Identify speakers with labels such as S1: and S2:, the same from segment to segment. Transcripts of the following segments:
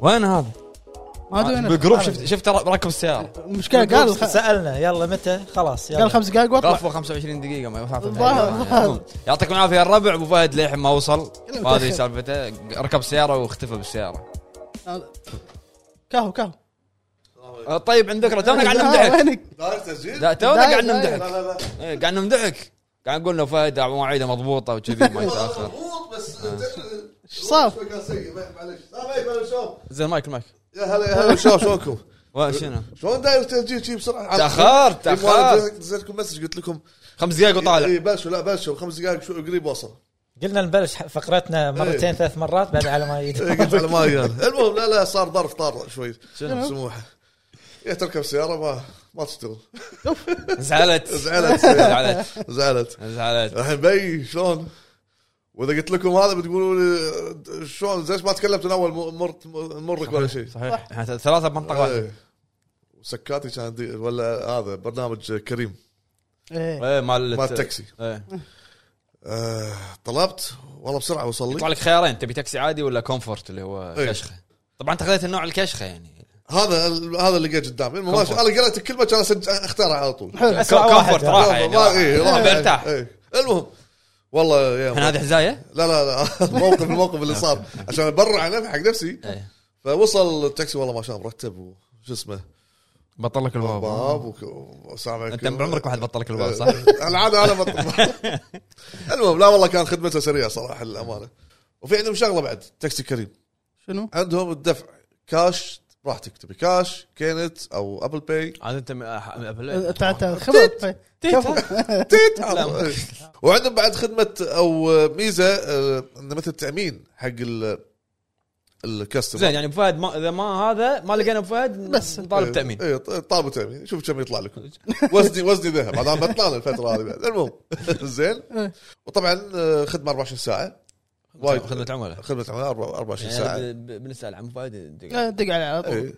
S1: وين هذا؟
S2: ما ادري وين
S1: بالجروب شفت شفت راكب السياره
S2: المشكله قال خ-
S3: سالنا يلا متى خلاص يلا
S2: قال خمس دقائق واطلع
S1: غفوا 25 دقيقه ما ما-
S2: الظاهر- الظاهر.
S1: يعطيكم العافيه يا الربع ابو فهد للحين ما وصل
S2: متأخر.
S1: وهذه سالفته ركب سياره واختفى بالسياره
S2: أه. كهو كهو أه، آه،
S1: آه، طيب عندك تونا قاعد نمدحك
S2: وينك؟
S4: داير تسجيل؟
S1: لا تونا قاعد
S2: داير- داير.
S1: نمدحك
S4: لا لا لا
S1: إيه، قاعد نمدحك قاعد نقول له فهد مواعيده مضبوطه وكذي ما يتاخر
S4: مضبوط بس
S2: إيش صار؟
S4: معلش السلام عليكم هلا شباب
S1: زين مايك مايك
S4: يا هلا هلا شباب شلونكم؟
S1: وشنو؟
S4: شلون داير تسجيل شي بسرعه
S1: تأخرت، تأخرت.
S4: نزلت لكم مسج قلت لكم
S1: خمس دقائق وطالع
S4: اي بلشوا لا بلشوا خمس دقائق شو قريب وصل
S3: قلنا نبلش ح- فقرتنا مرتين
S4: إيه.
S3: ثلاث مرات بعد على ما
S4: إيه،
S3: يجي
S4: قلت على ما يقال المهم لا لا صار ظرف طار شوي سموحه يا تركب سياره ما ما تشتغل
S1: زعلت
S4: زعلت.
S1: زعلت
S4: زعلت
S1: زعلت
S4: الحين بي شلون واذا قلت لكم هذا بتقولوا لي شلون ليش ما تكلمت من اول م- مرت مرك ولا شيء
S1: صحيح احنا ثلاثه بمنطقه واحده
S4: إيه. وسكاتي كان دي- ولا هذا برنامج كريم
S2: ايه
S1: ايه مال
S4: مال التاكسي
S1: إيه.
S4: آه، طلبت والله بسرعه وصل
S1: يطلع
S4: لي
S1: لك خيارين تبي تاكسي عادي ولا كومفورت اللي هو
S4: إيه.
S1: كشخه طبعا انت خذيت النوع الكشخه يعني
S4: هذا هذا اللي جاي قدامي المهم
S1: كومفورت.
S4: انا قريت الكلمه كان أسج- اختارها على طول
S3: اسرع
S1: كومفورت
S3: واحد
S1: راحه يعني
S4: ما- إيه، راح.
S1: راحه برتاح
S4: إيه. المهم والله يا
S1: الحين هذه حزايه
S4: لا لا لا الموقف الموقف اللي صار عشان ابرر عن نفسي حق نفسي
S1: إيه.
S4: فوصل التاكسي والله ما شاء الله مرتب وش اسمه
S1: بطل لك
S4: باب وك- والسلام عليكم
S1: انت بعمرك واحد بطل لك
S4: إيه.
S1: الباب صح؟
S4: العاده انا بطل المهم لا والله كان خدمته سريعه صراحه للامانه وفي عندهم شغله بعد تاكسي كريم
S2: شنو؟
S4: عندهم الدفع كاش براحتك تبي كاش كينت او ابل باي
S1: عاد انت م- أح- أبل-
S2: تعال تعال أه، خبر طيب.
S4: تيت
S1: لا، ما-
S4: إيه. وعندهم بعد خدمه او ميزه آه، انه مثل تامين حق ال الكاستمر
S1: زين يعني ابو فهد ما اذا ما هذا ما لقينا ابو فهد
S2: بس.
S1: نطالب تامين
S4: اي إيه، طالب تامين شوف كم يطلع لكم وزني وزني ذهب هذا أنا بطلع الفتره هذه بعد المهم زين
S1: إيه.
S4: وطبعا آه، خدمه 24 ساعه وايد
S1: خدمه عملاء
S4: خدمه عملاء 24 ساعه
S1: يعني ب- ب- بنسال عن ابو
S2: أه،
S1: فهد دقيقة.
S2: دق علي على طول
S4: إيه.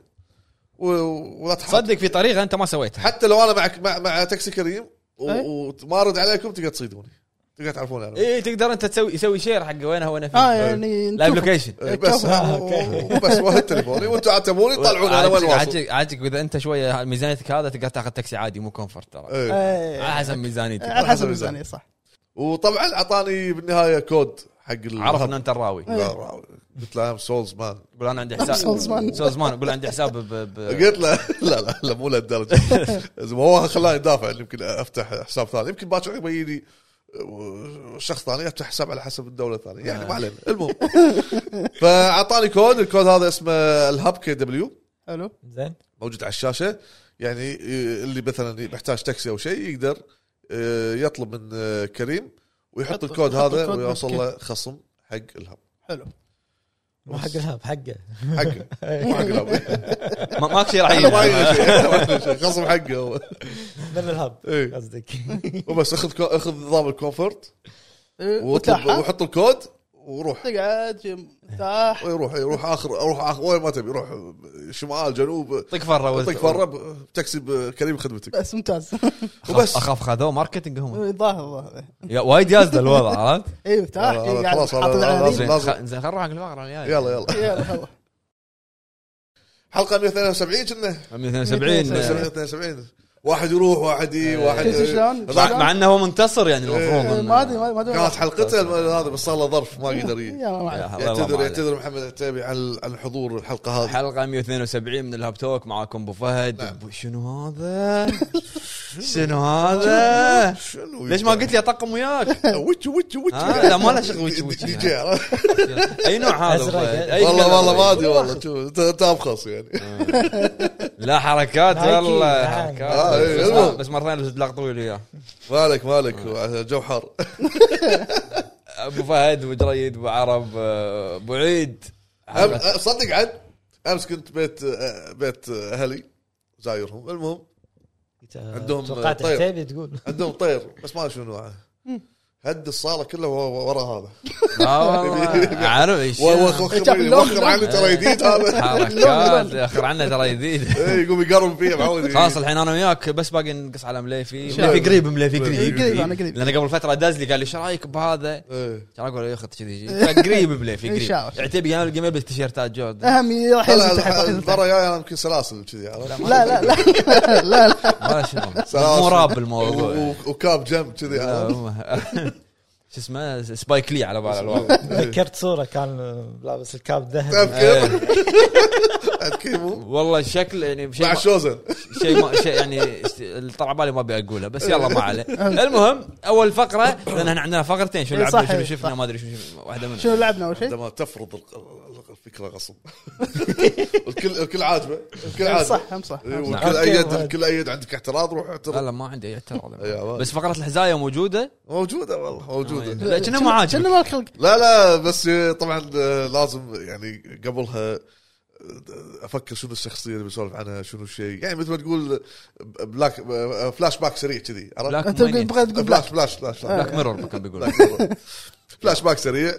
S4: و- ولا تحط
S1: صدق في طريقه انت ما سويتها
S4: حتى لو انا معك مع, مع تاكسي كريم و-
S2: إيه.
S4: وما ارد عليكم تقدر تصيدوني تقدر تعرفوني انا
S1: اي إيه، تقدر انت تسوي يسوي شير حق وين هو انا فيه
S2: اه
S4: أه.
S2: يعني
S1: لايف
S2: نشوف.
S1: لوكيشن
S4: إيه، بس بس واحد تليفوني وانتم عتبوني طلعون انا وين واصل
S1: عاجبك عاجبك اذا انت شويه ميزانيتك هذا تقدر تاخذ تاكسي عادي مو كومفورت ترى
S4: إيه.
S2: إيه.
S1: على حسب ميزانيتك
S2: على
S4: أه.
S2: حسب الميزانيه صح
S4: وطبعا اعطاني بالنهايه كود حق ال-
S1: عرف ان انت الراوي
S4: قلت له سولز مان
S1: قول انا عندي حساب
S2: سولزمان.
S1: سولزمان قول عندي حساب ب- ب-
S4: قلت له لا لا لا مو لهالدرجه زين، هو خلاني دافع يمكن افتح حساب ثاني يمكن باكر يجيني آه، شخص ثاني افتح حساب على حسب الدوله الثانيه يعني ما علينا المهم فاعطاني كود الكود هذا اسمه الهب كي دبليو
S2: حلو
S3: زين
S4: موجود على الشاشه يعني اللي مثلا محتاج تاكسي او شيء يقدر آه، يطلب من كريم ويحط
S2: يحط-
S4: الكود
S2: يحط
S4: هذا
S2: الكود
S4: ويوصل
S2: بالكيف.
S4: له خصم حق الهب
S2: حلو
S3: مو حق الهب حقه
S4: حقه مو حق الهب
S1: ما- ماك شيء راح
S4: احنا ما
S1: يجي.
S4: عندنا شيء، إحنا ما عندنا شيء خصم حقه هو
S3: من الهب
S4: إيه.
S3: قصدك
S4: وبس اخذ كو... اخذ نظام الكومفورت
S2: إيه،
S4: واطلب
S2: وتلاحق.
S4: وحط الكود وروح
S2: تقعد جيم، تاح
S4: ويروح يروح اخر اروح اخر وين ما تبي يروح شمال جنوب
S1: طق فره وز-
S4: يعطيك فره ب- تاكسي بكريم خدمتك
S2: بس ممتاز
S1: أخاف-
S4: وبس
S1: اخاف خذوه ماركتنج هم
S2: ظاهر ظاهر
S1: يا- وايد يازده الوضع عرفت؟
S2: ايوه تاح
S4: آه،
S2: قاعد
S4: خلاص،
S2: حاطط
S4: آه،
S2: على
S4: لازم.
S2: رجلي.
S1: زين خ- زين خل نروح حق الفقره الجايه
S4: يلا يلا
S2: يلا خلاص
S4: حلقه 172 كنا
S1: إيه. 272
S4: 172 واحد يروح واحد يي
S1: إيه.
S4: واحد
S2: شفت شلون؟
S1: مع, مع انه هو منتصر يعني
S2: إيه،
S1: المفروض
S2: ما ادري ما ادري
S4: كانت حلقته الم- هذا بس صار له ظرف ما قدر يي.
S2: يا ما عليك.
S4: يعتذر يعتذر محمد عتيبي عن عن حضور الحلقه هذه
S1: حلقه 172 من الهاب توك معاكم ابو فهد
S4: نعم.
S1: أبو- شنو هذا؟ شنو هذا؟
S4: شنو
S1: ليش ما قلت لي اطقم وياك؟
S4: وجه وجه وجه
S1: ها، لا، ما له شغل وجه- وجه.
S4: دي جي عرفت؟
S1: اي نوع هذا أبو
S3: أزرق.
S1: فهد؟ أي
S4: والله
S1: كلام
S4: والله ما
S1: أبو
S4: ادري والله شوف ت- تابخص يعني
S1: فهد؟ لا حركات
S3: هاي كي،
S1: والله
S3: هاي.
S4: آه،
S1: حركات
S4: إيه،
S1: بس-
S4: المهم.
S1: بس مره ثانيه دلاغ طويل وياه
S4: مالك مالك جو حار
S1: ابو فهد ابو جريد ابو عرب آه، ابو عيد
S4: أم- أه، صدق عاد امس كنت بيت أه، بيت اهلي زايرهم المهم عندهم طيب.
S3: توقعت
S4: طير.
S3: عتيبي تقول
S4: عندهم طير بس ما أدري شنو نوعه هد الصاله كلها و- ورا هذا
S1: لا والله عارف ايش
S4: و- و-
S2: شاف
S4: وخر
S2: اللون
S4: وخر عنه ترى جديد هذا
S1: حركات اخر عنا ترى جديد
S4: إيه، يقوم يقرب فيه معود
S1: خلاص الحين انا وياك بس باقي نقص على مليفي
S2: شاء
S1: مليفي قريب مليفي
S4: قريب،
S1: قريب
S2: أنا قريب.
S1: لان قبل فتره داز لي قال لي ايش رايك بهذا؟
S4: إيه.
S1: كان اقول له يا اخي كذي يجي. فقريب مليفي
S2: إن
S1: قريب
S2: شاء الله.
S1: عتيبي قال الجميل بالتيشيرتات جورد
S2: اهم ي- راح
S4: لا
S2: ينزل تحت،
S4: لا
S2: راح ينزل تحت.
S4: المره الجايه انا يمكن سلاسل كذي عرفت؟
S2: لا لا لا لا لا
S1: ما شغل
S4: سلاسل.
S1: مو راب الموضوع
S4: و- وكاب جنب كذي
S1: لا،
S4: عرفت؟
S1: هم- شو اسمه سبايك لي على بال الوضع
S4: إيه.
S3: ذكرت صوره كان لابس الكاب ذهب
S4: تذكر تذكر مو؟
S1: إيه، والله الشكل يعني شيء
S4: مع
S1: ما-
S4: شوزن
S1: شيء ما- شيء يعني است- اللي طلع بالي ما ابي اقوله بس يلا ما عليه المهم اول فقره لان احنا عندنا فقرتين شنو
S2: إيه،
S1: لعبنا
S2: صح،
S1: شنو
S2: إيه،
S1: شفنا
S2: صح.
S1: ما ادري شنو شفنا، واحده منهم
S2: شنو لعبنا اول شيء؟
S4: عندما تفرض ال- ال- الفكره غصب الكل الكل عاجبه الكل
S2: هم
S4: عاجبه
S2: صح هم صح
S4: إيه،
S2: هم صح.
S4: والكل
S3: أوكي،
S4: ايد
S3: وهذا.
S4: الكل ايد عندك اعتراض روح
S1: لا
S4: اعترض
S1: لا ما عندي أي اعتراض
S4: يا والله.
S1: بس فقره الحزايه موجوده
S4: موجوده والله موجوده
S2: يعني.
S1: لا، كنا ما عاجبك
S2: كنا ما الخلق
S4: لا لا بس طبعا لازم يعني قبلها افكر شنو الشخصيه اللي بسولف عنها شنو الشيء يعني مثل ما تقول بلاك فلاش باك آه، سريع كذي عرفت؟ آه،
S1: بلاك
S2: انت تقول-
S1: مانيت.
S2: بغيت تقول
S4: فلاش فلاش فلاش
S1: بلاك ميرور كان بيقول
S4: بلاك- فلاش باك سريع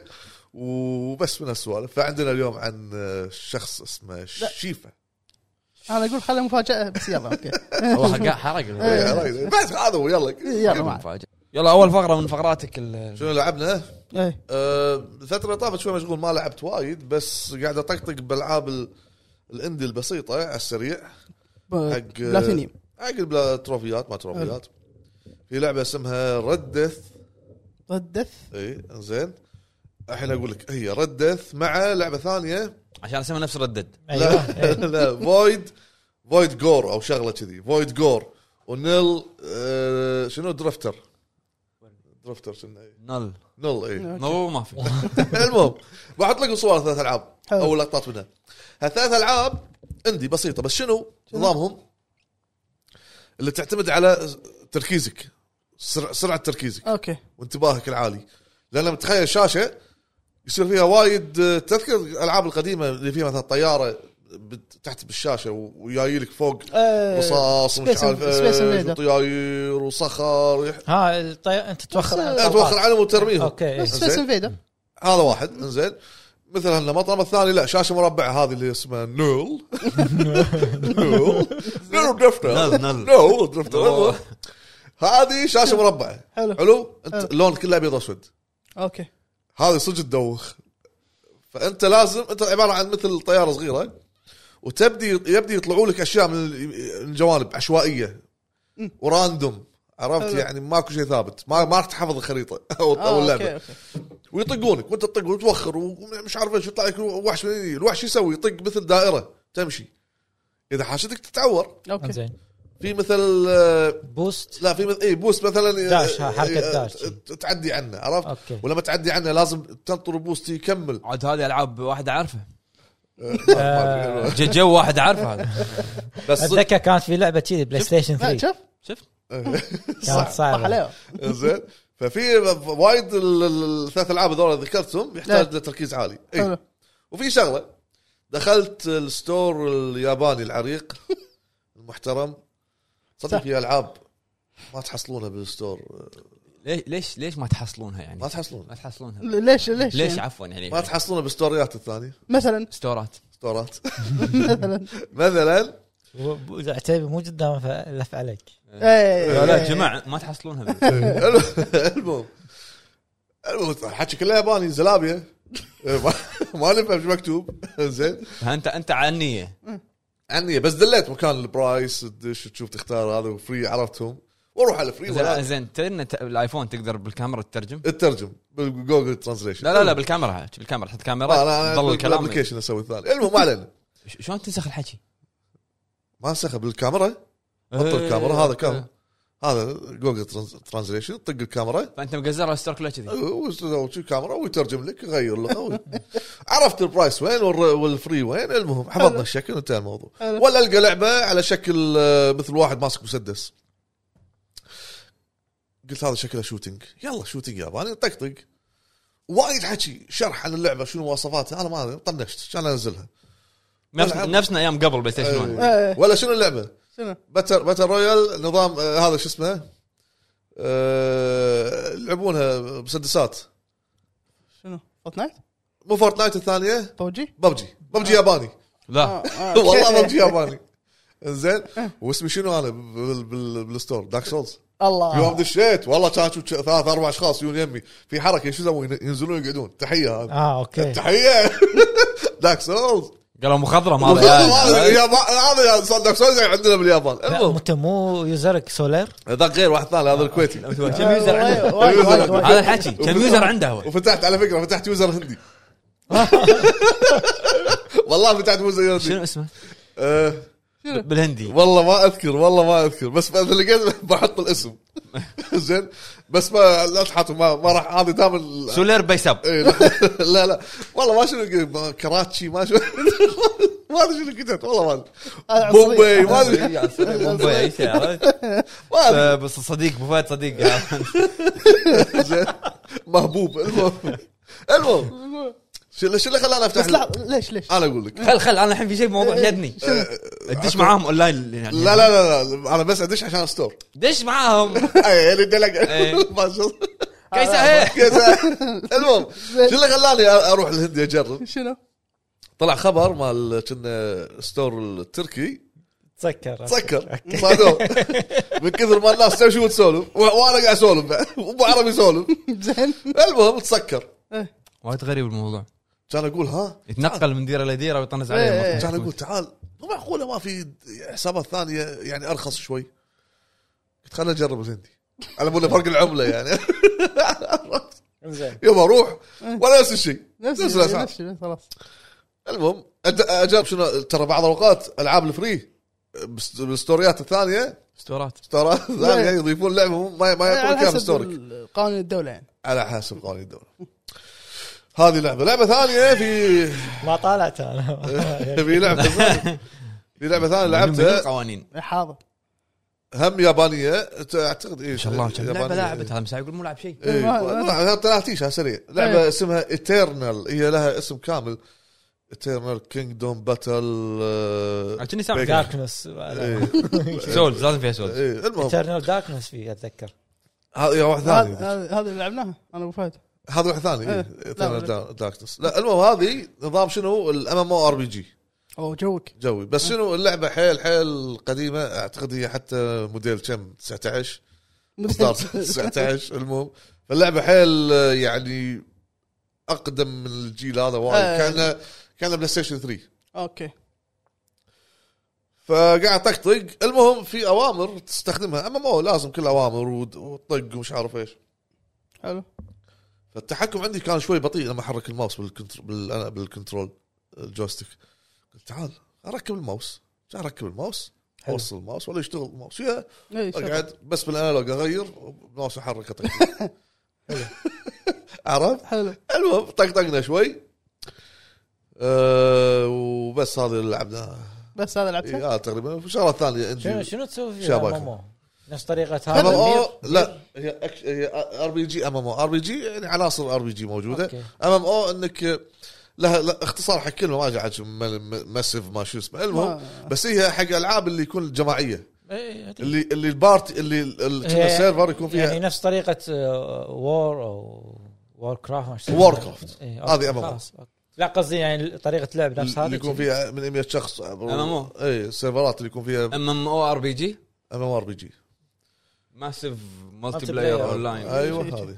S4: وبس من السوالف فعندنا اليوم عن شخص اسمه شيفا
S2: انا اقول خلها مفاجاه بس يلا اوكي
S1: هو حق- حرق
S4: إيه،
S1: الفيديو.
S4: عرفت؟ بس هذا هو يلا
S2: يلا ما عليك.
S1: مفاجأة. يلا اول فقره من فقراتك ال-
S4: شنو لعبنا؟
S2: إيه.
S4: أه، الفترة اللي طافت شوي مشغول ما لعبت وايد بس قاعد اطقطق بالعاب ال- الاندي البسيطة على السريع
S2: ب-
S4: حق
S2: بلاتينيوم
S4: حق البلا- تروفيات ما تروفيات في لعبة اسمها ردث
S2: ردث
S4: اي زين الحين اقول لك هي ردث مع لعبة ثانية
S1: عشان اسمها نفس ردد
S3: ايوه
S4: لا, لا فويد فويد جور او شغلة كذي فويد جور ونيل أه، شنو درفتر درفتر شنو إي.
S1: نل
S4: نل اي
S1: نل ما في
S4: المهم بحط لكم صور ثلاث العاب
S2: حلو.
S4: او لقطات منها هالثلاث العاب عندي بسيطه بس شنو نظامهم اللي تعتمد على تركيزك سرع سرعه تركيزك
S2: اوكي
S4: وانتباهك العالي لان لما تخيل شاشه يصير فيها وايد آه، تذكر الالعاب القديمه اللي فيها مثلا طياره بت- تحت بالشاشه و- وجاي لك فوق إيه.
S2: آه،
S4: رصاص ومش
S2: Space-
S4: عارف
S2: Space
S4: ايش
S2: Invader.
S4: وطياير وصخر يح-
S3: ها الطي... انت توخر عن
S4: لا، توخر عنهم وترميهم
S3: اوكي إيه.
S2: نفس سبيس
S4: زين.
S2: انفيدر
S4: هذا واحد انزين مثل هالمطعم الثاني لا شاشه مربعه هذه اللي اسمها نول نول نول درفتر
S1: نل نل
S4: نول درفتر هذه شاشه مربعه
S2: حلو.
S4: حلو انت لون كله ابيض واسود
S2: اوكي
S4: هذه صدق تدوخ فانت لازم انت عباره عن مثل طياره صغيره وتبدي يبدي يطلعوا لك اشياء من ال- الجوانب عشوائيه وراندوم عرفت
S2: حلو.
S4: يعني ماكو شيء ثابت ما ما راح تحفظ الخريطه او او
S2: آه،
S4: اللعبه
S2: اوكي اوكي
S4: ويطقونك وانت تطق وتوخر ومش عارف ايش يطلع لك وحش من هني. الوحش يسوي يطق مثل دائره تمشي اذا حاشتك تتعور
S2: اوكي
S3: زين
S4: في مثل آه،
S3: بوست
S4: لا في مثل اي بوست مثلا
S3: داش، ها، حركة
S4: آه،
S3: داش.
S4: تعدي عنه عرفت
S3: أوكي. آه،
S4: ولما تعدي عنه لازم تنطر بوست يكمل
S1: عاد هذه العاب واحد عارفه
S4: آه،
S1: ج- جو واحد عارفه هذا
S4: بس صدق-
S3: اتذكر كانت في لعبه كذي بلاي ستيشن
S2: لا،
S3: 3
S2: شوف
S1: شفت
S3: كانت
S2: صح
S3: صعبه
S2: عليه
S4: زين ففي وايد ال- ال- الثلاث العاب هذول اللي ذكرتهم يحتاج لتركيز عالي إيه.
S2: حلو.
S4: اي وفي شغله دخلت الستور الياباني العريق المحترم صدق
S2: صح.
S4: في العاب ما تحصلونها بالستور
S1: ليش ليش ليش ما تحصلونها يعني
S4: ما تحصلون
S1: ما تحصلونها
S2: ليش ليش
S1: ليش
S2: يعني؟
S1: عفوا يعني
S4: ما تحصلونها بالستوريات الثانيه
S2: مثلا
S1: ستورات
S4: ستورات
S2: مثلا
S4: مثلا
S3: عتيبي مو قدامه فلف عليك
S2: إيه،
S1: لا لا
S2: إيه.
S1: جماعة ما تحصلونها
S4: المهم المهم الحكي كله ياباني زلابيه ما ما نفهم شو مكتوب زين
S1: انت انت عنية
S4: عني بس دليت مكان البرايس تدش تشوف تختار هذا وفري عرفتهم واروح على فري
S1: زين-
S4: إيه، ولا
S1: زين تدري ان ت- الايفون تقدر بالكاميرا تترجم
S4: اترجم بالجوجل ترانزليشن
S1: لا لا لا بالكاميرا بالكاميرا حط كاميرا
S4: انا
S1: ضل الكلام
S4: الابلكيشن اسوي الثاني المهم ما علينا
S1: ش- شلون تنسخ الحكي؟
S4: ما انسخه بالكاميرا حط
S1: إيه.
S4: الكاميرا هذا كام هذا جوجل ترانز- ترانزليشن طق الكاميرا
S1: فانت مقزرها ستار كلها كذي
S4: وسوي كاميرا ويترجم لك يغير لغه عرفت البرايس وين والر- والفري وين المهم حفظنا الشكل وانتهى الموضوع
S2: حلو.
S4: ولا القى لعبه على شكل آه، مثل واحد ماسك مسدس قلت هذا شكله شوتنج يلا شوتنج ياباني طقطق وايد حكي شرح عن اللعبه شنو مواصفاتها انا ما أدري، طنشت عشان انزلها
S1: نفس
S4: والعب.
S1: نفسنا ايام قبل بلاي ستيشن 1
S2: إيه.
S4: يعني؟ ولا شنو اللعبه
S2: شنو؟
S4: باتل باتل رويال نظام آه، هذا شو اسمه آه، يلعبونها مسدسات
S2: شنو فورتنايت
S4: مو فورتنايت الثانيه
S2: بوجي
S4: ببجي ببجي ياباني
S1: لا
S2: آه، آه.
S4: والله ببجي ياباني زين واسمي شنو انا بال- بال- بالستور دارك سولز يوم
S2: الله
S4: دشيت والله كان شو- ثلاث اربع اشخاص يجون يمي في حركه شو يسوون ينزلون يقعدون تحيه هذه
S3: اه اوكي
S4: تحيه دارك سولز
S1: قالوا مخضرم
S4: هذا
S1: هذا
S4: يا- هذا يا صار دارك سولز عندنا باليابان
S3: لا،
S4: المهم
S3: انت مو يوزرك سولير
S4: ذاك غير واحد ثاني هذا الكويتي
S1: كم يوزر عنده
S2: وايد وايد وايد.
S1: هذا الحكي كم يوزر عنده هو
S4: وفتحت على فكره فتحت يوزر هندي والله فتحت يوزر
S1: شنو
S4: هندي
S1: اسمه
S4: أه،
S1: بالهندي
S4: والله ما اذكر والله ما اذكر بس اذا لقيت بحط الاسم زين بس ما لا تحط ما, ما راح هذه دام ال-
S1: سولير بيسب
S4: إيه، لا- لا لا والله ما شنو ما- كراتشي ما شنو ما ادري شنو كتبت والله ما ادري
S2: هذا عنصرية.
S4: بومبي إيه، ما ادري
S1: بومباي، شي عرفت؟
S4: ما أدري.
S1: بس صديق ابو فهد صديق
S4: زين مهبوب المهم المهم شو شو اللي خلاني افتح
S2: بس لحظه ليش ليش؟
S4: انا اقول لك
S1: خل خل انا الحين في شيء موضوع
S4: إيه.
S1: شدني ادش معاهم اونلاين يعني
S4: لا لا لا لا انا بس ادش عشان ستور
S1: دش معاهم
S4: اي اللي
S1: إيه.
S4: دلق يعني ما شاء الله.
S1: كيسة هي
S4: كذا. المهم شو اللي خلاني اروح الهند اجرب
S2: شنو؟
S4: طلع خبر مال كنا ستور التركي
S3: تسكر
S4: سكر صادوه من كثر ما الناس تمشي وتسولف و- وانا قاعد اسولف بعد. وابو عربي يسولف
S2: زين
S4: المهم تسكر
S2: إيه.
S1: وايد غريب الموضوع
S4: كان اقول ها
S1: يتنقل من ديره لديره ويطنز
S2: إيه.
S1: عليهم
S4: كان اقول تعال مو معقوله ما في حسابات ثانيه يعني ارخص شوي قلت خليني اجرب الهندي على مود فرق العمله يعني
S3: زين
S4: يوم اروح ولا نفس الشيء
S2: نفس
S4: نفس
S2: الشيء،
S4: الاسعار
S2: نفس الشيء خلاص
S4: المهم أد- اجاب شنو ترى بعض الاوقات العاب الفري بس- بالستوريات الثانيه
S1: ستورات
S4: ستورات ثانيه يضيفون لعبه ما ما يكون
S2: على
S4: كامل
S2: حسب
S4: ستورك
S2: ال- قانون الدوله يعني
S4: على حسب قوانين الدوله هذه لعبه لعبه ثانيه في
S3: ما طالعت انا
S4: في لعبه ثانية- في لعبه ثانيه لعبتها
S1: قوانين
S2: حاضر
S4: هم يابانيه تعتقد اي
S1: ما شاء الله كم لعبه لعبت هذا مساعي يقول مو لعب شيء
S4: إيه،
S2: ما-
S4: طلعتيش على سريع لعبه
S2: إيه.
S4: اسمها ايترنال هي لها اسم كامل ايترنال كينجدوم باتل آه،
S1: كني سامع
S3: داركنس
S1: سولز لازم فيها سولز
S4: إيه. المهم
S3: ايترنال داركنس فيه اتذكر
S4: هذا يا واحد ثاني
S2: هذا هذا- هذا اللي لعبناها انا ابو فهد
S4: هذا واحد ثاني
S2: إيه.
S4: إيه. Eternal
S2: لا.
S4: Darkness. لا المهم هذه نظام شنو الام ام او ار بي جي
S2: او جوك
S4: جوي بس شنو اللعبه حيل حيل قديمه اعتقد هي حتى موديل كم 19 اصدار 19 المهم فاللعبه حيل آه، يعني اقدم من الجيل هذا
S2: آه.
S4: وايد كان كان بلاي ستيشن 3
S2: اوكي
S4: فقاعد طقطق المهم في اوامر تستخدمها اما مو لازم كل اوامر ود- وطق ومش عارف ايش
S2: حلو
S4: فالتحكم عندي كان شوي بطيء لما احرك الماوس بالكنتر... بال... بالكنترول الجويستيك قلت تعال اركب الماوس جا اركب الماوس
S3: حلو.
S4: اوصل الماوس ولا يشتغل الماوس يا
S2: إيه، شغل.
S4: اقعد بس بالانالوج اغير ماوس احرك أطقطق. عرفت؟
S2: حلو
S4: المهم طقطقنا شوي أه وبس هذا اللي لعبناه
S2: بس هذا
S4: إي،
S2: لعبته
S4: آه تقريبا شغلات ثانيه
S3: شنو
S4: عندي
S3: شنو تسوي فيه
S4: شابك.
S3: MMO؟ نفس طريقه
S4: ام
S3: هذا
S4: او لا هي أكش- هي ار بي جي ام ام او ار بي جي يعني عناصر ار بي جي موجوده
S3: أوكي.
S4: ام ام او انك لها لا اختصار حق كلمه ما قاعد مسف ما شو اسمه المهم
S3: آه.
S2: ما-
S4: بس هي حق العاب اللي يكون جماعيه
S3: إيه، هذه.
S4: اللي اللي البارتي اللي ال- ال- كنا السيرفر يكون فيها
S3: يعني نفس آه، طريقه وور او وور كرافت
S4: War Craft. هذه MMO.
S3: إيه، لا قصدي يعني طريقه لعب نفس هذه
S4: اللي يكون فيها من 100 شخص
S1: MMO.
S4: اي السيرفرات اللي يكون فيها ام
S1: ام ام او ار بي جي
S4: ام ار بي جي
S1: ماسيف مالتي
S3: بلاير.
S1: بلاير اون لاين
S4: ايوه هذه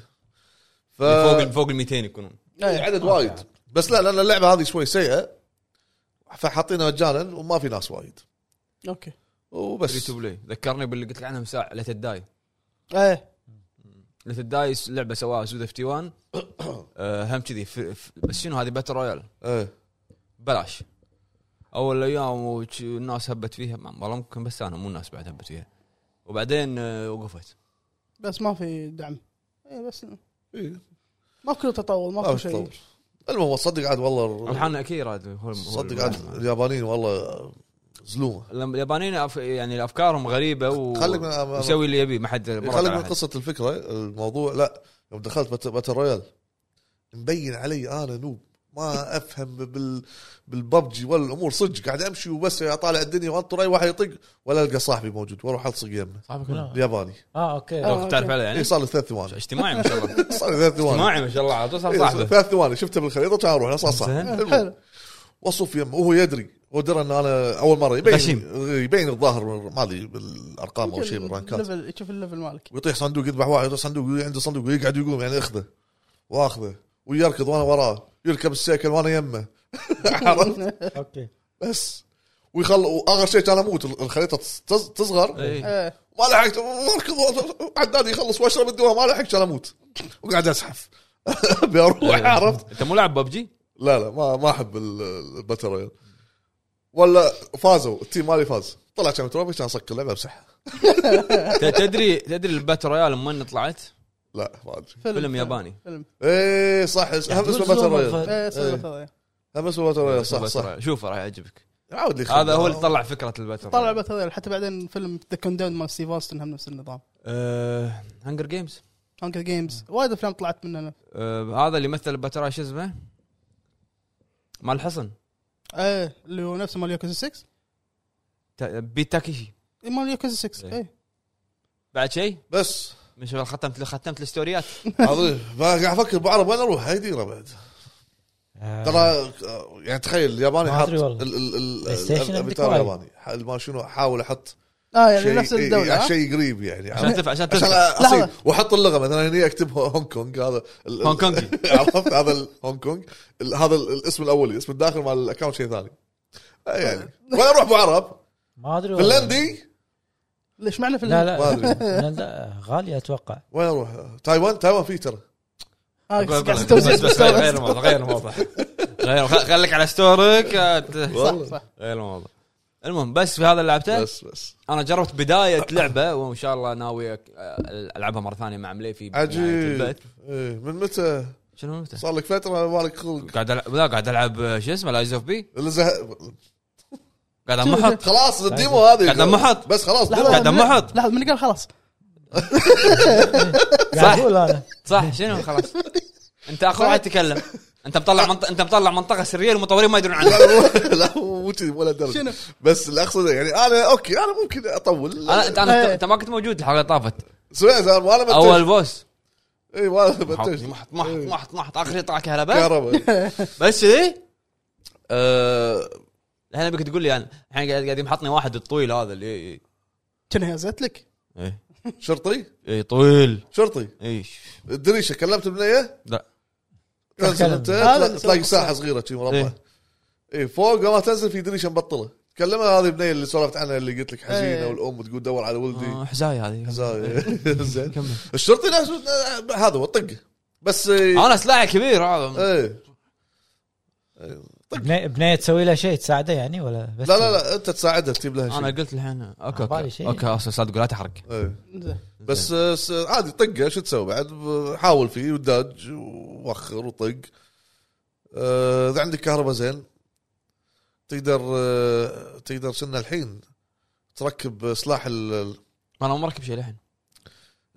S4: ف
S1: فوق ال- فوق ال 200 يكونون
S4: إيه، عدد وايد بس لا لان اللعبه هذه شوي سيئه فحاطينها مجانا وما في ناس وايد
S2: اوكي
S1: فري
S4: وبس
S1: تو بلاي ذكرني باللي قلت لك عنها من ساعه ليت الداي
S2: ايه
S1: ليت الداي لعبه سواها سود اف تي 1 آه، هم كذي ف- ف- بس شنو هذه باتل رويال
S4: ايه
S1: بلاش اول ايام وش- الناس هبت فيها ما- والله ممكن بس انا مو الناس بعد هبت فيها وبعدين آه، وقفت
S2: بس ما في دعم ايه بس
S4: إيه،
S2: ماكو تطور
S4: ما
S2: ماكو
S4: في
S2: شيء
S4: تطور. المهم صدق عاد والله
S1: الحان اكيرا هذا هو- هو
S4: صدق
S1: المعنى.
S4: عاد اليابانيين والله زلومه
S1: لما اليابانيين أف- يعني افكارهم غريبه و...
S4: خليك من
S1: يسوي اللي يبيه ما حد ما رد
S4: خليك
S1: على
S4: من
S1: أحد.
S4: قصه الفكره الموضوع لا يوم دخلت بات- باتل رويال مبين علي انا نوب ما افهم بال بالببجي ولا الامور صدق قاعد امشي وبس اطالع الدنيا وانطر اي واحد يطق ولا القى صاحبي موجود واروح الصق يمه
S1: صاحبك يعني
S3: لا.
S1: ولا؟
S4: الياباني
S3: اه اوكي
S2: آه.
S1: لو تعرف عليه يعني
S4: إيه، صار لي ثلاث ثواني
S1: اجتماعي ما شاء الله
S4: صار لي ثلاث ثواني
S1: اجتماعي ما شاء الله على طول صار
S4: إيه، صار لي
S1: صاحبه
S4: ثلاث ثواني شفته بالخريطه كان اروح لا صار صح
S1: زين.
S4: المهم.
S2: حلو
S4: وصف يمه وهو يدري هو درى ان انا اول مره يبين
S1: غشيم.
S4: يبين الظاهر ما ادري بالارقام او شيء بالرانكات
S2: الليفل- شوف الليفل مالك
S4: ويطيح صندوق يذبح واحد يطيح صندوق وي- عنده صندوق ويقعد يقوم يعني اخذه واخذه ويركض وانا وراه يركب السيكل وانا يمه عرفت
S3: اوكي
S4: بس ويخل واخر شيء كان اموت الخريطه تص- تصغر
S1: إيه.
S2: ايه
S4: ما لحقت واركض وأط- عداد يخلص واشرب الدواء ما لحقت كان اموت وقاعد ازحف ابي اروح عرفت
S1: انت إيه. مو لاعب ببجي؟
S4: لا لا ما ما احب ال- ال- الباتل رويال ولا فازوا التيم مالي فاز طلع كان تروفي كان صك اللعبه بصحه
S1: تدري تدري الباتل رويال من طلعت؟
S4: لا ما ادري
S1: فيلم ياباني
S2: فيلم
S4: ايه صح
S3: يعني
S4: هم اسمه باتل رويال
S2: ايه صدق
S4: إيه.
S2: صدق.
S4: هم اسمه باتل رويال صح
S1: Battle
S4: صح
S1: Royale. شوفه راح يعجبك
S4: عاود لي
S1: هذا هو اللي طلع فكره الباتل
S2: طلع بث هذول حتى بعدين فيلم ذا كوندون مال ستيف اوستن هم نفس النظام
S1: هانجر جيمز
S2: هانكر جيمز وايد افلام طلعت مننا
S1: آه، هذا اللي مثل الباتل رويال شو اسمه؟ مال الحصن
S2: ايه اللي هو نفسه مال يوكوزا 6
S1: تا- بيت تاكيشي
S2: إيه، مال يوكوزا 6
S1: إيه.
S2: ايه
S1: بعد شيء
S4: بس
S1: من شغل ختمت ختمت الستوريات
S4: عظيم قاعد افكر بعرف وين اروح هاي ديره بعد
S3: آه.
S4: ترى آه، يعني تخيل الياباني
S3: ما
S4: حاط
S3: أدري والله.
S4: ال- ال- ال-
S3: بلاي ستيشن
S4: الافاتار
S3: عندك
S4: الياباني ح- ما شنو احاول احط
S2: اه يعني
S4: شيء
S2: نفس الدوله
S4: إيه،
S2: ها؟
S4: شيء قريب يعني
S1: عشان تف عشان
S4: عشان
S1: تف
S4: اصير
S2: لحظة.
S4: واحط اللغه مثلا هني اكتب هونغ كونغ هذا ال-
S1: هونغ كونغي
S4: عرفت هذا ال- هونغ كونغ ال- هذا ال- الاسم الاولي اسم الداخل مال الاكونت شيء ثاني آه، يعني وين اروح ابو عرب
S3: ما ادري والله.
S4: فنلندي
S2: ليش معنى فيلم
S3: لا آه،
S4: ما
S3: لا
S4: ادري
S3: فنلندا غاليه اتوقع
S4: وين اروح تايوان تايوان في ترى
S2: آه،
S1: بس-
S2: قاعد
S1: بس- بس- بس غير غير
S2: تستوعب.
S1: الموضوع غير الموضوع غير خ- خليك على ستورك آه، ت-
S2: صح صح
S1: غير الموضوع المهم بس في هذا اللي لعبته
S4: بس بس
S1: انا جربت بدايه لعبه وان شاء الله ناوي أك- العبها مره ثانيه مع مليفي بنهاية
S4: عجيب
S1: البيت.
S4: إيه، من متى
S1: شنو متى؟
S4: صار لك فتره مالك خلق
S1: قاعد العب لا قاعد العب آه، شو اسمه لايز اوف بي
S4: الزه-
S1: قاعد انمحط
S4: خلاص الديمو هذه
S1: قاعد انمحط
S4: بس خلاص
S2: لحظة،
S4: ديمو
S1: قاعد
S2: من-
S1: انمحط.
S2: لحظه من قال خلاص
S3: قاعد اقول انا
S1: صح شنو خلاص انت اخر واحد تكلم انت مطلع منط... انت مطلع منطقه سريه المطورين ما يدرون عنها
S4: لا مو كذي ولا درجه
S2: شنو؟
S4: بس اللي اقصده يعني انا اوكي انا ممكن اطول
S1: انا انت
S4: إيه.
S1: انا انت ما كنت موجود الحلقه اللي طافت
S4: سمعت انا ما انا بنتج.
S1: اول بوس
S4: اي ما انا
S1: محط
S4: بنتج.
S1: محط محط محط محط اخر شيء طلع كهرباء
S4: إيه. كهرباء
S1: بس كذي
S4: آه.
S1: أه... الحين ابيك تقول لي انا الحين قاعد قاعد يمحطني واحد الطويل هذا اللي إيه.
S2: شنو هزت لك؟
S1: ايه
S4: شرطي
S1: ايه طويل
S4: شرطي
S1: ايش
S4: الدريشه كلمت بنيه
S1: لا
S4: تنزل
S3: أتكلم.
S4: انت
S2: هذا
S4: تلا-
S2: اللي
S4: تلاقي
S2: سوى
S4: ساحه صغيره شي مربع
S1: إيه.
S4: اي فوق ما تنزل في دريشه مبطله تكلمها هذه بنيه اللي سولفت عنها اللي قلت لك حزينه
S2: إيه.
S4: والام تقول دور على
S1: آه،
S4: ولدي
S1: حزاي هذه
S4: زاي.
S1: إيه.
S4: زين
S1: كمل
S4: الشرطي نفسه- هذا هو طق بس إيه،
S1: انا سلاحي كبير آه. هذا
S4: ايه
S3: بني- بنيه تسوي لها شيء تساعده يعني ولا بس
S4: لا لا لا انت تساعدها تجيب لها شيء
S1: انا قلت الحين اوكي
S3: عبالي
S1: اوكي
S3: شيء.
S1: اوكي أصلاً صدق لا تحرق
S4: ايه.
S2: زين.
S4: بس آه، س- عادي طقه شو تسوي بعد ب- حاول فيه وداج ووخر وطق آه، اذا عندك كهرباء زين تقدر آه، تقدر شنا الحين تركب سلاح ال- ال-
S1: انا ما مركب شيء للحين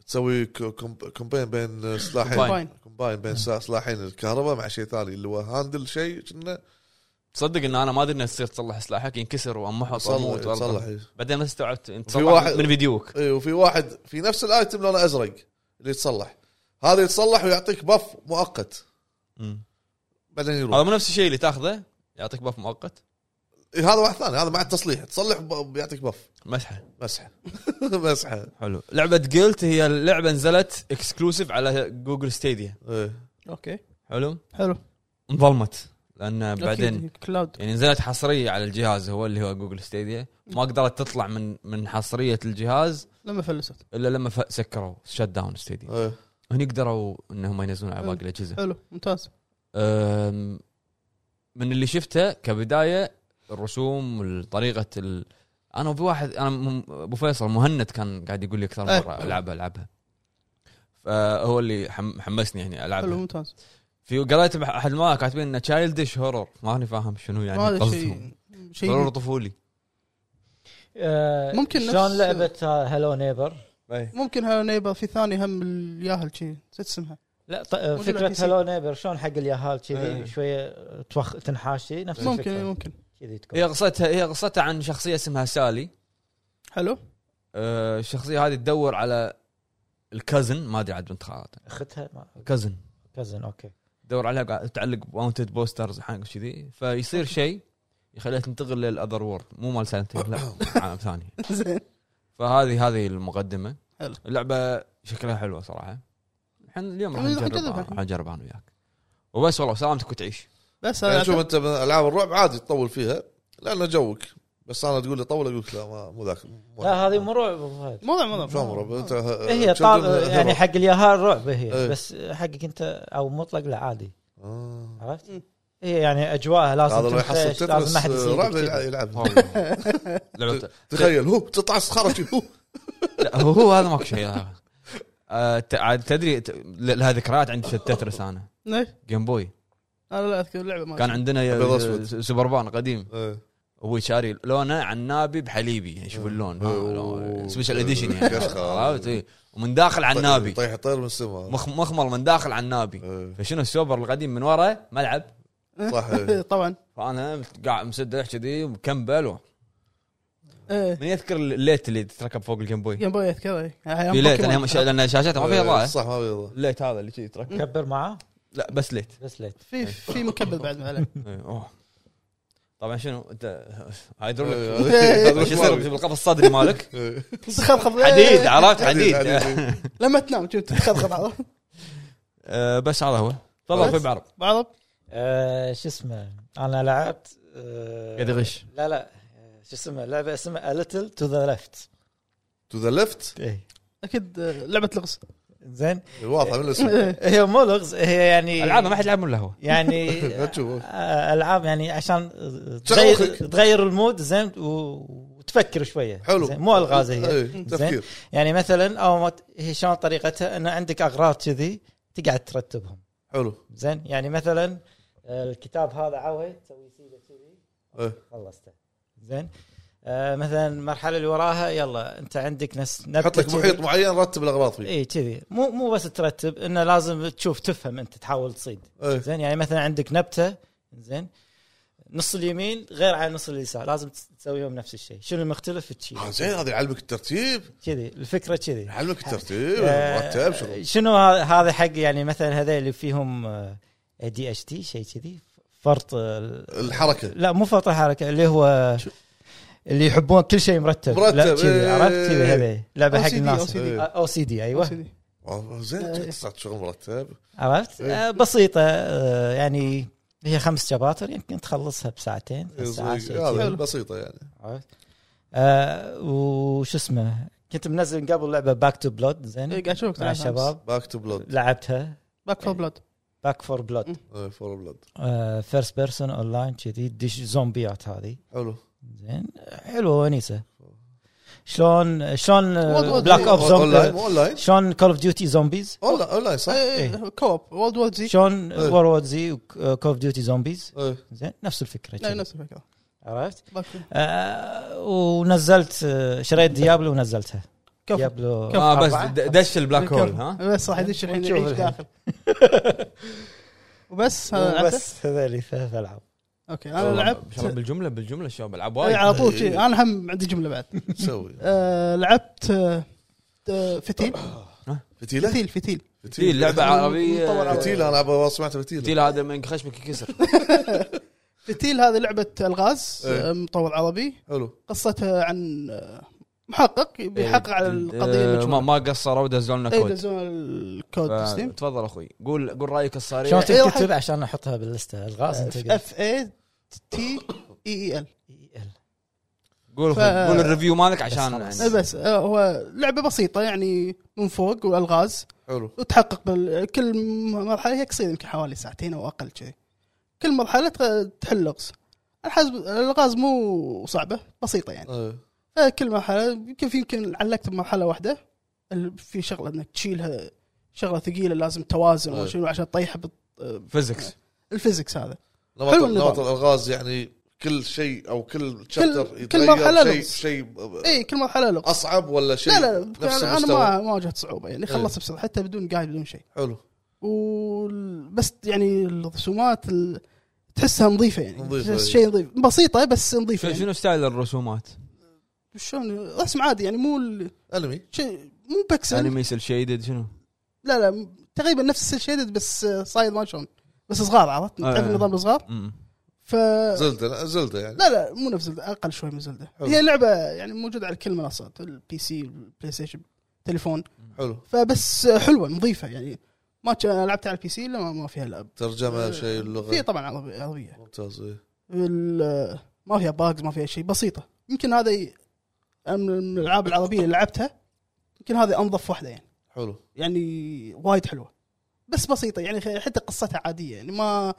S4: تسوي ك- كوم- كومباين بين آه، سلاحين
S2: فاين
S4: كومباين بين سلا- سلاحين الكهرباء مع شيء ثاني اللي هو هاندل شيء كنا
S1: تصدق ان انا ما ادري انه تصير تصلح سلاحك ينكسر وامحط واموت
S4: صلح- صلح
S1: وأرضى.
S4: إيه.
S1: بعدين ما استوعبت انت
S4: في
S1: تصلح
S4: واحد-
S1: من فيديوك
S4: اي إيه، وفي واحد في نفس الايتم لونه ازرق اللي يتصلح هذا يتصلح ويعطيك بف مؤقت
S1: مم.
S4: بعدين يروح
S1: هذا مو نفس الشيء اللي تاخذه يعطيك باف مؤقت
S4: إيه، هذا واحد ثاني هذا مع التصليح تصلح ب- بيعطيك بف
S1: مسحه
S4: مسحه مسحه
S1: حلو لعبه جلت هي لعبه نزلت اكسكلوسيف على جوجل ستيديا
S4: إيه.
S2: اوكي
S1: حلو
S2: حلو
S1: انظلمت لان بعدين
S2: أكيد. كلاود
S1: يعني نزلت حصريه على الجهاز هو اللي هو جوجل ستيديا ما قدرت تطلع من من حصريه الجهاز
S2: لما فلست
S1: الا لما ف- سكروا شت داون ستيديا
S4: إيه.
S1: هني قدروا انهم ينزلون على باقي الاجهزه
S2: حلو ممتاز
S1: أم، من اللي شفته كبدايه الرسوم طريقه ال... انا وفي واحد انا م- ابو فيصل مهند كان قاعد يقول لي اكثر
S2: أي.
S1: مره العبها العبها فهو اللي حم- حمسني يعني
S2: حلو
S1: العبها
S2: ممتاز
S1: في قريت بح- احد ما كاتبين انه تشايلدش هورر ما أنا فاهم شنو يعني
S2: هذا
S1: قصدهم
S2: شيء
S1: هورر
S2: شيء
S1: طفولي
S3: آه،
S2: ممكن نفس-
S3: شلون آه، لعبه هالو نيبر
S2: ممكن هالو نيبر في ثاني هم الياهل شيء نسيت اسمها
S3: لا ط- آه، فكره هلو نيبر شلون حق اليهال كذي
S4: إيه.
S3: شويه توخ تنحاش شي، نفس
S2: ممكن إيه،
S3: الفكره
S2: ممكن
S3: كذي
S1: هي
S3: تكون
S1: قصتها هي قصتها عن شخصيه اسمها سالي
S2: حلو
S1: آه، الشخصيه هذه تدور على الكازن ما ادري عاد بنت خالته
S3: اختها ما-
S1: كازن
S3: كزن اوكي
S1: تدور عليها قاعد تعلق باونتد بوسترز حق كذي فيصير شيء يخليها تنتقل للاذر وورد مو مال سايلنت لا عالم ثاني
S2: زين
S1: فهذه هذه المقدمه
S2: حلو.
S1: اللعبه شكلها حلوه صراحه الحين اليوم راح
S2: راح
S1: نجربها
S2: نجربها.
S1: راح نجربها انا وياك وبس والله سلامتك وتعيش
S2: بس
S3: طيب،
S4: يعني
S2: أنا
S4: شوف انت من العاب الرعب عادي تطول فيها لانه جوك بس انا تقول لي طول اقول لك لا ما- مو ذاك مو
S3: لا هذه مو رعب أبو فهد.
S2: موضوع موضوع
S4: شلون رعب انت
S3: هي طاب يعني حق اليهال رعب
S4: إيه.
S3: هي بس حقك انت او مطلق لا عادي
S4: آه.
S3: عرفت؟
S2: مم.
S3: هي يعني اجواءها لازم
S4: هذا لو
S3: تنفش،
S4: يحصل
S3: لازم ما حد
S4: تترس رعب
S3: يسيبك
S4: يلعب
S1: لعبة
S4: تخيل هو تطلع الصخره هو
S1: لا هو هو هذا ماكو شيء آه، ت- عاد تدري ت- ل- لها ذكريات عندي تترس انا
S2: ليش؟
S1: جيم بوي
S2: انا إيه. لا اذكر اللعبه ما
S1: كان
S2: أذكر.
S1: عندنا
S4: أبيض
S1: ي-
S4: وأسود.
S1: سوبر بان قديم
S4: إيه.
S1: ابوي شاري لونه عنابي بحليبي يعني شوف اللون
S4: أوه. طيب،
S1: ها، لون- سبيشل اديشن يعني
S4: كشخة.
S1: عرفت إيه. ومن داخل عنابي
S4: طيح طير من السماء
S1: مخ- مخمر من داخل عنابي
S4: إيه.
S1: فشنو السوبر القديم من ورا ملعب
S4: صح إيه.
S2: طبعا
S1: فانا قاعد مسدح كذي مكمبل و-
S2: ايه
S1: من يذكر الليت اللي تتركب فوق الجيم بوي
S2: جيم بوي اذكر إيه. أيام
S1: في ليت
S2: بوكيمون.
S1: لان لأن شاشتها ما فيها
S4: إيه،
S1: ضاعه
S4: صح ما بيضاء
S1: الليت هذا اللي كذي يتركب
S3: كبر معاه
S1: لا بس ليت
S3: بس ليت
S2: في في مكبل بعد ما عليه
S1: إيه، أوه. طبعا شنو انت هيدروليك
S4: إيه.
S1: ايش يصير بالقفص الصدري مالك
S4: إيه.
S2: تخضخض
S1: حديد عرفت
S4: حديد،
S1: حديد
S4: حديد.
S2: لما تنام شوف تخضخض عرفت؟
S1: آه، بس هذا
S4: طيب.
S1: هو تفضل
S2: بس.
S1: اخوي بعرب
S2: بعض
S3: آه، شو اسمه انا لعبت آه،
S1: قاعد يغش
S3: لا لا آه، شو اسمه لعبه اسمها A Little to the Left
S4: تو ذا ليفت
S2: اكيد آه، لعبه لغز
S3: إيه. زين
S4: واضحه من الاسم
S3: هي مو لغز هي يعني
S1: العابه ما حد يلعب من هو
S3: يعني
S4: لا تشوف.
S3: آه، العاب يعني عشان تغير
S4: تشغل مخك.
S3: تغير المود زين و- وتفكر شويه
S4: حلو
S3: زين، مو الغاز هي
S4: إيه، تفكير
S3: يعني مثلا او ما ت- هي شلون طريقتها انه عندك اغراض كذي تقعد ترتبهم
S4: حلو
S3: زين يعني مثلا آه، الكتاب هذا عوي تسوي سيده كذي
S4: إيه.
S3: خلصته زين آه، مثلا المرحله اللي وراها يلا انت عندك نس نبتة
S4: حط لك
S3: كذي.
S4: محيط معين رتب الاغراض فيه
S3: اي إيه، كذي مو مو بس ترتب انه لازم تشوف تفهم انت تحاول تصيد
S4: إيه.
S3: زين يعني مثلا عندك نبته زين نص اليمين غير عن نص اليسار لازم تس- تسويهم نفس الشيء شنو المختلف تشيل
S4: آه، زين هذا يعلمك الترتيب
S3: كذي الفكره كذي
S4: يعلمك الترتيب
S3: آه،
S4: مرتب شغل
S3: شنو ه- هذا حق يعني مثلا هذول اللي فيهم آه، دي اتش دي شيء كذي فرط آه،
S4: الحركه
S3: لا مو فرط الحركه اللي هو اللي يحبون كل شيء مرتب
S4: مرتب،
S3: لا كذي
S4: إيه.
S3: عرفت كذي هذي لعبه حق
S2: OCD.
S3: الناس
S4: إيه.
S3: او سي دي ايوه
S2: OCD.
S4: آه، زين صارت شغل مرتب
S3: عرفت
S4: إيه.
S3: آه، بسيطه آه، يعني هي خمس شباتر يمكن تخلصها بساعتين ثلاث ساعات شيء
S4: هذا
S3: كذي.
S4: بسيطه يعني
S3: عرفت آه، وش اسمه كنت منزل قبل لعبه باك تو بلود
S2: إيه،
S3: زين
S2: قاعد اشوفك
S3: مع
S2: تلعب أمس.
S3: الشباب
S4: باك تو بلود
S3: لعبتها
S2: باك فور بلاد
S3: باك فور بلود
S4: فور بلود
S3: فيرست بيرسون اون لاين كذي دش زومبيات هذه
S4: حلو
S3: زين حلوه ونيسه شلون شلون بلاك اوب
S4: اون لاين
S3: زومبي
S4: اون لاين
S3: شلون كول اوف ديوتي زومبيز
S4: اون لاين صح؟
S2: إيه، كوب وولد وور زي
S3: شلون
S4: إيه.
S3: وور وور زي وكول اوف ديوتي زومبيز
S4: إيه.
S3: زين نفس الفكره
S2: لا
S3: كذي.
S2: نفس الفكره
S3: عرفت
S2: باك-
S3: آه، ونزلت آه، شريت ديابلو ونزلتها
S2: كفو
S3: ديابلو آه،
S1: اه بس
S3: أربعة.
S1: د- دش البلاك هول ها
S2: بس راح يدش الحين
S3: ونشوف
S2: يعيش
S3: الحين.
S2: داخل وبس هذا لعبته؟
S3: بس هذول ثلاث العاب
S2: اوكي انا لعبت
S1: شباب بالجمله بالجمله شباب العاب
S2: إيه،
S1: وايد
S2: على طول شي. انا هم عندي جمله بعد
S4: سوي
S2: آه، لعبت آه، آه، فتيل
S4: فتيله
S2: فتيل فتيل
S1: فتيل لعبه عربيه
S2: مطور على-
S4: فتيله انا أبغى- سمعت فتيله
S1: فتيل هذا من خشمك يكسر
S2: فتيل هذه لعبه الغاز
S4: إيه.
S2: آه، مطور عربي
S4: حلو
S2: قصتها عن آه، محقق بيحقق على القضيه
S1: آه، ما
S2: المجهولة.
S1: ما قصروا دزوا لنا
S2: إيه،
S1: كود
S2: يدزون الكود
S1: ف-
S2: بالستيم
S1: تفضل اخوي قول قول رايك الصريح
S3: شلون
S2: إيه،
S3: تكتب عشان احطها باللسته الغاز انت قلت.
S2: اف اي تي اي ال
S3: إي إل.
S1: قول
S2: ف-
S1: أخوي، قول الريفيو مالك عشان
S3: بس خلاص.
S1: يعني-
S2: بس آه، هو لعبه بسيطه يعني من فوق والغاز
S4: حلو
S2: وتحقق بال... كل مرحله هي قصيره يمكن حوالي ساعتين او اقل كذي كل مرحله تغ- تحل لغز الحزب الالغاز مو صعبه بسيطه يعني
S4: إيه.
S2: كل مرحله يمكن في يمكن علقت بمرحله واحده ال- في شغله انك تشيلها شغله ثقيله لازم توازن
S4: أي.
S2: وشنو عشان تطيحها إيه،
S1: فيزكس
S2: بالفيزكس هذا
S4: نمط
S2: حلو النظام.
S4: نمط الالغاز يعني كل شيء او كل تشابتر
S2: كل
S4: يتغير
S2: مرحلة
S4: شيء
S2: لغز.
S4: شيء
S2: اي إيه، كل مرحله لغز
S4: اصعب ولا شيء
S2: لا لا
S4: آه، نفس
S2: انا
S4: المستوى أيوه.
S2: ما ما واجهت صعوبه يعني خلصت بسرعه حتى بدون قاعد بدون شيء
S4: حلو
S2: وال- بس يعني الرسومات ال- تحسها نظيفه يعني
S4: نظيفة،
S2: تحس
S4: إيه.
S2: شيء نظيف بسيطه بس نظيفه
S1: شنو-
S2: يعني.
S1: شنو ستايل الرسومات؟
S2: شلون رسم عادي يعني مو ال-
S4: انمي
S2: شيء مو
S4: يعني
S2: بكسل
S1: انمي سيل شيدد شنو؟
S2: لا لا م- تقريبا نفس السيل شيدد بس آه، صايد ما شلون بس صغار عرفت
S1: آه.
S2: تعرف النظام الصغار
S1: مم.
S2: ف
S4: زلده زلده يعني
S2: لا لا مو نفس زلدة اقل شوي من زلدة
S4: حلو.
S2: هي لعبه يعني موجوده على كل المنصات البي سي البلاي ستيشن تليفون
S4: حلو
S2: فبس حلوه نظيفه يعني ما ت- لعبت على البي سي الا ما- ما فيها الاب
S4: ترجمه شيء
S2: آه، في
S4: اللغه
S2: طبعا عربي- عربيه
S4: ممتاز إيه.
S2: ال- ما فيها باجز ما فيها شيء بسيطه يمكن هذا ي- أنا من الالعاب العربيه اللي لعبتها يمكن هذه انظف واحده يعني
S4: حلو
S2: يعني وايد حلوه بس بسيطه يعني خ- حتى قصتها عاديه يعني ما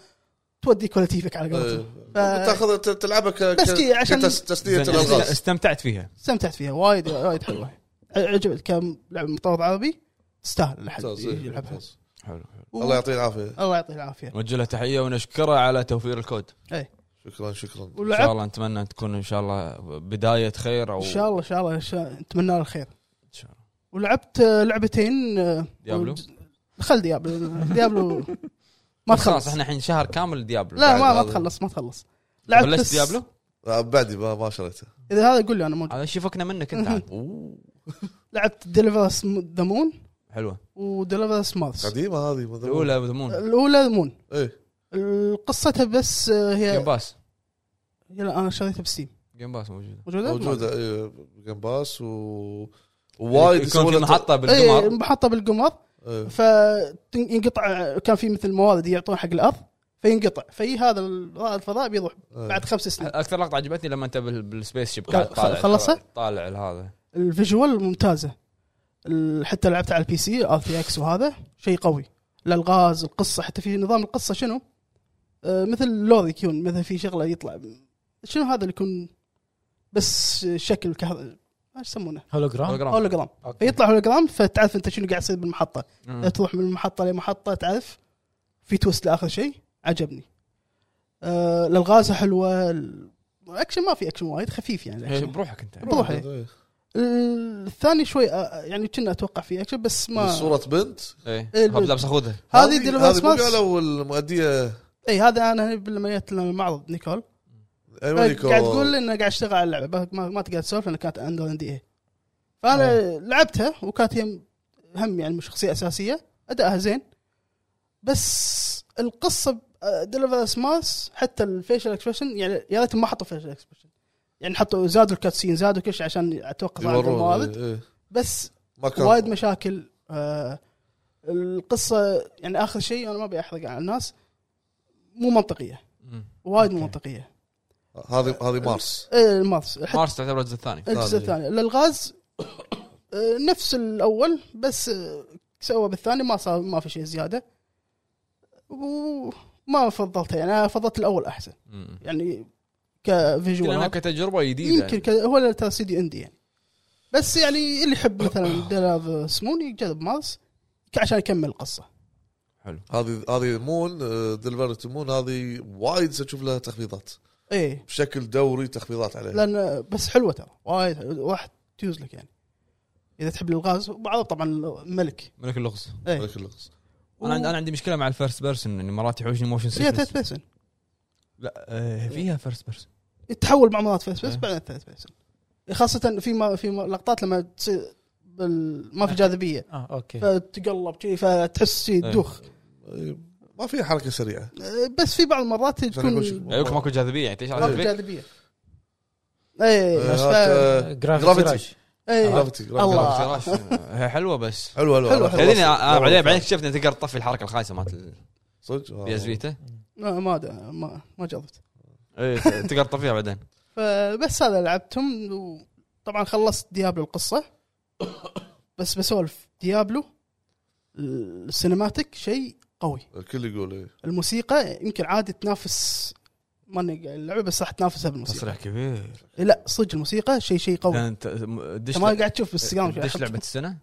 S2: تودي كولتيفك على قولتهم ف-
S4: ف... آه، تاخذ ت- تلعبها ك...
S2: بس كي عشان-
S4: كتس- تسليه
S1: زين، است-
S4: الالغاز
S1: استمتعت فيها
S2: استمتعت فيها وايد وايد حلوه عجبت كم لعبه مطور عربي تستاهل الحد
S4: ممتاز، إيه،
S2: يلعبها
S4: ممتاز.
S1: حلو حلو
S2: و-
S4: الله يعطيه العافيه
S2: الله يعطيه العافيه
S1: نوجه له تحيه ونشكره على توفير الكود
S4: شكرا شكرا
S1: ان شاء
S2: ولعبت
S1: الله نتمنى تكون ان شاء الله بدايه خير او
S2: ان شاء الله ان شا- إن شاء الله نتمنى له الخير
S1: إن شاء الله.
S2: ولعبت آه، لعبتين آه،
S1: ديابلو
S2: خل ديابلو ديابلو ما
S1: خلاص
S2: تخلص
S1: احنا الحين شهر كامل ديابلو
S2: لا ما ما
S4: بعد هذا.
S2: تخلص ما تخلص لعبت
S1: بلشت
S2: بس-
S1: ديابلو
S4: آه، بعدي ما, ما شريته
S2: اذا هذا قول لي انا موجود
S1: هذا شي فكنا منك انت عاد.
S4: أوه.
S2: لعبت ديليفرس ذا مون
S1: حلوه
S2: وديليفرس مارس
S4: قديمه هذه ما أدري.
S1: الاولى مضمون
S2: الاولى مون
S4: ايه
S2: قصتها بس آه،
S1: جيم
S2: هي
S1: باس
S2: يلا انا شريتها بستيم
S1: جيم باس موجوده
S2: موجوده؟
S4: موجوده ايه جيم باس و وايد
S1: إيه، يكون
S4: يسوون
S1: في
S4: لها
S1: محطه
S2: اي
S1: بالقمر
S2: محطه إيه، بالقمر
S4: إيه.
S2: فينقطع كان في مثل موارد يعطون حق الارض فينقطع في هذا الرائد الفضاء بيروح
S4: إيه.
S2: بعد خمس سنين
S1: اكثر لقطه عجبتني لما انت بال- بالسبيس شيب قاعد
S2: خل-
S1: طالع
S2: خلصها؟
S1: طالع هذا
S2: الفيجوال ممتازه ال- حتى لعبت على البي سي ار تي اكس وهذا شيء قوي الالغاز القصه حتى في نظام القصه شنو؟ آه، مثل لوري يكون مثلا في شغله يطلع شنو هذا اللي يكون بس شكل كهذا ايش يسمونه؟
S3: هولوجرام
S1: هولوجرام.
S2: هولوجرام
S3: أوكي.
S2: فيطلع هولوجرام فتعرف انت شنو قاعد يصير بالمحطه
S1: مم.
S2: لا تروح من محطه لمحطه تعرف في توست لاخر شيء عجبني آه الالغاز حلوه الاكشن ما في اكشن وايد خفيف يعني
S1: إيه،
S2: الأكشن.
S1: بروحك انت
S2: بروح إيه.
S4: إيه.
S2: الثاني شوي آه، يعني كنا اتوقع فيه اكشن بس ما
S4: صورة بنت
S1: ايه
S2: إيه،
S1: هب لابس اخوذه
S2: هذه
S4: هذه
S2: ديلوفرس
S4: مو
S2: ماس
S4: قالوا المؤدية
S2: اي هذا انا لما جت لنا المعرض نيكول قاعد
S4: ايمونيكو
S2: تقول لي انه قاعد اشتغل على اللعبه ما, ما تقدر تسولف لان كانت اندر ان دي اي فانا لعبتها وكانت هي هم يعني مش شخصيه اساسيه ادائها زين بس آه، القصه ديليفرس ماس حتى الفيشل اكسبريشن يعني يا ريت ما حطوا فيشل اكسبريشن يعني حطوا زادوا الكاتسين زادوا كل شيء عشان اتوقع عدد الموارد
S4: يوروه، إيه.
S2: بس
S4: ما كان
S2: وايد مشاكل آه القصه يعني اخر شيء انا ما ابي احرق على الناس مو منطقيه
S1: مم.
S2: وايد مو
S1: أوكي.
S2: منطقيه
S4: هذه هذه مارس
S2: إيه الماس حتى
S1: مارس تعتبر الجزء الثاني
S2: الجزء الثاني الالغاز آه، نفس الاول بس آه، سوى بالثاني ما صار ما في شيء زياده وما فضلته يعني انا فضلت الاول احسن
S1: مم.
S2: يعني
S1: يمكن أنا
S2: كفيجوال
S1: كتجربه جديده
S2: يمكن كذا هو اللي ترى سيدي اندي يعني بس يعني اللي يحب مثلا دلاف سمون يجرب مارس عشان يكمل القصه
S4: هذه هذه مون دلفرت مون هذه وايد سنشوف لها تخفيضات
S2: ايه
S4: بشكل دوري تخفيضات عليها
S2: لان بس حلوه ترى وايد حلوة. راح تجوز لك يعني اذا تحب الالغاز وبعضها طبعا ملك
S1: ملك اللغز
S2: ايه
S4: ملك اللغز
S1: انا عندي انا عندي مشكله مع الفيرست بيرسون اني مرات يحوشني موشن
S2: هي
S1: سيكنس
S2: ثيرد بيرسون
S1: لا آه، فيها فيرست بيرسون
S2: تحول مع مرات فيس بس
S1: إيه.
S2: بعدين ثيرد بيرسون خاصه في ما في ما- لقطات لما تصير بال... ما في جاذبيه
S3: اه اوكي
S2: فتقلب كذي فتحس شي
S1: إيه.
S2: دوخ
S4: إيه، ما في حركه سريعه
S2: أه، بس في بعض المرات تكون
S4: أقول شو-
S2: ما
S1: يكون ماكو جاذبيه يعني تعيش على
S2: في
S1: جاذبية.
S2: جاذبيه اي
S4: إيه،
S2: ف... إيه،
S4: هات، آه،
S3: جرافيتي راش.
S1: إيه،
S2: اي
S4: جرافيتي
S2: الله.
S4: جرافيتي.
S1: فراش. هي حلوه بس
S4: حلو حلو
S2: حلو، حلو.
S4: أنا خلصت.
S1: تدري انا بعدين
S4: والله.
S1: بعدين اكتشفت اني تقدر تطفي الحركه الخايسه مالت البي
S4: صدق آه.
S1: اس فيتا
S2: ما ما أدري، ما, ما جربت
S1: إيه، تقدر تطفيها بعدين
S2: فبس هذا لعبتهم وطبعا خلصت ديابلو القصه بس بسولف ديابلو السينماتيك شيء قوي
S4: الكل يقول إيه.
S2: الموسيقى يمكن عادي تنافس ماني اللعبه بس راح تنافسها بالموسيقى
S1: تصريح كبير
S2: لا صدق الموسيقى شيء شيء قوي
S1: انت دش
S2: انت ما قاعد تشوف بالسيجام
S1: دش لعبه السنه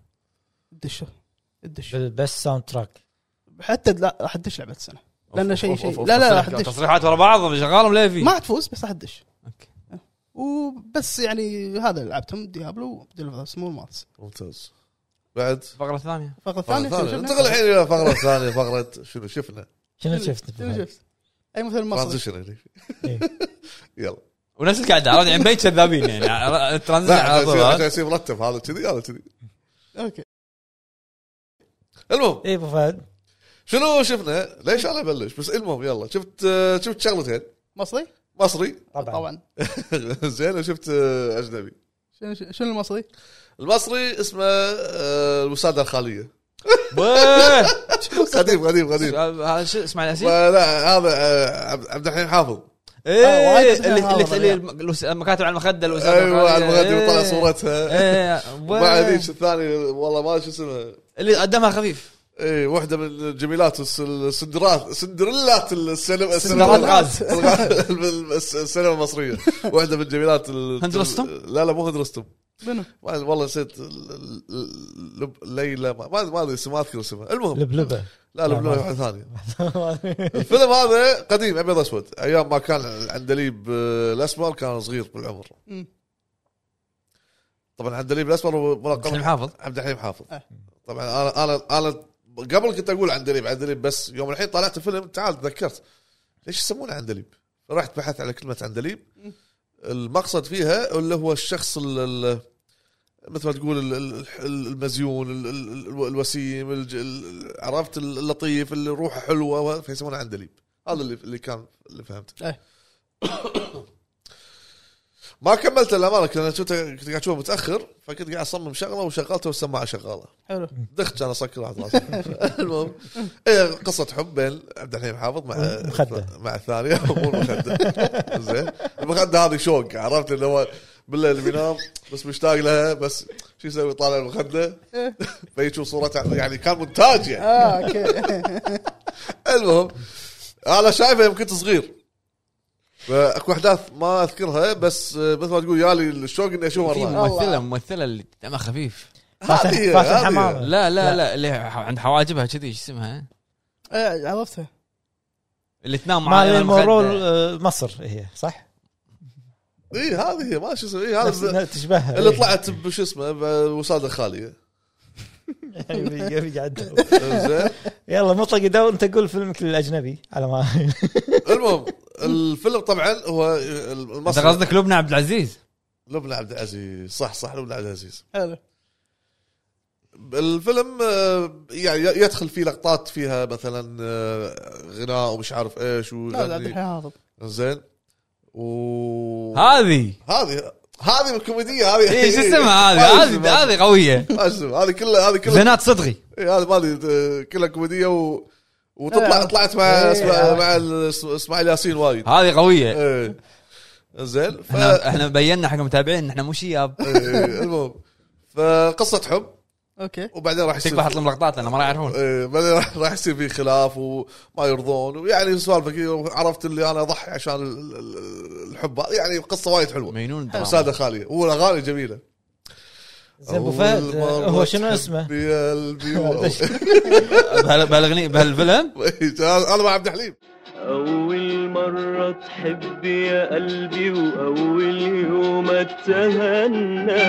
S2: دش دش
S3: بس ساوند تراك
S2: حتى لا راح تدش لعبه السنه لأنه
S1: أوف،
S2: شيء-
S1: أوف،
S2: شيء.
S1: أوف، أوف،
S2: لا، لا،
S1: تصريح-
S2: راح تدش.
S1: تصريحات ورا بعض شغالهم ليفي
S2: ما تفوز بس راح تدش
S1: أوكي.
S2: وبس يعني هذا اللي لعبتهم ديابلو ديلفرس مول مارس
S4: ممتاز بعد
S1: الفقره الثانيه
S2: الفقره
S4: فقره
S2: الثانيه شنو
S4: ثانيه
S2: شفنا؟
S4: انتقل الحين الى فقره ثانيه فقره شنو شفنا
S3: شنو شفت؟
S2: شنو شفت؟ اي مثل مصري
S4: ترانزيشن هني
S3: إيه.
S4: يعني؟ يلا
S1: ونفس القعده عرفت يعني بيت كذابين يعني عر- الترانزيشن
S4: لا
S1: على
S4: عشان
S1: طول
S4: يصير- عشان
S1: عرفت؟
S4: يصير مرتب هذا كذي هذا كذي
S2: اوكي
S4: المهم
S3: اي ابو إيه، فهد
S4: شنو شفنا؟ ليش انا ابلش بس المهم يلا شفت آه، شفت شغلتين
S2: مصري؟
S4: مصري
S3: طبعا
S2: طبعا
S4: زين وشفت آه، اجنبي
S2: شنو شنو المصري؟
S4: المصري اسمه آه، الوساده الخاليه
S1: ويه!
S4: قديم قديم قديم
S1: هذا شو اسمع الاسير؟
S4: لا هذا آه، عبد- عبد الحليم حافظ
S2: آه، وايد
S1: ايه
S2: اسمها
S1: اللي
S2: هذا
S1: اللي- اللي
S2: يعني.
S1: الم- لما كاتب على المخده الوسادة
S4: ايوه
S1: الخالية.
S4: المغني وطلع
S1: إيه.
S4: صورتها
S1: إيه، ويه.
S4: مع هذيك الثاني والله ما شو اسمها
S1: اللي قدمها خفيف
S4: اي واحده إيه، من الجميلات الس- السندرات سندريلات السينما
S1: سندرات
S4: السينما-
S1: غاز
S4: الس- السينما المصريه واحده من جميلات ال-
S1: هند رستم؟
S4: لا لا مو هند رستم
S2: منو؟
S4: ما أدري، والله نسيت ال- ال- ال- لب- ليلى ما ما أدري- ما ادري اسمها ما اذكر اسمها المهم
S3: لبلبه
S4: لا لا لا واحده ثانيه الفيلم هذا قديم ابيض اسود ايام ما كان العندليب آه، الاسمر كان صغير بالعمر
S2: مم.
S4: طبعا العندليب الاسمر هو
S1: حلم
S4: ملقب
S1: حافظ
S4: عبد الحليم حافظ
S2: أه.
S4: طبعا انا انا انا قبل كنت اقول عندليب عندليب بس يوم الحين طلعت الفيلم تعال تذكرت ليش يسمونه عندليب؟ رحت بحثت على كلمه عندليب
S2: مم.
S4: المقصد فيها اللي هو الشخص ال- ال- مثل ما تقول ال- ال- ال- المزيون ال- ال- ال- الوسيم الج- ال- عرفت اللطيف اللي روحه حلوه فيسمونه عندليب هذا اللي اللي كان اللي فهمته
S2: إيه.
S4: ما كملت الامانه لان كنت كنت قاعد اشوفه متاخر فكنت قاعد اصمم شغله وشغلته والسماعه شغاله
S2: حلو
S4: دخت انا اسكر واحد راسي المهم إيه قصه حب بين عبد الحليم حافظ مع
S3: مخدة.
S4: مع الثانيه مو المخده زين المخده هذه شوق عرفت اللي هو بالله اللي بينام بس مشتاق لها بس شو يسوي طالع المخده فيشوف صورتها يعني كان مونتاج يعني
S2: اه اوكي
S4: المهم انا شايفه يوم كنت صغير اكو احداث ما اذكرها بس مثل ما تقول يالي الشوق اني اشوفها
S1: في
S4: مرات
S1: ممثله ممثله اللي دمها خفيف
S3: فاتن-
S4: هذه-
S3: فاتن
S4: هذه.
S3: حمامة.
S1: لا لا لا اللي ح- عند حواجبها كذي شو اسمها
S2: آه، عرفتها
S1: اللي تنام مع
S3: مالين
S1: المخدة.
S3: مورول آه، مصر هي صح؟
S4: اي إيه، هذه هي، ما شو اسمه اي
S3: نفس-
S4: هذا
S3: نفس- تشبهها
S1: إيه.
S3: إيه.
S4: اللي طلعت بشو اسمه بوساده خاليه
S3: يبي يبي قاعد
S4: زين
S3: يلا مطلق دور انت قول فيلمك الاجنبي على ما
S4: المهم الفيلم طبعا هو
S1: انت
S4: المصري
S1: قصدك لبنى عبد العزيز
S4: لبنى عبد العزيز صح صح لبنى عبد العزيز
S2: حلو
S4: الفيلم آه، يعني يدخل فيه لقطات فيها مثلا آه، غناء ومش عارف ايش
S2: لا لا عبد الحليم
S4: وغني
S2: حافظ
S4: زين و
S1: هذه
S4: هذه هذه من الكوميديه هذه
S1: اي شو اسمها هذه هذه هذه قويه
S4: إيه. ما اسمها هذه كلها هذه كلها
S1: زينات صدغي
S4: إيه، هذه مالي آه، كلها كوميديه و... وتطلع
S2: لا.
S4: طلعت مع
S3: إيه.
S4: اسماع- مع ال- اسماعيل ياسين وايد
S1: هذه قويه
S4: ايه زين ف...
S1: احنا احنا بينا حق المتابعين ان احنا مو شياب
S4: إيه، المهم فقصه حب
S2: اوكي
S4: وبعدين راح
S1: تكفى
S4: يصير
S1: احط لهم لقطات لان ما راح يعرفون
S4: إيه، بعدين راح- راح يصير في خلاف وما يرضون ويعني سوالف كذي عرفت اللي انا اضحي عشان ال- ال- الحب هذا. يعني قصه وايد حلوه
S1: مجنون
S4: ساده
S1: الدراما
S4: خاليه والاغاني جميله
S3: زين ابو فهد آه، هو شنو اسمه؟
S4: بقلبي و-
S1: بهال- بهالاغنيه بهالفيلم
S4: انا مع عبد الحليم
S5: أول مرة تحب يا قلبي وأول يوم اتهنى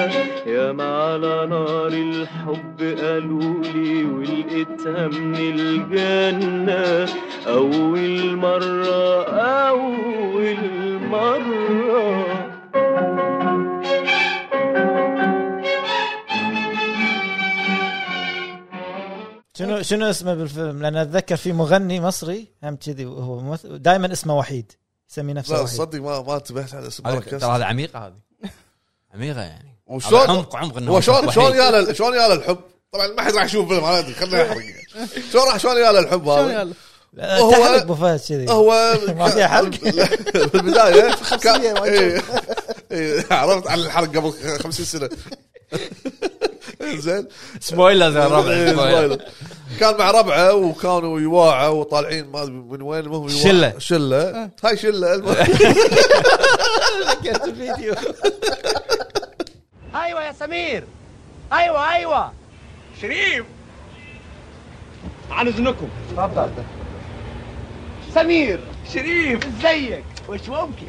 S5: يا ما على نار الحب قالولي ولقيتها من الجنة أول مرة أول مرة
S3: شنو شنو اسمه بالفيلم؟ لان اتذكر في مغني مصري هم كذي وهو دائما اسمه وحيد يسمي نفسه
S4: لا
S3: وحيد
S4: تصدق ما ما انتبهت على اسم
S1: هذه-
S4: مركز
S1: ترى هذه عميقه هذه عميقه يعني هذا
S4: وشلون
S1: عمق عمق إنه
S4: هو شلون
S1: وحيد.
S4: شلون يا شلون يا الحب طبعا ما حد راح يشوف فيلم انا ادري خلينا
S1: إيه.
S4: نحرق شلون راح شلون يا الحب
S2: شلون
S4: هذا
S2: يلا
S3: لا،
S4: هو-
S3: تحرق ابو فهد كذي
S4: هو
S3: ما فيها حرق.
S4: لا، بالبدايه كان
S2: ما
S4: إيه، إيه، عرفت عن الحرق قبل 50 سنه زين
S1: سبويلرز يا
S4: إيه،
S1: ربع سبويلرز.
S4: زبايلة. كان مع ربعه وكانوا يواعه وطالعين ما أدري من وين المهم يواعة.
S1: شلة. آه.
S4: شله هاي شله المهم
S3: ذكرت الفيديو
S6: ايوه يا سمير ايوه ايوه شريف عن اذنكم اتفضل سمير شريف ازيك وش ممكن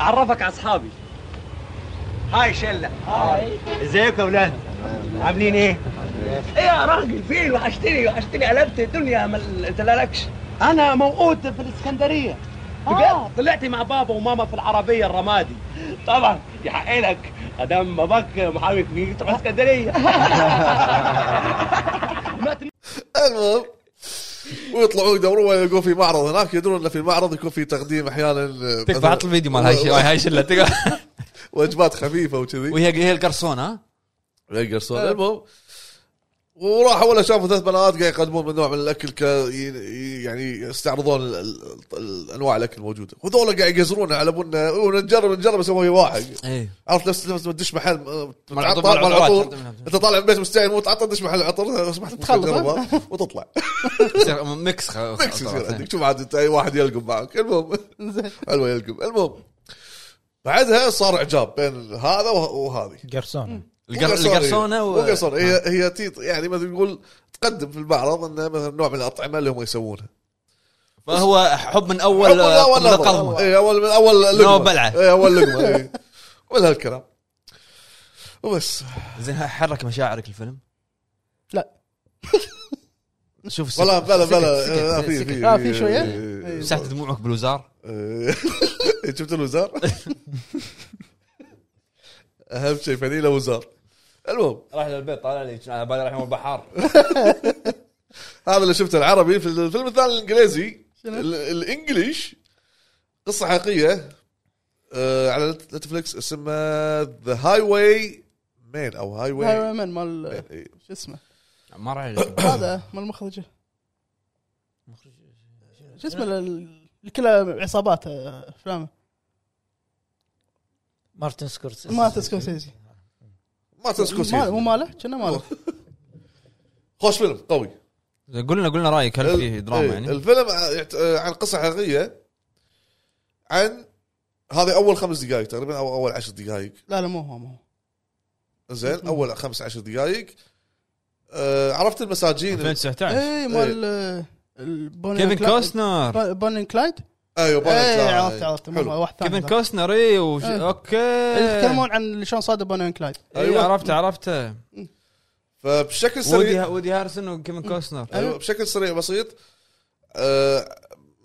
S6: اعرفك على اصحابي هاي شله هاي ازيكم يا اولاد عاملين ايه؟ ايه يا راجل فين وحشتني وحشتني قلبت الدنيا ما ال- انت لكش انا موقوت في الاسكندريه اه طلعت مع بابا وماما في العربيه الرمادي طبعا يحق لك ادام باباك محامي كبير تروح اسكندريه
S4: المهم ويطلعون يدورون يلقون في معرض هناك يدرون انه في المعرض يكون في تقديم آه، احيانا
S1: تكفى حط الفيديو مال هاي الشله هاي الشله تكفى.
S4: وجبات خفيفه وكذي آه.
S1: وهي هي القرصون ها
S4: يقرصون
S1: آه.
S4: المهم وراحوا ولا شافوا ثلاث بنات قاعد يقدمون من نوع من الاكل ك يعني يستعرضون ال- ال- ال- انواع الاكل الموجوده وهذول قاعد يقزرون على ابونا ونجرب نجرب نسوي واحد
S1: ايه
S4: عرفت نفس نفس ما تدش محل آه،
S1: مال عطور-
S4: طالع
S1: مال
S4: مال عطور
S1: عطور.
S4: انت طالع من البيت مستعين مو تعطل دش محل عطور لو سمحت ممكن
S2: تخلص،
S4: تجربها وتطلع
S1: يصير ميكس خ-
S4: ميكس يصير
S1: خلاص.
S4: عندك شوف عاد انت اي واحد يلقم معك المهم حلوه يلقم المهم بعدها صار اعجاب بين هذا وه- وهذه
S3: قرصون
S1: القر-
S4: إيه.
S1: القرصونه
S4: و...
S1: و... آه.
S4: قرصونه هي هي تيط يعني مثل نقول تقدم في المعرض انه مثلا نوع من الاطعمه اللي هم يسوونها
S1: فهو حب من اول من القضمه
S4: اي اول إيه، من إيه، اول لقمه
S1: بلعة.
S4: اي اول لقمه اي ولا هالكلام وبس
S1: زين ها- حرك مشاعرك الفيلم
S2: لا.
S1: شوف السك-
S4: ولا بلا
S1: سكت-
S4: بلا
S1: سكت-
S4: آه، في
S1: سكت.
S4: في
S2: آه، في شوية؟
S4: إيه.
S1: مسحت دموعك بالوزار
S4: إيه. شفت الوزار؟ اهم شيء فنيله وزار المهم
S1: راح للبيت طالع لي على بالي راح يوم البحار
S4: هذا اللي شفته العربي في الفيلم الثاني الانجليزي ال- الانجليش قصه حقيقيه آه، على نت- نتفلكس اسمها ذا هاي واي مان او هاي
S2: هاي
S4: واي
S2: مان مال
S4: إيه.
S2: شو اسمه
S1: ما راح
S2: هذا مال المخرجه شو اسمه لل- كلها عصابات آه، افلامه
S3: مارتن سكورسيزي
S2: ما سكورسيزي
S4: ما
S2: ماله- مو
S4: تسكو
S2: ماله كنا ماله
S4: خوش فيلم قوي
S1: قلنا قلنا رايك هل
S4: ال-
S1: فيه
S4: إيه،
S1: دراما يعني
S4: الفيلم يعت- آه، عن قصه حقيقيه عن هذه اول خمس دقائق تقريبا او اول عشر دقائق
S2: لا لا مو هو مو هو
S4: زين اول خمس عشر دقائق آه، عرفت المساجين
S1: 2019
S2: اي إيه، مال
S4: إيه.
S2: آه، البوني
S1: كيفن
S2: أند كلايد-
S1: كوستنر
S2: بون- بوني أند كلايد
S4: ايوه بوني
S2: اي
S4: كلايد.
S2: إيه، عرفت عرفت مو
S4: حلو.
S2: هو، واحد ثاني
S1: كيفن
S2: ذا.
S1: كوستنر اي وش-
S2: إيه.
S1: اوكي
S2: اللي يتكلمون عن شلون صادوا بوني أند كلايد
S1: ايوه عرفته عرفته
S4: فبشكل
S1: وودي
S4: سريع
S1: وودي هارسون وكيفن كوستنر
S4: ايوه بشكل سريع بسيط آه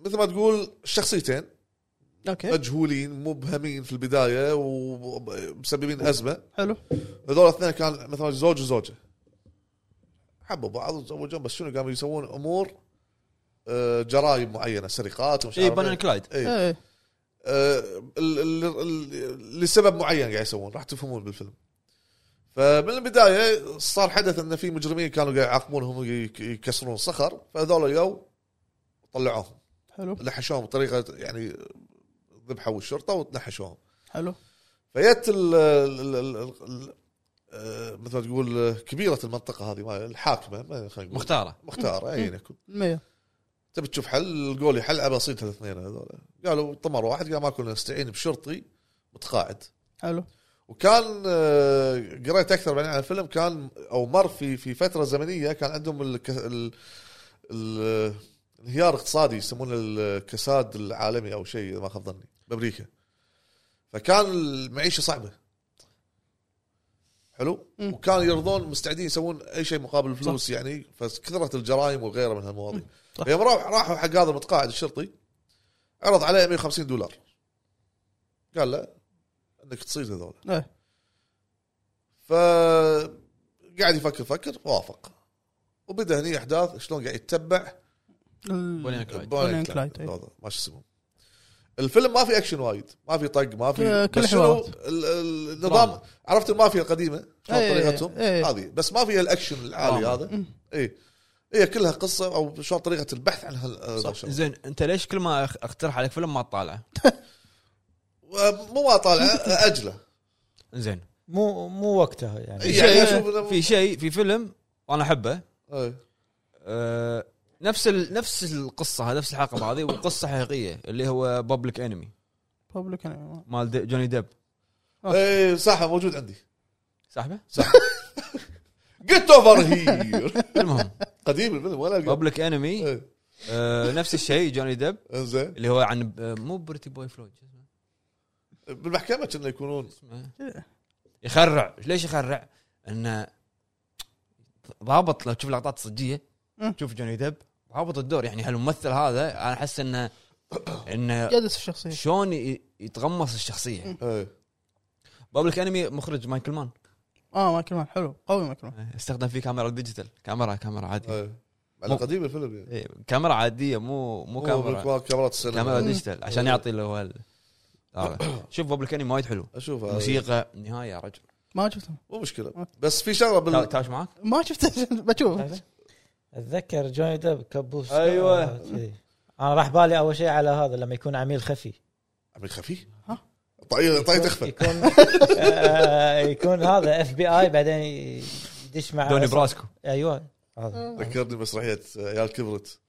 S4: مثل ما تقول شخصيتين
S2: اوكي
S4: مجهولين مبهمين في البدايه ومسببين ازمه
S2: حلو
S4: هذول الاثنين كان مثلا زوج وزوجه حبوا بعض وتزوجون بس شنو قاموا يسوون امور آه جرائم معينه سرقات ومش
S1: اي
S4: عارف
S1: بانن
S4: ايه
S1: كلايد
S4: إيه.
S2: اي
S4: آه، ال- ال- ال- لسبب معين قاعد يسوون راح تفهمون بالفيلم فمن البدايه صار حدث ان في مجرمين كانوا قاعد يعاقبونهم ويك- يكسرون صخر فهذول جو طلعوهم
S2: حلو
S4: نحشوهم بطريقه يعني ذبحوا الشرطه وتنحشوهم
S2: حلو
S4: فيت ال ال- ال- ال- ال- آه، مثل ما تقول آه، كبيره المنطقه هذه ما- الحاكمه ما- خلينا نقول
S1: مختاره
S4: مختاره اي يكون
S2: المية
S4: تبي تشوف حل الجول يحل على بسيط الاثنين هذول قالوا طمر واحد قال ما كنا نستعين بشرطي متقاعد
S2: حلو
S4: وكان آه، قريت اكثر بعدين عن الفيلم كان او مر في في فتره زمنيه كان عندهم الك... ال... ال... انهيار اقتصادي يسمونه الكساد العالمي او شيء إذا ما خاب ظني بامريكا فكان المعيشه صعبه حلو
S2: مم.
S4: وكانوا يرضون مستعدين يسوون اي شيء مقابل الفلوس يعني فكثرت الجرائم وغيرها من هالمواضيع
S2: صح.
S4: فيوم راح- راحوا حق هذا المتقاعد الشرطي عرض عليه 150 دولار قال له انك تصيد هذول
S2: ايه
S4: ف قاعد يفكر فكر وافق وبدا هني احداث شلون قاعد يتبع
S2: ال-
S1: بوني أند كلايد.
S4: إيه. بوني
S2: بوني
S4: أند
S2: كلايد،
S4: كلايد.
S2: إيه.
S4: هذا، ما شو اسمه الفيلم ما في اكشن وايد ما في طق ما
S2: آه،
S4: في
S2: كل
S4: بس شنو
S2: حوارات.
S4: ال- ال- النظام عرفت المافيا القديمه شلون
S2: إيه،
S4: طريقتهم
S2: إيه.
S4: هذه بس ما فيها الاكشن العالي
S1: دراما.
S4: هذا اي هي كلها قصه او شلون طريقه البحث عن هال
S1: زين انت ليش كل ما أخ- اقترح عليك فيلم ما تطالعه؟
S4: مو ما طالع اجله
S1: زين
S3: مو مو وقتها يعني
S2: إيه،
S4: يعني اشوف إنه-
S1: في شيء في فيلم وانا احبه
S4: إيه.
S1: أه، نفس ال... نفس القصه هذه، نفس الحلقه هذه وقصه حقيقيه اللي هو بابليك انمي
S2: بابليك أنمي.
S1: مال دي- جوني ديب
S4: ايه صح موجود عندي
S1: سحبه؟
S4: جيت اوفر هير
S1: المهم
S4: قديم الفيلم ولا ألقى.
S1: بابليك انمي
S4: إيه.
S1: أه، نفس الشيء جوني ديب
S4: انزين
S1: اللي هو آه، عن أه، مو بريتي بوي فلوج
S4: بالمحكمه كنا يكونون
S1: اسمه يخرع ليش يخرع؟ انه ضابط لو تشوف لقطات صجيه
S2: مم.
S1: تشوف جوني ديب ضابط الدور يعني هالممثل هذا انا احس انه انه
S2: جالس في الشخصيه
S1: شلون ي- يتغمص الشخصيه
S4: إيه.
S1: بابليك انمي مخرج مايكل مان
S2: اه مايكل مان حلو قوي مايكل مان
S1: استخدم فيه كاميرا ديجيتال كاميرا كاميرا عاديه
S4: إيه. على قديم الفيلم يعني
S1: إيه، كاميرا عاديه مو مو
S4: هو
S1: كاميرا
S4: بالكوا- كاميرات السينما
S1: كاميرا
S4: كاميرا
S1: ديجيتال عشان يعطي اللي هو ال- هذا. شوف بابليك انمي وايد حلو
S4: اشوف هذا.
S1: موسيقى نهايه يا رجل
S2: ما شفته
S4: مو مشكله بس في شغله
S1: تا-
S4: بال...
S1: تاوش معاك؟
S2: ما شفته بشوف
S3: اتذكر جوني ديب كبوس
S1: أيوة.
S3: آه، كذي. انا راح بالي اول شيء على هذا لما يكون عميل خفي
S4: عمي خفي
S2: ها؟
S4: طيب طيب تخفى
S3: يكون آه، يكون هذا اف بي اي بعدين يدش مع
S1: دوني براسكو
S3: ايوه هذا
S4: ذكرني بمسرحيه عيال كبرت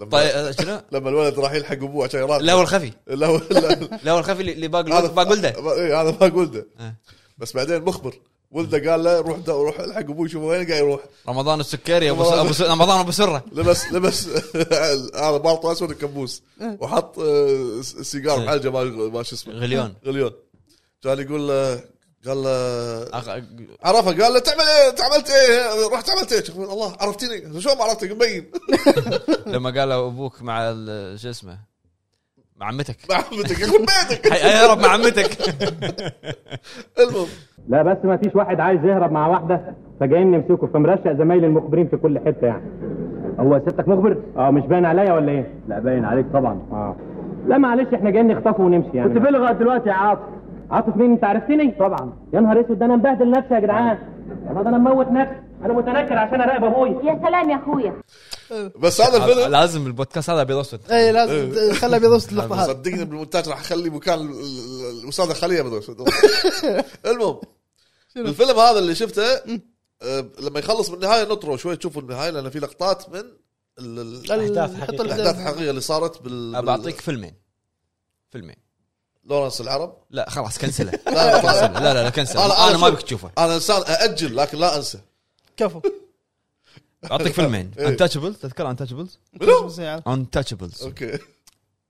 S4: لما
S1: طيب آه، شنو؟
S4: لما الولد راح يلحق ابوه عشان يراقب
S1: لا والخفي
S4: لا هو- لا
S1: لا والخفي اللي- اللي باقل
S4: هذا
S1: باقلده
S4: إيه، هذا ما قلده
S1: إيه.
S4: بس بعدين مخبر ولده قال له روح دا روح الحق ابوي شوف وين قاعد يروح
S1: رمضان السكري ابو س- أبو س- رمضان ابو سره
S4: لبس لبس هذا بالطو اسود الكبوس وحط آه، س- سيجار
S1: إيه.
S4: بحلقه ما ما شو اسمه
S1: غليون
S4: غليون كان يقول له قال له
S1: أخ-
S4: عرفه قال له تعمل ايه تعملت ايه رحت عملت ايه يقول الله عرفتني شلون ما عرفتك مبين
S1: لما قالوا ابوك مع ال- شو اسمه مع عمتك
S4: ما عرفتك يخرب بيتك
S1: حي- هيهرب مع عمتك
S4: المهم
S7: لا بس ما فيش واحد عايز يهرب مع واحده فجايين نمسكه فمرشق زمايل المخبرين في كل حته يعني هو ستك مخبر؟ اه مش باين عليا ولا ايه؟ لا باين عليك طبعا اه لا معلش احنا جايين نخطفه ونمشي يعني كنت بلغة دلوقتي يا عاطف عاطف مين انت عرفتني؟ طبعا يا نهار اسود ده انا مبهدل نفسي يا جدعان انا ده انا مموت نفسي انا متنكر عشان اراقب ابويا
S8: يا سلام يا اخويا
S4: بس هذا الفيلم
S1: لازم البودكاست هذا ابيض اسود
S2: اي إيه، لازم
S1: إيه.
S2: خلى ابيض واسود اللقطه هذه
S4: صدقني بالمونتاج راح اخلي مكان ال- ال- الاستاذه خليه بدل المهم الفيلم هذا اللي شفته آه، لما يخلص بالنهايه نطروا شوي تشوفوا النهايه لان في لقطات من ال- ال-
S3: أحداث
S2: حط
S3: حقيقية.
S4: الاحداث
S2: الأحداث.
S4: الحقيقيه اللي صارت بال بال-
S1: بعطيك فيلمين فيلمين
S4: لورنس العرب
S1: لا خلاص كنسله
S4: لا، لا،
S1: كنسله. لا لا لا كنسله
S4: أنا-
S1: انا ما
S4: شوف،
S1: ابيك تشوفه
S4: انا انسان ااجل لكن لا انسى
S2: كفو
S1: بعطيك فيلمين
S4: إيه.
S1: انتشبل تذكر انتشبلز
S4: منو؟
S2: زي عاد.
S1: انتشبلز
S4: اوكي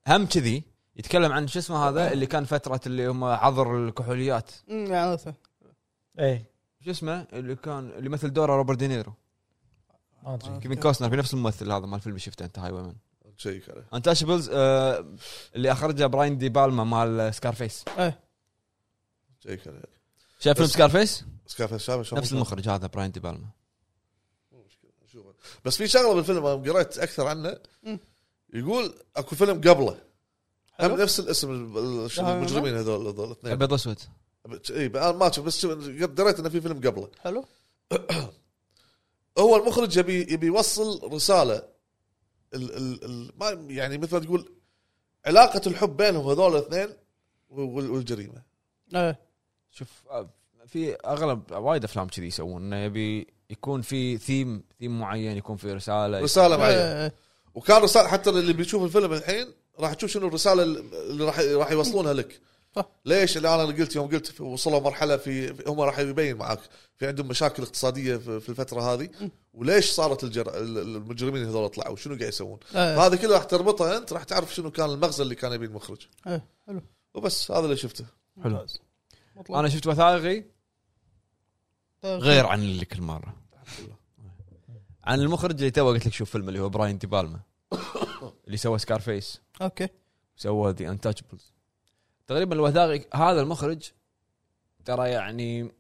S1: هم كذي يتكلم عن شو اسمه هذا اللي كان فتره اللي هم عذر الكحوليات
S2: أمم، يا عاد.
S3: ايه
S1: شو اسمه اللي كان اللي مثل دوره روبرت دينيرو
S3: ما ادري
S1: كيفن كوستنر في نفس الممثل هذا مال الفيلم اللي شفته انت هاي ومن
S4: شيك عليه
S1: انتشبلز آه اللي اخرجه براين دي بالما مال سكارفيس
S2: إيه.
S4: شيك عليه
S1: شايف فيلم
S4: بس-
S1: سكارفيس؟
S4: سكاف الشام شلون
S1: نفس
S4: ممكن؟
S1: المخرج هذا براين دي بالما
S4: شوفه. بس في شغله بالفيلم انا قريت اكثر عنه
S2: مم.
S4: يقول اكو فيلم قبله هم
S2: حلو.
S4: نفس الاسم ال- ال- شنو
S2: لا،
S4: المجرمين هذول هذول الاثنين
S1: ابيض اسود
S4: اي انا ما شفت بس شو- قريت انه في فيلم قبله
S2: حلو
S4: هو المخرج يبي يبي يوصل رساله ال ال ال ما يعني مثل ما تقول علاقه الحب بينهم هذول الاثنين وال- والجريمه
S2: إيه.
S1: شوف آه، في اغلب وايد افلام كذي يسوون انه يبي يكون في ثيم ثيم معين يكون في رساله
S4: رساله معينه
S2: إيه.
S4: وكان رساله حتى اللي بيشوف الفيلم الحين راح تشوف شنو الرساله اللي راح راح يوصلونها لك
S2: صح.
S4: ليش اللي انا قلت يوم قلت في- وصلوا مرحله في في- هم راح يبين معاك في عندهم مشاكل اقتصاديه في في الفتره هذه وليش صارت الجر... ال- ال- المجرمين هذول طلعوا شنو قاعد يسوون
S2: إيه.
S4: هذا كله راح تربطه انت راح تعرف شنو كان المغزى اللي كان يبيه المخرج
S2: إيه. حلو
S4: وبس هذا اللي شفته
S1: حلو
S2: مطلع.
S1: انا شفت وثائقي
S2: طيب.
S1: غير عن اللي كل مره عن المخرج اللي تو قلت لك شوف فيلم اللي هو براين دي بالما اللي سوى سكارفيس
S2: اوكي
S1: سوى ذا انتشبلز تقريبا الوثائقي هذا المخرج ترى يعني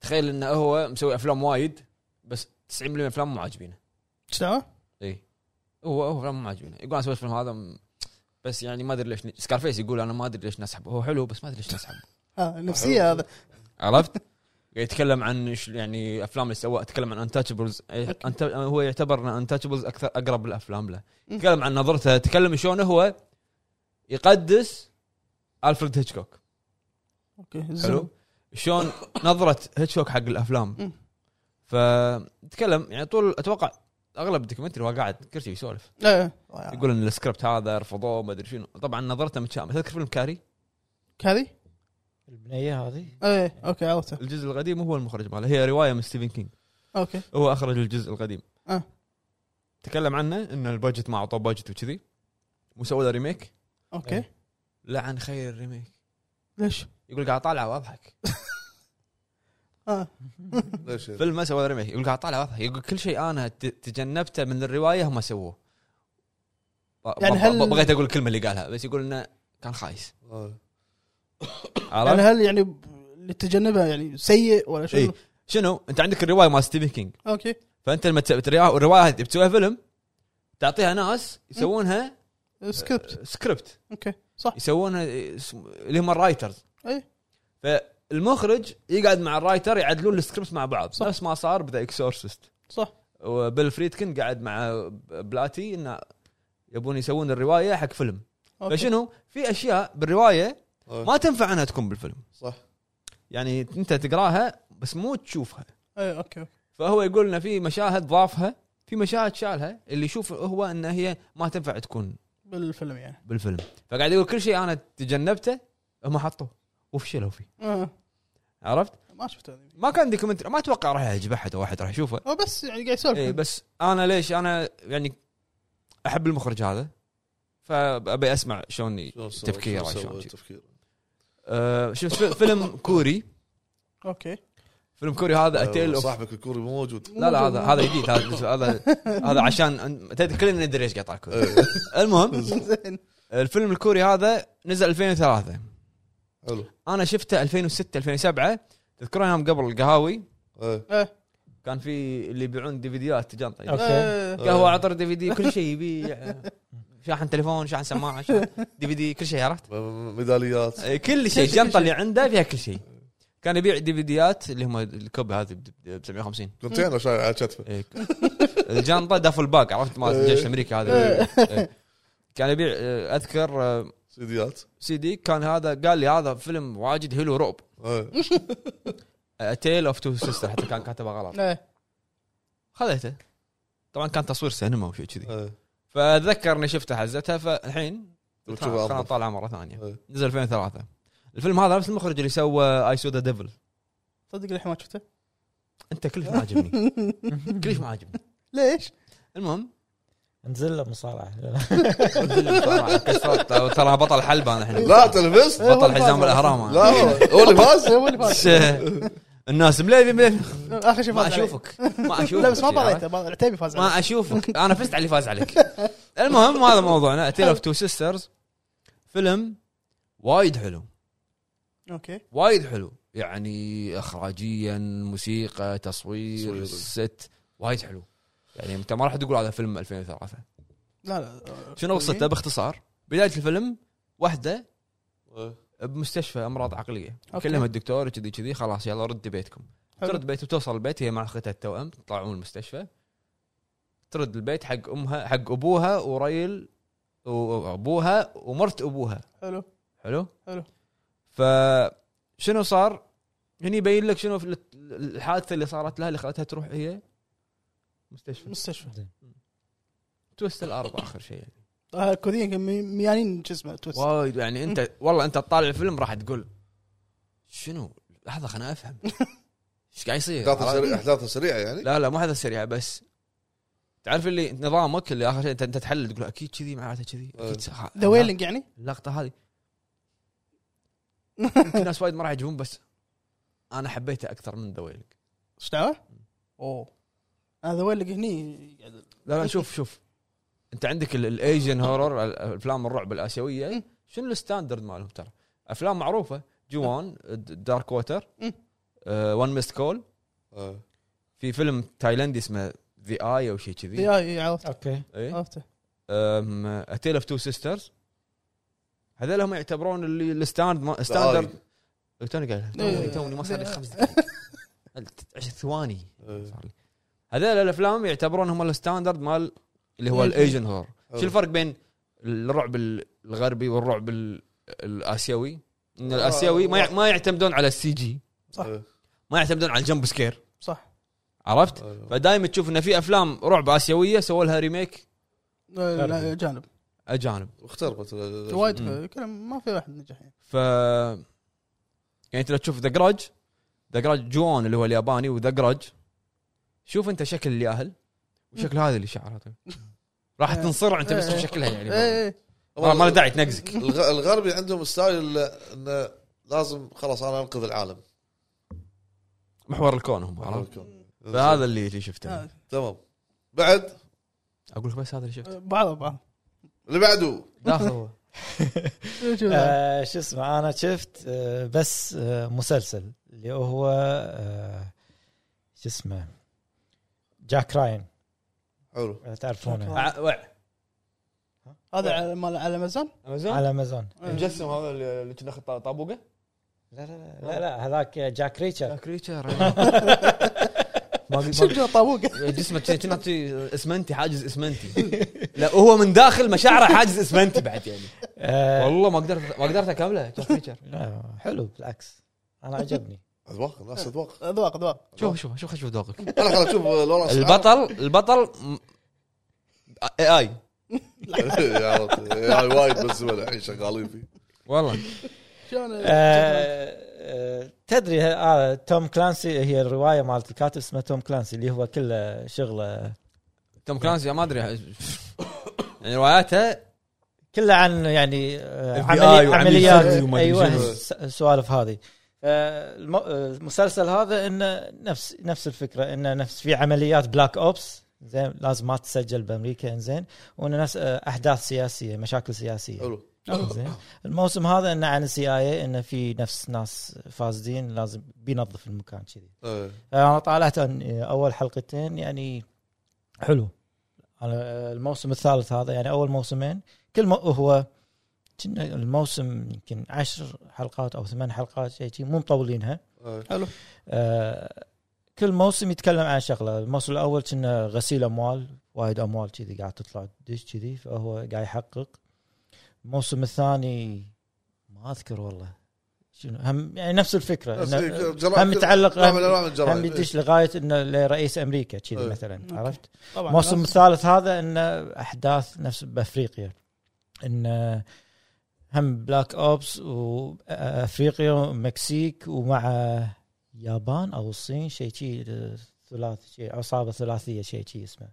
S1: تخيل انه هو مسوي افلام وايد بس 90% من الافلام مو عاجبينه
S2: ايش دعوه؟
S1: اي هو هو افلام مو عاجبينه يقول انا سويت الفيلم هذا م- بس يعني ما ادري ليش سكارفيس يقول انا ما ادري ليش نسحبه هو حلو بس ما ادري ليش نسحبه
S2: آه، نفسيه هذا
S1: عرفت؟ قاعد يتكلم عن إيش يعني افلام اللي سواها تكلم عن انتشبلز هو يعتبر ان انتشبلز اكثر اقرب الافلام له تكلم عن نظرته تكلم شلون هو يقدس الفريد هيتشكوك
S2: اوكي
S1: حلو
S2: زين.
S1: شلون نظره هيتشكوك حق الافلام
S2: مم.
S1: فتكلم يعني طول اتوقع اغلب الدوكيومنتري هو قاعد كرسي يسولف
S2: إيه.
S1: يقول ان السكريبت هذا رفضوه ما ادري شنو طبعا نظرته متشائمه تذكر فيلم كاري
S2: هذه؟
S3: البنيه هذه
S2: ايه اوكي عرفته
S1: الجزء القديم هو المخرج ماله هي روايه من ستيفن كينج
S2: اوكي
S1: هو اخرج الجزء القديم
S2: آه.
S1: تكلم عنه ان البادجت ما اعطوه بادجت وكذي وسوى له ريميك
S2: اوكي
S1: إيه. لعن خير الريميك
S2: ليش؟
S1: يقول قاعد طالعه واضحك
S2: آه.
S4: ليش؟
S1: فيلم ما سوى ريميك يقول قاعد طالع واضحه يقول كل شيء انا ت- تجنبته من الروايه هم سووه ب-
S2: يعني
S1: ب-
S2: هل-
S1: بغيت اقول الكلمه اللي قالها بس يقول انه كان خايس
S4: آه.
S2: يعني
S1: عرفت؟
S2: هل يعني ب- اللي تجنبها يعني سيء ولا شيء؟
S1: إيه. شنو انت عندك الروايه مال ستيفن كينج
S2: اوكي
S1: فانت لما تسوي الروايه الرواية هذه بتسويها فيلم تعطيها ناس يسوونها
S2: سكريبت
S1: سكريبت
S2: اوكي صح إيه.
S1: يسوونها اسم- اللي هم الرايترز
S2: اي
S1: المخرج يقعد مع الرايتر يعدلون السكريبت مع بعض
S2: صح.
S1: نفس ما صار بذا اكسورسست
S2: صح
S1: وبيل فريدكن قعد مع بلاتي انه يبون يسوون الروايه حق فيلم
S2: أوكي.
S1: فشنو في اشياء بالروايه
S4: آه.
S1: ما تنفع انها تكون بالفيلم
S4: صح
S1: يعني انت تقراها بس مو تشوفها
S2: اي اوكي أوكي.
S1: فهو يقول لنا في مشاهد ضافها في مشاهد شالها اللي يشوف هو ان هي ما تنفع تكون
S2: بالفيلم يعني
S1: بالفيلم فقاعد يقول كل شيء انا تجنبته هم حطوه وفشلوا فيه
S2: آه.
S1: عرفت
S2: ما شفته هذه.
S1: ما كان دوكيومنتري ما اتوقع راح يعجب احد او واحد راح يشوفه
S2: هو بس يعني قاعد يسولف
S1: اي إيه، بس انا ليش انا يعني احب المخرج هذا فابي اسمع شلون
S4: شلون سوى-
S1: تفكيره
S4: شلون سوى
S1: شلون شي.
S4: تفكيره
S1: أه شفت في- فيلم كوري
S2: اوكي
S1: فيلم كوري هذا
S4: آه،
S1: اتيل اوف
S4: صاحبك الكوري مو موجود
S1: لا لا هذا هذا جديد هذا هذا هذا عشان تدري كلنا ندري ايش قطع كوري
S4: إيه،
S1: المهم
S2: زين
S1: الفيلم الكوري هذا نزل 2003
S4: حلو
S1: انا شفته 2006 2007 تذكرون يوم قبل القهاوي
S4: إيه.
S1: كان في طيب. اللي يبيعون ديفيديات جنطه
S3: أوكي.
S2: آه.
S1: قهوه عطر دي في دي كل شيء يبيع شاحن تليفون شاحن سماعه شاحن دي في دي كل شيء عرفت
S4: م- م- ميداليات
S1: إيه، كل شيء الجنطه اللي عنده فيها كل شيء كان يبيع ديفيديات اللي هم الكوب هذه ب ب 750
S4: كونتينر شايل على كتفه
S1: إيه. الجنطه دافل باك عرفت مال الجيش الامريكي هذا إيه. كان يبيع آه، اذكر آه،
S4: سيديات
S1: سي دي كان هذا قال لي هذا فيلم واجد حلو رعب آه،
S4: إيه.
S1: تيل اوف تو سيستر حتى كان كاتبه غلط
S2: إيه.
S1: خذيته طبعا كان تصوير سينما وشيء كذي
S4: إيه.
S1: فاتذكر اني شفته حزتها فالحين قلت
S4: وتشوفه
S1: خلاص خلاص
S4: أفضل.
S1: طالعه مره ثانيه
S4: إيه.
S1: نزل 2003 الفيلم هذا نفس المخرج اللي سوى اي سو ذا ديفل
S2: صدق الحين ما شفته
S1: انت كلش ما عاجبني كلش ما عاجبني
S2: ليش؟
S1: المهم
S3: انزل له مصارعه
S1: صراحة كسرت- ترى بطل حلبه انا الحين
S4: لا تلفزت طيب. لا
S1: بطل حزام الاهرام أنا.
S4: والله. هو اللي فاز
S2: هو اللي
S1: بس،
S2: فاز
S1: آه، الناس مليفي مليفي
S2: اخر شيء
S1: ما
S2: فاز علي.
S1: اشوفك ما اشوفك
S2: لا بس ما
S1: شي، عرفت؟
S2: طلعته ما- العتيبي فاز عليه
S1: ما اشوفك انا فزت على اللي فاز عليك المهم هذا موضوعنا تيل اوف تو سيسترز فيلم وايد حلو
S2: اوكي
S1: وايد حلو يعني اخراجيا موسيقى تصوير
S4: تصوير.
S1: ست وايد حلو يعني انت ما راح تقول هذا فيلم 2003
S2: لا لا
S1: شنو قصته باختصار بدايه الفيلم واحده بمستشفى امراض عقليه
S2: أوكي.
S1: كلمها الدكتور كذي كذي خلاص يلا ردي بيتكم
S2: حلو.
S1: ترد بيت وتوصل البيت هي مع اختها التوأم تطلعون من المستشفى ترد البيت حق امها حق ابوها وريل وابوها ومرت ابوها
S2: حلو
S1: حلو؟
S2: حلو.
S1: ف شنو صار؟ هني يبين لك شنو في الت- الحادثه اللي صارت لها اللي خلتها تروح هي مستشفى
S2: مستشفى
S1: توست الارض اخر شيء يعني.
S2: آه، الكوريين كان مي- ميانين شو اسمه تويست
S1: وايد يعني انت والله انت تطالع الفيلم راح تقول شنو؟ لحظه خلنا افهم ايش قاعد يصير؟
S4: احداثه سريعه احداثه سريعه يعني
S1: لا لا مو هذا السريع بس تعرف اللي نظامك اللي اخر شيء انت, انت تحلل تقول اكيد كذي معناته كذي
S4: أه.
S1: اكيد صح.
S2: ذا ويلينج يعني
S1: اللقطه هذه يمكن ناس وايد ما راح يعجبون بس انا حبيته اكثر من ذا ويلينج
S2: ايش دعوه؟ اوه انا ذا ويلينج آه، هني قاعد-
S1: لا لا شوف شوف انت عندك ال- الايجن هورر ال- افلام الرعب الاسيويه
S2: مم.
S1: شنو الستاندرد مالهم ترى؟ افلام معروفه جوان د- دارك ووتر
S2: مم.
S1: ون ميست كول
S4: آه.
S1: في فيلم تايلندي اسمه ذا اي او شيء كذي إيه،
S2: يا- يا عرفت
S3: اوكي
S2: عرفته
S1: تيل اوف تو سيسترز هذول هم يعتبرون اللي الستاند ما- ستاندرد توني قايلها توني-
S2: إيه.
S1: توني ما صار لي خمس دقائق عشر ثواني
S4: إيه.
S1: صار لي هذول الافلام يعتبرون هم الستاندرد مال اللي هو الايجن هور شو الفرق بين الرعب الغربي والرعب ال- الاسيوي؟ ان الاسيوي ما يع- ما يعتمدون على السي جي
S2: صح.
S4: إيه.
S1: ما يعتمدون على الجمب سكير
S2: صح
S1: عرفت؟
S4: آه.
S1: فدائما تشوف ان في افلام رعب اسيويه سووا لها ريميك
S2: لا- لا، جانب
S1: اجانب
S4: اختربت آه،
S2: وايد كلام ما في واحد نجح يعني
S1: ف يعني انت لو تشوف ذا جراج ذا جراج جوان اللي هو الياباني وذا جراج شوف انت شكل الياهل وشكل هذا اللي شعره طيب. راح
S2: إيه.
S1: تنصرع انت بس
S2: إيه.
S1: تشوف شكلها يعني
S2: ايه إيه.
S1: ما ما له داعي تنقزك
S4: الغ- الغربي عندهم ستايل انه لازم خلاص انا انقذ العالم
S1: محور الكون هم عرفت؟ فهذا اللي اللي شفته
S2: آه،
S4: تمام بعد
S1: اقول لك بس هذا اللي شفته
S2: آه، بعض بعض
S4: اللي بعده
S1: داخل هو
S2: شوف.
S3: آه، شو اسمه انا شفت آه، بس آه، مسلسل اللي هو آه، شو اسمه جاك راين
S4: حلو
S3: تعرفونه
S2: جاك
S1: وع
S2: هذا على مال على امازون
S1: امازون
S3: على امازون
S2: إيه.
S1: المجسم هذا اللي اللي كنا خط- طابوقه
S3: لا لا لا, لا هذاك جاك ريتشر
S1: كريتشر ما قلت-
S2: شوف
S1: ما-
S2: جو طابوق
S1: جسمه كنا- كنا تعطي اسمنتي حاجز اسمنتي لا وهو من داخل مشاعره حاجز اسمنتي بعد يعني
S3: آه،
S1: والله ما قدرت ما قدرت اكمله جاك ريتشر
S3: لا، حلو بالعكس انا عجبني
S4: اذواق الناس اذواق
S2: اذواق اذواق
S1: شوف شوف شوف شوف ذوقك
S4: انا خلاص آه، شوف لورانس
S1: البطل البطل م- اي اي
S4: يعني وايد بس الحين شغالين فيه
S1: والله
S2: شلون
S3: آه، آه، تدري آه، توم كلانسي هي الروايه مالت الكاتب اسمه توم كلانسي اللي هو كله شغله
S1: توم كلانسي ما ادري يعني رواياته
S3: كله عن يعني آه،
S1: FBI
S3: عملي
S1: وعميل
S3: عمليات
S1: سري وما أدري
S3: ايوه
S1: شنو.
S3: الس- السوالف هذه آه، الم- آه، المسلسل هذا انه نفس نفس الفكره انه نفس في عمليات بلاك اوبس زين لازم ما تسجل بامريكا انزين وانه نفس آه، احداث سياسيه مشاكل سياسيه
S4: حلو
S3: زين الموسم هذا انه عن السي اي انه في نفس ناس فاسدين لازم بينظف المكان كذي
S4: إيه.
S3: انا آه، طالعت عن اول حلقتين يعني حلو انا الموسم الثالث هذا يعني اول موسمين كل مو هو كنا الموسم يمكن عشر حلقات او ثمان حلقات شيء شي، مو مطولينها
S4: إيه.
S2: حلو
S3: آه، كل موسم يتكلم عن شغله الموسم الاول كنا غسيل اموال وايد اموال كذي قاعد تطلع تدش كذي فهو قاعد يحقق الموسم الثاني ما اذكر والله شنو هم يعني نفس الفكره
S4: بس
S3: إنه-
S4: جرائم-
S3: هم متعلق
S4: نعم،
S3: هم,
S4: نعم، الجرائم.
S3: هم يدش لغايه انه لرئيس امريكا كذي
S4: إيه.
S3: مثلا
S2: أوكي.
S3: عرفت
S2: طبعا
S3: الموسم
S2: لازم.
S3: الثالث هذا انه احداث نفس بافريقيا انه هم بلاك اوبس وافريقيا ومكسيك ومع يابان او الصين شيء شيء ثلاث شيء عصابه ثلاثيه شيء شيء اسمه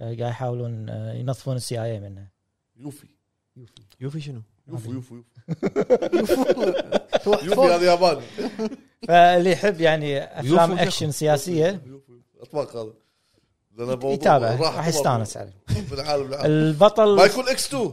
S3: قاعد يحاولون ينظفون السي اي منه
S4: يوفي
S1: يوفي شنو؟
S4: يوفي يوفي يوفي
S2: واحد
S4: يوفي
S2: فوق.
S4: هذا ياباني
S3: فاللي يحب يعني افلام
S1: يوفو
S3: اكشن سياسيه
S4: يوفي، يوفي. اطلاق هذا لأن أبو-
S3: يتابع
S4: راح
S3: راح يستانس عليه
S4: من عالم لعالم
S3: البطل
S4: ما يكون اكس 2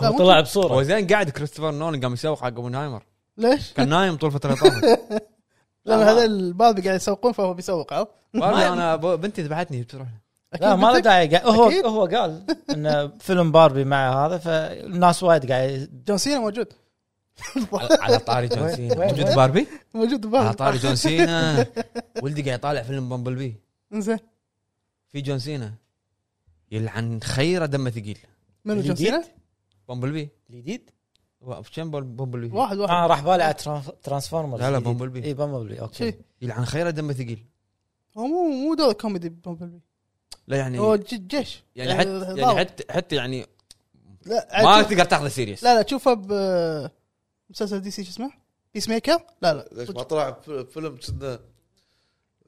S2: لا،
S3: هو
S2: ممكن.
S3: طلع
S1: هو
S3: بصوره
S1: زين قاعد كريستوفر نولان قام يسوق حق اوبنهايمر
S2: ليش؟
S1: كان نايم طول فتره طافت
S2: لان هذا الباب قاعد يسوقون فهو بيسوق عرفت؟
S1: والله انا ب- بنتي ذبحتني بسرعه
S3: لا ما له
S2: بنتك؟
S3: داعي قاعد- هو
S2: أكيد.
S3: هو قال انه فيلم باربي مع هذا فالناس وايد قاعد
S2: جون سينا موجود
S1: على على طاري جون سينا
S3: وين-
S1: موجود باربي
S2: موجود
S1: على
S2: بالباب
S1: آه، طاري جون سينا ولدي قاعد يطالع فيلم بامبل بي
S2: زين
S1: في جون سينا يلعن خيره دمه ثقيل
S2: منو جون سينا؟
S1: بامبل بي
S3: جديد
S1: هو- كم بال- بامبل بي
S2: واحد واحد
S3: اه راح بالي على ترانف- ترانسفورمرز
S1: لا، لا،
S3: جديد. إيه،
S1: بامبلبي.
S3: اي بامبلبي اوكي
S2: شي
S1: يلعن خيره دمه ثقيل
S2: هو مو مو دور كوميدي بامبلبي
S1: لا يعني
S2: هو ج- جيش
S1: يعني حتى
S2: ضابط.
S1: يعني حتى حتى يعني
S2: لا
S1: ما
S2: عاد-
S1: تقدر تاخذه سيريس
S2: لا لا تشوفه ب مسلسل دي سي شو اسمه؟ بيس ميكر؟ لا لا
S4: ليش ما طلع في- فيلم كنا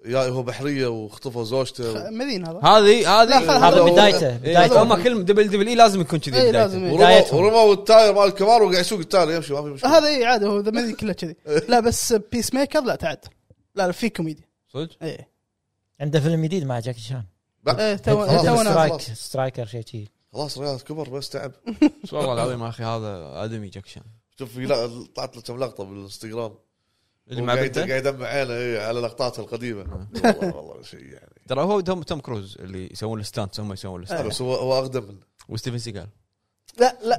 S4: يا هو بحريه واختفى زوجته و-
S2: مدين هذا
S1: هذه
S2: لا، خلاص.
S1: هذه
S3: هذا
S4: هذا هو-
S3: بدايته
S1: إيه،
S3: بدايته
S1: هم كل دبل دبل اي لازم يكون كذي
S2: اي
S1: بدايته.
S2: لازم إيه.
S4: ورموا
S3: بدايتهم.
S4: ورموا التاير مال الكبار وقاعد يسوق التاير يمشي ما في مشكله
S2: هذا اي عادي هو ذا مدين كله كذي لا بس بيس ميكر لا تعدل لا لا في كوميديا
S1: صدق
S2: ايه
S3: عنده فيلم جديد مع جاكي شان
S2: ايه تو
S4: خلاص.
S2: تو نازل.
S3: سترايك
S4: إيه، خلاص.
S3: سترايكر شيء شيء
S4: خلاص ريال كبر بس تعب
S1: والله العظيم يا اخي هذا ادمي جاكشن
S4: شوف في لا- طلعت له كم لقطه بالانستغرام
S1: اللي مع
S4: قاعد
S1: بنته آه.
S4: قاعد يدمع عينه إيه، على لقطاته القديمه والله والله شيء يعني
S1: ترى هو توم توم كروز اللي يسوون الستانتس هم يسوون الستانتس
S4: بس هو هو اقدم منه
S1: وستيفن سيجال
S2: لا لا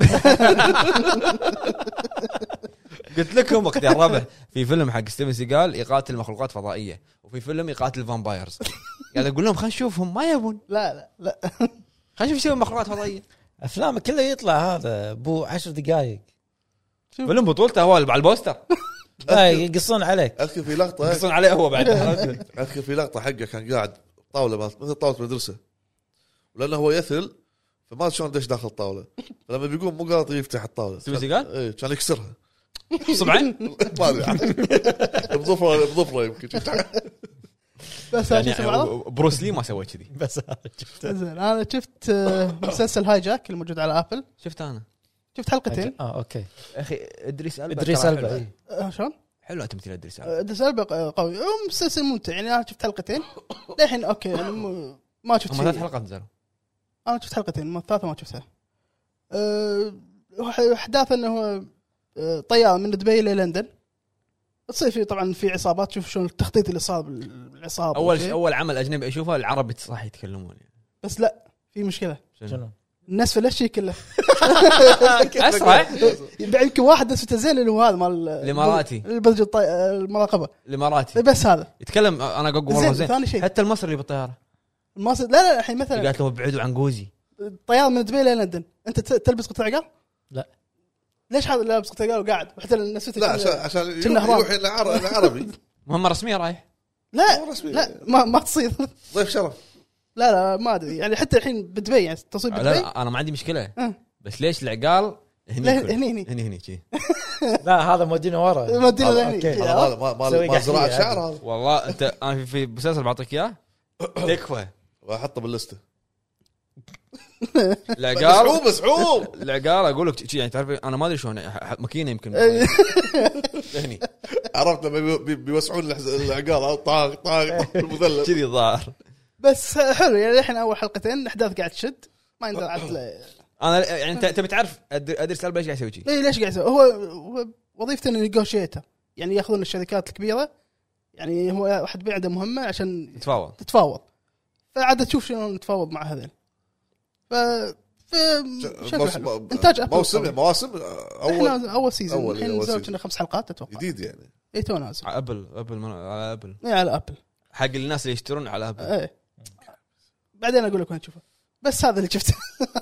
S1: قلت لكم وقت يا الربع في فيلم حق ستيفن سيجال يقاتل مخلوقات فضائيه وفي فيلم يقاتل فامبايرز قاعد اقول لهم خلينا نشوفهم ما يبون
S2: لا لا لا
S1: خلينا نشوف يسوون مخلوقات فضائيه
S3: افلامه كله يطلع هذا بو عشر دقائق
S1: فيلم بطولته هو على البوستر
S3: لا يقصون عليك
S4: اذكر في لقطه
S1: يقصون عليه هو بعد
S4: اذكر في لقطه حقه كان قاعد طاوله بس- مثل طاوله مدرسه ولانه هو يثل فما أدري شلون دش داخل الطاوله فلما بيقوم مو قادر يفتح الطاوله
S1: تسوي سيقان؟
S4: اي كان يكسرها
S1: صبعا
S4: ما ادري بظفره بظفره يمكن يفتح.
S2: بس أنا
S1: يعني
S2: شفت بعض.
S1: بروس لي ما سوى كذي
S3: بس هذا شفته.
S2: زين انا شفت آه، مسلسل هاي جاك الموجود على ابل
S1: شفت انا
S2: شفت حلقتين
S3: اه اوكي
S1: اخي ادريس البا
S3: ادريس
S1: ترى
S3: البا
S1: حلو.
S3: إي.
S2: آه، شلون؟
S1: حلو تمثيل ادريس البا
S2: آه، ادريس البا آه، قوي آه، مسلسل ممتع يعني انا شفت حلقتين للحين اوكي يعني م- ما شفت
S1: هم ثلاث
S2: شيء.
S1: حلقات نزلوا
S2: انا شفت حلقتين ما الثالثه ما شفتها أه، وح- احداث انه هو أه، طياره من دبي للندن تصير في طبعا في عصابات تشوف شلون التخطيط اللي صار بالعصابه
S1: اول
S2: وشي.
S1: اول عمل اجنبي اشوفه العرب صح يتكلمون يعني
S2: بس لا في مشكله
S1: شنو؟
S3: شنو؟
S2: الناس فلت شيء كله
S1: اسرع
S2: بعد يمكن واحد بس متزين اللي هو هذا مال
S1: الإماراتي.
S2: البرج الطي... المراقبه
S1: الاماراتي
S2: إيه، بس هذا
S1: يتكلم انا اقول والله
S2: زين،
S1: زين
S2: ثاني شيء. طيب.
S1: حتى المصري بالطياره
S2: الماس... لا لا الحين مثلا
S1: قالت له ابعدوا عن جوزي
S2: الطياره من دبي للندن انت ت- تلبس قطع عقال؟
S3: لا.
S2: ليش هذا لابس قطع عقال وقاعد وحتى الناس
S4: لا عشان عشان
S2: كنا
S4: يروح
S2: أحرار.
S4: يروح إلى عر- إلى عربي
S1: مهمه رسميه رايح
S2: لا
S4: مو رسمي.
S2: لا ما ما تصير
S4: ضيف شرف
S2: لا لا ما ادري يعني حتى الحين بدبي يعني تصوير
S1: لا,
S2: بدبي
S1: لا انا ما عندي مشكله
S2: آه.
S1: بس ليش العقال هني
S2: لا،
S1: يكون؟
S2: هني- هني.
S1: هني هني شي.
S3: لا هذا مودينا ورا
S2: ما ادري
S4: هذا-
S2: يعني.
S3: أوكي.
S4: هذا
S2: آه.
S4: مال- مال-
S3: سوي
S4: مال مال
S3: قحية
S4: زراعه
S3: هذا.
S4: شعر هذا
S1: والله انت انا في- في مسلسل بعطيك اياه تكفى
S4: احطه باللسته
S1: العقال
S4: صعوب صعوب
S1: العقال اقول لك شي، يعني تعرف انا ما ادري شلون ح- ماكينه يمكن
S2: إيه.
S1: هني
S4: عرفت لما بي- بي- بيوسعون الحز- العقال آه، طاق طاق طاق المثلث
S1: كذي الظاهر
S2: بس حلو يعني الحين اول حلقتين الاحداث قاعد تشد ما يندر عاد لا-
S1: انا يعني انت تبي تعرف أدر- ادريس البا ايش قاعد يسوي شي.
S2: ليه ليش قاعد يسوي؟ هو هو وظيفته انه نيغوشيتر يعني ياخذون الشركات الكبيره يعني هو واحد بي عنده مهمه عشان
S1: تفاوض
S2: تتفاوض فعاد تشوف شلون نتفاوض مع هذين ف ف شكله
S4: موس-
S2: حلو.
S4: مو-
S2: انتاج ابل
S4: موسم
S2: طبعاً.
S4: مواسم آه، اول
S2: احنا اول سيزون
S4: أول-
S2: الحين
S4: أول
S2: نزلوا
S4: سيزون.
S2: كنا خمس حلقات اتوقع
S4: جديد يعني
S2: اي تو نازل
S1: على ابل ابل من- على ابل
S2: إيه، على ابل
S1: حق الناس اللي يشترون على ابل
S2: ايه بعدين اقول لك وين تشوفه بس هذا اللي شفته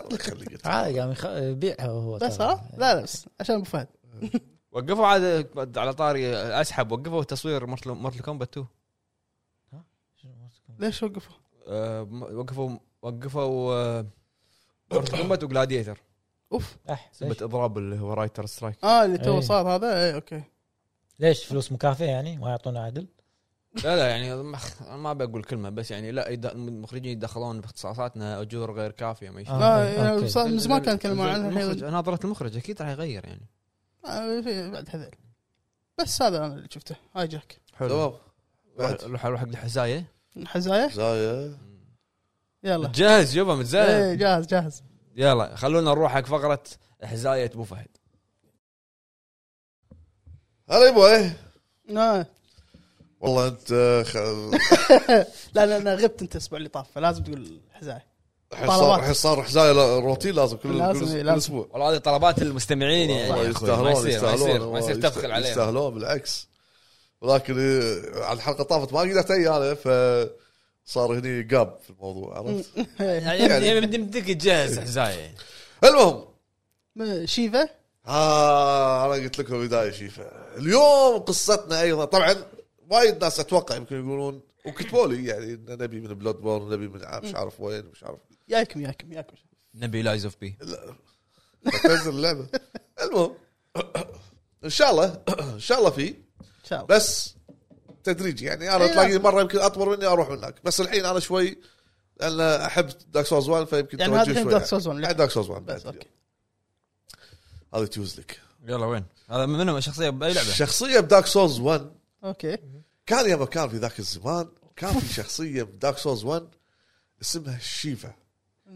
S4: الله يخليك
S3: عادي قام يخ- يبيعها هو
S2: بس
S3: ترى.
S2: ها لا لا بس عشان ابو فهد
S1: وقفوا عاد على طاري اسحب وقفوا تصوير مورتل مورتل كومبات 2
S2: ليش وقفوا؟
S1: أه، م- وقفوا وقفوا مورتل كومبات وجلاديتر
S2: اوف
S3: أح، ليش؟
S1: سبت اضراب اللي هو رايتر سترايك
S2: اه اللي تو
S3: إيه.
S2: صار هذا اي اوكي
S3: ليش فلوس مكافئه يعني ما يعطونا عدل؟
S1: لا لا يعني ما- أنا ما بقول كلمه بس يعني لا يد- المخرجين يتدخلون باختصاصاتنا اجور غير كافيه ما يشوف.
S2: اه
S3: آه،
S2: يعني
S3: أوكي.
S2: صار من زمان كان يتكلمون عنها
S1: المخرج
S2: الحين
S1: ناظره المخرج اكيد راح يغير يعني
S2: آه، في بعد هذيل بس هذا انا اللي شفته هاي جاك
S1: حلو
S4: تمام بعد.
S1: روح روح حق الحزايه
S2: حزايه
S4: زايا
S2: يلا
S1: متجهز يبا متجهز
S2: ايه جاهز جاهز
S1: يلا خلونا نروح حق فقره حزايه ابو فهد
S4: هلا يا بوي
S2: آه.
S4: والله انت آه، خ-
S2: لا لا انا غبت انت الاسبوع اللي طاف فلازم تقول حزايه
S4: الحين
S2: طلبات.
S4: صار الحين صار حزاية لا- روتين لازم كل
S2: لازم-
S4: كل- كل
S2: لازم.
S4: اسبوع
S1: والله هذه طلبات المستمعين يعني
S4: والله
S1: يا أخوي. ما
S4: يستاهلون
S1: يصير ما يصير ما
S4: يستاهلون
S1: يصير
S4: والله
S1: تبخل عليهم
S4: يستاهلون بالعكس ولكن إيه، على الحلقه طافت ما قدرت اي انا فصار هني قاب في الموضوع عرفت
S1: يعني يعني بدك تجهز حزايه
S4: المهم
S2: م- إيه، شيفا
S4: آه انا قلت لكم بدايه شيفا اليوم قصتنا ايضا طبعا وايد ناس اتوقع يمكن يقولون وكتبوا لي يعني إن نبي من بلود بورن نبي من مش عارف وين مش عارف
S2: ياكم ياكم ياكم
S1: نبي لايز اوف بي
S4: تنزل اللعبه المهم ان شاء الله ان شاء الله في
S2: ان شاء الله
S4: بس تدريجي يعني انا
S2: إيه
S4: تلاقي
S2: لازم.
S4: مره يمكن اطور مني اروح من هناك بس الحين انا شوي لان احب دارك سوز 1 فيمكن
S2: يعني
S4: توجه
S2: هذا الحين
S4: شوي.
S2: دارك سولز 1
S4: بعد دارك سولز 1
S2: بس
S4: بعد
S2: اوكي
S4: هذا تيوز لك
S1: يلا وين هذا منهم الشخصيه باي لعبه
S4: شخصيه بدارك سولز 1
S2: اوكي
S4: كان يابا كان في ذاك الزمان كان في شخصيه بدارك سولز 1 اسمها شيفا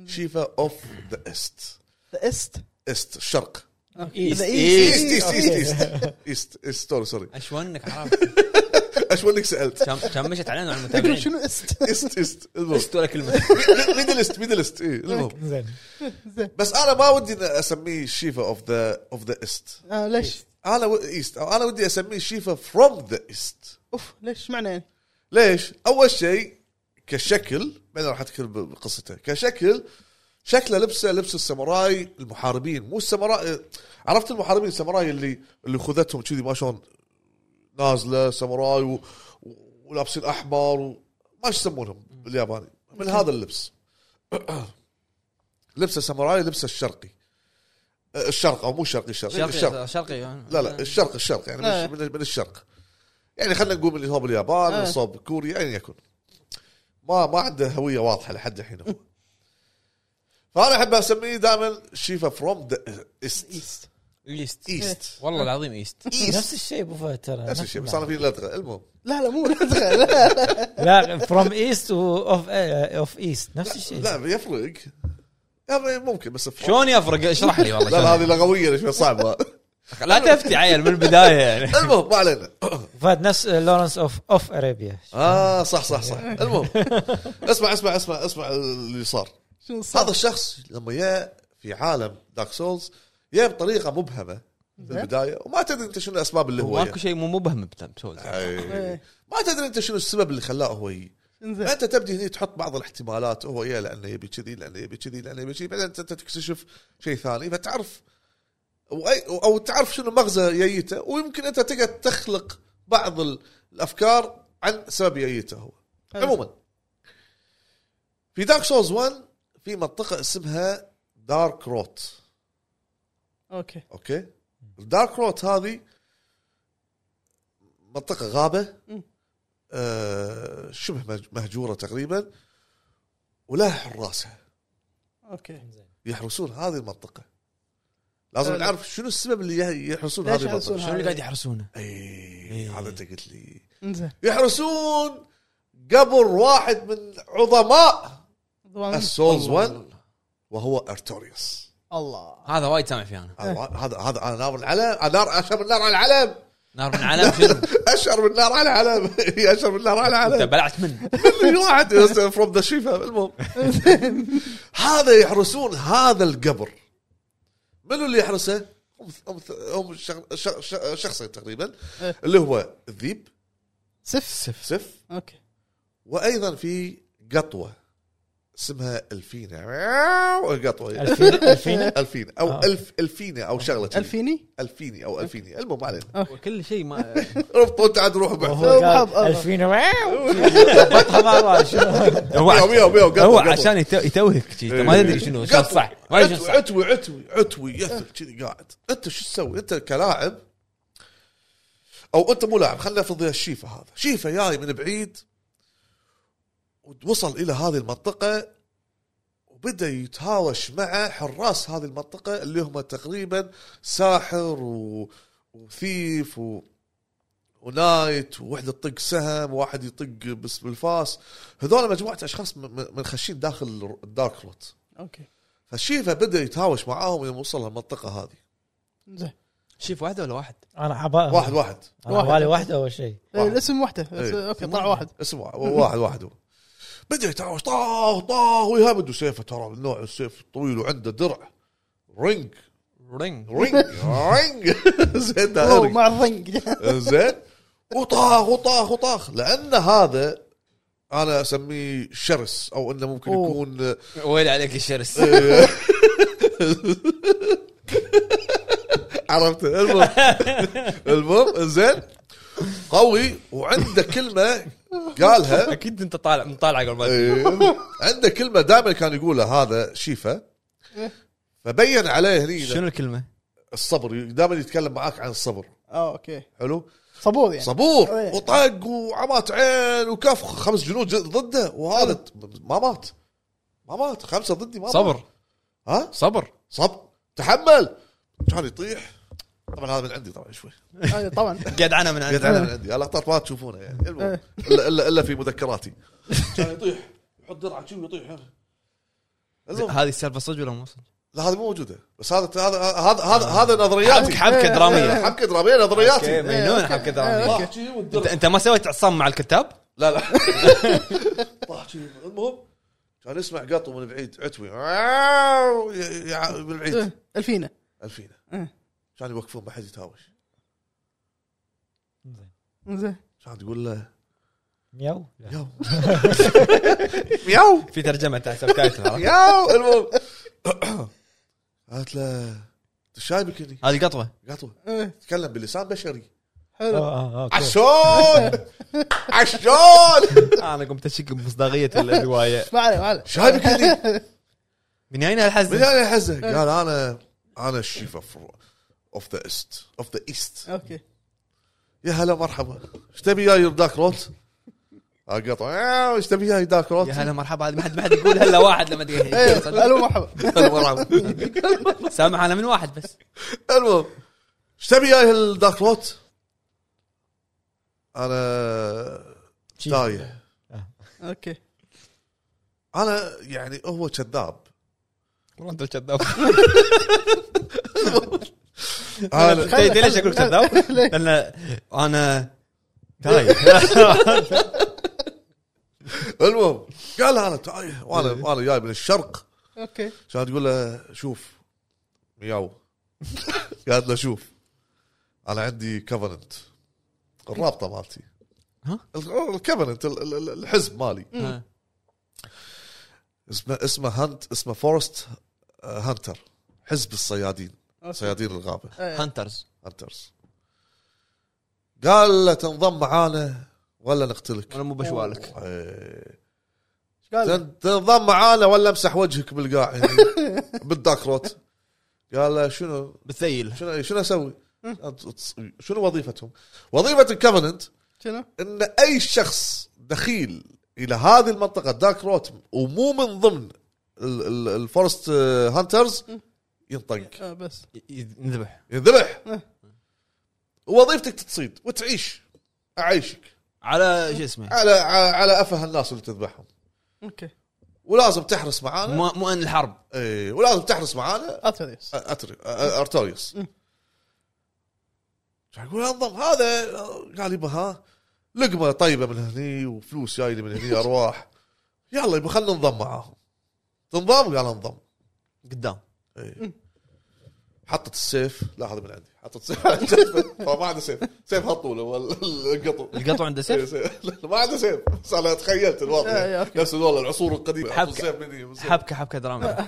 S4: شيفا اوف ذا ايست
S2: ذا است
S4: ايست الشرق
S2: ذا
S4: ايست
S2: ايست
S4: ايست ايست ايست ايست ايست سوري سوري
S1: اشونك عرب
S4: ايش وينك سالت
S1: كم كم مشت علينا وعلى
S2: يقول
S1: المتابعين
S2: شنو است
S4: ايست ايست المهم
S1: بس ولا كلمه
S4: ميدل ايست ميدل ايست اي إيه، المهم
S3: زين
S4: بس انا ما ودي إن اسميه شيفا اوف ذا اوف ذا ايست
S2: آه، ليش
S4: انا و- ايست او انا ودي اسميه شيفا فروم ذا ايست
S2: اوف ليش معنى يعني
S4: ليش؟ اول شيء كشكل بعدين راح اذكر ب- بقصته كشكل شكله لبسه لبس الساموراي المحاربين مو الساموراي عرفت المحاربين الساموراي اللي اللي خذتهم كذي ما شلون نازله ساموراي و... ولابسين احمر و... ما إيش يسمونهم بالياباني من هذا اللبس لبس الساموراي لبس الشرقي أه، الشرق او مو شرقي شرقي
S1: شرقي آه.
S4: الشرق
S1: شرقي
S4: لا
S1: آه.
S4: لا الشرق الشرق يعني
S2: إيه.
S4: من, من الشرق يعني خلينا نقول من صوب اليابان من صوب كوريا يعني يكون ما ما عنده هويه واضحه لحد الحين هو فانا احب اسميه دائما شيفا فروم ذا ايست
S2: ايست
S1: ايست
S4: ايست
S1: والله العظيم ايست
S3: نفس الشيء ابو فهد ترى
S4: نفس الشيء بس انا في لدغه المهم
S2: لا لا مو لا لا
S3: لا فروم ايست واوف اوف ايست نفس الشيء
S4: لا يفرق يعني ممكن بس from-
S1: شلون يفرق اشرح لي والله
S4: لا لا، هذه
S1: شلون.
S4: لغويه شوي صعبه
S1: لا تفتي عيل من البدايه يعني
S4: المهم ما علينا
S3: فهد نفس لورنس اوف اوف ارابيا
S4: اه صح صح صح المهم اسمع اسمع اسمع اسمع اللي صار
S2: شنو صار؟
S4: هذا الشخص لما جاء في عالم دارك سولز جاء بطريقه مبهمه في البدايه وما تدري انت شنو اسباب اللي هو يعني.
S1: ماكو شيء مو مبهم بتمسوز
S4: أي. ما تدري انت شنو السبب اللي خلاه هو يجي
S2: إيه، انزين
S4: فانت تبدي هني تحط بعض الاحتمالات هو يا لانه يبي كذي لانه يبي كذي لانه يبي كذي بعدين انت تكتشف شيء ثاني فتعرف وأي- او تعرف شنو مغزى جيته ويمكن انت تقعد تخلق بعض ال- الافكار عن سبب جيته هو عموما في دارك سولز 1 في منطقه اسمها دارك روت
S2: اوكي
S4: اوكي الدارك روت هذه منطقه غابه
S2: مم.
S4: آه شبه مهج- مهجوره تقريبا ولها حراسها
S2: اوكي
S4: يحرسون هذه المنطقه لازم
S2: حلو.
S4: نعرف شنو السبب اللي يه- يحرسون
S2: ليش
S4: هذه
S2: يحرسون
S4: المنطقه
S2: هذه؟
S1: شلون اللي قاعد يحرسونه؟
S4: اي هذا انت قلت لي
S2: انزين
S4: يحرسون قبر واحد من عظماء
S2: ضمان.
S4: السولز 1 وهو ارتوريوس
S2: الله
S1: هذا وايد سامع فيه انا
S2: إيه.
S4: هذا هذا هذا أنا نار العلم أنا نار اشهر من نار على العلم
S1: نار من علم شنو؟
S4: اشهر من نار على علم هي اشهر من نار على
S1: انت
S4: علم
S1: بلعت منه
S4: اللي واحد فروم ذا شيفا المهم هذا يحرسون هذا القبر منو اللي يحرسه؟ هم هم هم شغ- شغ- شغ- شخصين تقريبا
S2: إيه.
S4: اللي هو الذيب
S2: سف سف
S4: سف
S2: اوكي
S4: وايضا في قطوه اسمها الفينا قطوه
S3: الفينا الفينا
S4: الفينا او
S3: آه.
S4: الف الفينا او شغله كذي.
S2: الفيني
S4: الفيني او الفيني المهم ما علينا
S1: كل شيء ما
S4: ربطوا انت عاد روح بحث
S3: وهو قال
S2: مرحبا.
S3: الفينا واو. ضبطها مع بعض. شنو؟
S1: هو
S4: مياو
S1: عش-
S4: مياو مياو قطوة،
S1: هو
S4: قطوة.
S1: عشان يتو- يتوهك شي، انت ما
S4: إيه.
S1: تدري شنو شنو
S4: قطوة.
S1: صح ما تدري شنو صح
S4: عتوي عتوي عتوي يثل كذي قاعد انت شو تسوي انت كلاعب او انت مو لاعب خلينا نفرض الشيفه هذا شيفه جاي من بعيد ووصل الى هذه المنطقه وبدا يتهاوش مع حراس هذه المنطقه اللي هم تقريبا ساحر و... وثيف و... ونايت وواحد يطق سهم وواحد يطق بس بالفاس هذول مجموعه اشخاص م- م- منخشين داخل الدارك روت
S2: اوكي
S4: فالشيفا بدا يتهاوش معاهم يوم وصل المنطقه هذه
S2: انزين
S1: شيف واحده ولا واحد؟
S3: انا عبا
S4: واحد واحد
S3: انا عبالي واحده اول شيء
S2: إيه، الاسم وحده بس-
S4: إيه.
S2: اوكي طلع واحد
S4: اسمع واحد واحد هو. بدا يتهاوش طاه طاه ويهبد وسيفه ترى من نوع السيف الطويل وعنده درع رينج
S1: رينج
S4: رينج رينج زين
S2: أوه،
S4: دائري
S2: مع الضنق
S4: زين وطاخ وطاخ وطاخ لان هذا انا اسميه شرس او انه ممكن
S2: أوه.
S4: يكون آه،
S1: ويل عليك الشرس
S4: إيه. عرفت المهم المهم زين قوي وعنده كلمه قالها
S1: اكيد انت طالع مطالع قبل ما تجي.
S4: إيه، عنده كلمه دائما كان يقولها هذا شيفا
S2: إيه.
S4: فبين عليه هني
S1: شنو الكلمه؟
S4: الصبر دائما يتكلم معاك عن الصبر
S2: آه، اوكي
S4: حلو
S2: صبور يعني
S4: صبور
S2: إيه.
S4: وطق وعمات عين وكف خمس جنود جد- ضده وهذا
S2: إيه.
S4: ما مات ما مات خمسه ضدي ما مات.
S1: صبر
S4: ها
S1: صبر
S4: صب تحمل كان يطيح طبعا هذا من عندي طبعا شوي
S2: آه، طبعا
S1: قاعد انا من
S4: قاعد
S1: عندي
S4: انا
S2: إيه.
S4: من عندي اللقطات ما تشوفونها يعني المهم الا الا الا في مذكراتي كان يطيح يحط درعه شي ويطيح
S2: إيه.
S4: المهم،
S1: هذه السالفه صدق ولا مو صدق؟
S4: لا هذه مو موجوده بس هذا هذا هذا هذا, هذا نظرياتي
S1: حبكه دراميه
S4: حبكه دراميه
S1: اوكي
S4: نظرياتي
S1: مجنون حبكه دراميه
S4: طاح شي والدرع
S1: انت انت ما سويت عصام مع الكتاب؟
S4: لا لا طاح شي طيب. المهم كان يسمع قطو من بعيد عتوي ي- ي- من بعيد
S2: إيه، الفينا
S4: الفينا
S2: إيه.
S4: كان يوقفون ما حد يتهاوش
S2: انزين
S4: كان تقول له
S3: مياو
S4: يو يو
S1: في ترجمه تاع سبتايتل
S4: ياو المهم قالت له يعني؟" انت شايبك هني
S1: هذه قطوه
S4: قطوه
S2: إيه،
S4: تتكلم بلسان بشري
S2: حلو
S3: آه، آه، أوكي.
S4: عشون عشون
S1: انا قمت اشك بمصداقيه الروايه
S2: ما عليه ما عليه
S4: شايفك هني
S1: من اين
S4: من
S1: هالحزن؟
S4: انا حزه
S1: إيه.
S4: قال انا انا الشيف اوف ذا ايست اوف ذا ايست
S2: اوكي
S4: يا هلا مرحبا ايش تبي جاي دارك روت؟ قطع ايش آه، تبي جاي دارك روت؟
S1: يا هلا مرحبا هذه ما حد ما حد يقول هلا واحد لما
S2: إيه،
S1: تقول
S2: الو مرحبا
S4: هلا مرحبا
S1: سامح انا من واحد بس
S4: المهم ايش تبي جاي الدارك روت؟ انا
S3: شيف.
S4: تايه
S2: اوكي
S4: انا يعني هو كذاب
S1: والله انت الكذاب
S4: انا
S1: تدري ليش اقول كذاب؟ لان انا تايه
S4: المهم قال انا تايه
S1: إيه.
S4: وانا وانا جاي من الشرق
S2: اوكي
S4: كانت تقول له شوف مياو قالت له شوف انا عندي كفننت الرابطه مالتي
S1: ها؟
S4: الكفننت الحزب مالي
S1: ها.
S4: اسمه اسمه هانت اسمه فورست آه، هانتر حزب الصيادين
S2: أوكي.
S4: صيادين الغابه
S2: إيه.
S1: هانترز
S4: هانترز قال له تنضم معانا ولا نقتلك
S1: انا مو بشوالك
S4: إيه.
S2: قال
S4: تن- تنضم معانا ولا امسح وجهك بالقاع هنا بالداكروت قال له شنو
S1: بتثيل
S4: شنو شنو اسوي؟ شنو وظيفتهم؟ وظيفه الكفننت
S2: شنو؟
S4: ان اي شخص دخيل الى هذه المنطقه دارك روت ومو من ضمن ال- ال- الفورست آه، هانترز ينطق
S2: آه، بس
S1: ي- ي- نذبح
S4: ينذبح
S2: إيه.
S4: ووظيفتك تصيد وتعيش اعيشك
S1: على شو اسمه
S4: على على على افه الناس اللي تذبحهم
S2: اوكي
S4: ولازم تحرس معانا
S1: مو مو ان الحرب
S4: اي ولازم تحرس معانا
S2: اتريس
S4: أتري... ارتوريوس يقول انضم هذا قال يبا ها لقمه طيبه من هني وفلوس جاي لي من هني ارواح يلا يبا خلينا ننضم معاهم تنضم قال انضم
S1: قدام
S4: إيه. حطت السيف لا هذا من عندي حطت السيف على جنبه فما عنده سيف سيف هالطول هو القطو
S1: القطو عنده
S4: إيه،
S1: سيف
S4: سيف. لا، ما عنده سيف بس انا تخيلت
S2: إيه، إيه،
S4: الوضع
S2: أوكي.
S4: نفس الوضع العصور القديمه
S1: حبكة.
S4: حط السيف مني من سيف.
S1: حبكه حبكه دراما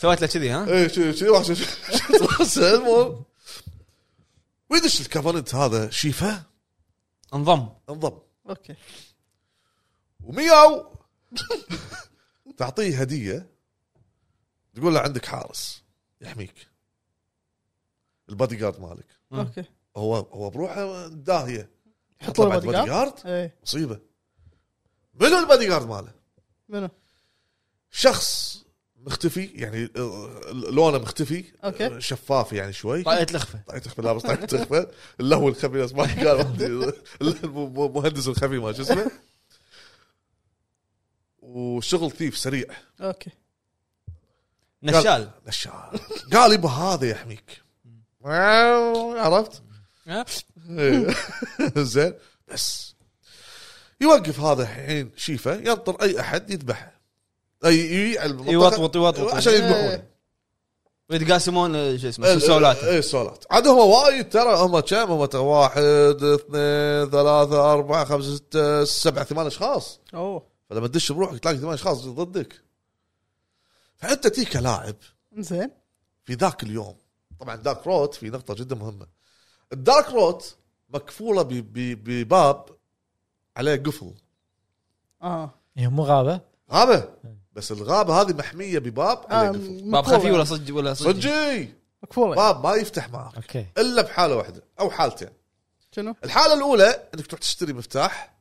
S1: سويت له كذي ها
S4: ايه شي شي واحد شي- شي- شي- المهم ويدش الكفرنت هذا شيفه
S1: انضم
S4: انضم
S2: اوكي
S4: ومياو تعطيه هديه تقول له عندك حارس يحميك البادي جارد مالك
S2: اوكي
S4: هو هو بروحه داهيه
S2: حط
S4: يطلع
S2: له
S4: بعد
S2: بادي جارد
S4: جارد
S2: ايه
S4: مصيبه منو البادي جارد ماله؟
S2: منو؟
S4: شخص مختفي يعني آه، لونه مختفي
S2: أوكي.
S4: آه، شفاف يعني شوي
S1: طاقه الخفه
S4: طاقة تخفى لابس طاقة تخفى طيب اللهو الخفي ناس ما قال ما أدري، المهندس الخفي ما شو اسمه وشغل ثيف سريع
S2: اوكي
S1: نشال
S4: نشال قال يبا هذا يحميك واو، عرفت؟
S1: ها؟
S4: إيه. زين بس يوقف هذا الحين شيفه ينطر اي احد يذبحه اي يجي على المنطقة
S1: يوطوط- يوطوط.
S4: عشان يذبحونه
S2: إيه.
S1: ويتقاسمون آه، شو اسمه سولات
S4: اي السولات إيه، عاد هم وايد ترى هم كم هم ت- واحد اثنين ثلاثة أربعة خمسة ستة سبعة ثمان أشخاص
S2: اوه
S4: فلما تدش بروحك تلاقي ثمان أشخاص ضدك فأنت تي كلاعب
S2: زين
S4: في ذاك اليوم طبعا دارك روت في نقطة جدا مهمة الدارك روت مكفولة ب- ب- بباب عليه قفل
S2: اه
S3: هي مو غابه
S4: غابة بس الغابة هذه محمية بباب عليه
S2: آه،
S4: قفل
S1: باب
S2: مقفولة.
S1: خفي ولا صدق ولا صدق
S4: صجي
S2: مقفوله
S4: باب ما يفتح معك
S3: اوكي
S4: إلا بحالة واحدة أو حالتين
S2: شنو؟
S4: الحاله الاولى انك تروح تشتري مفتاح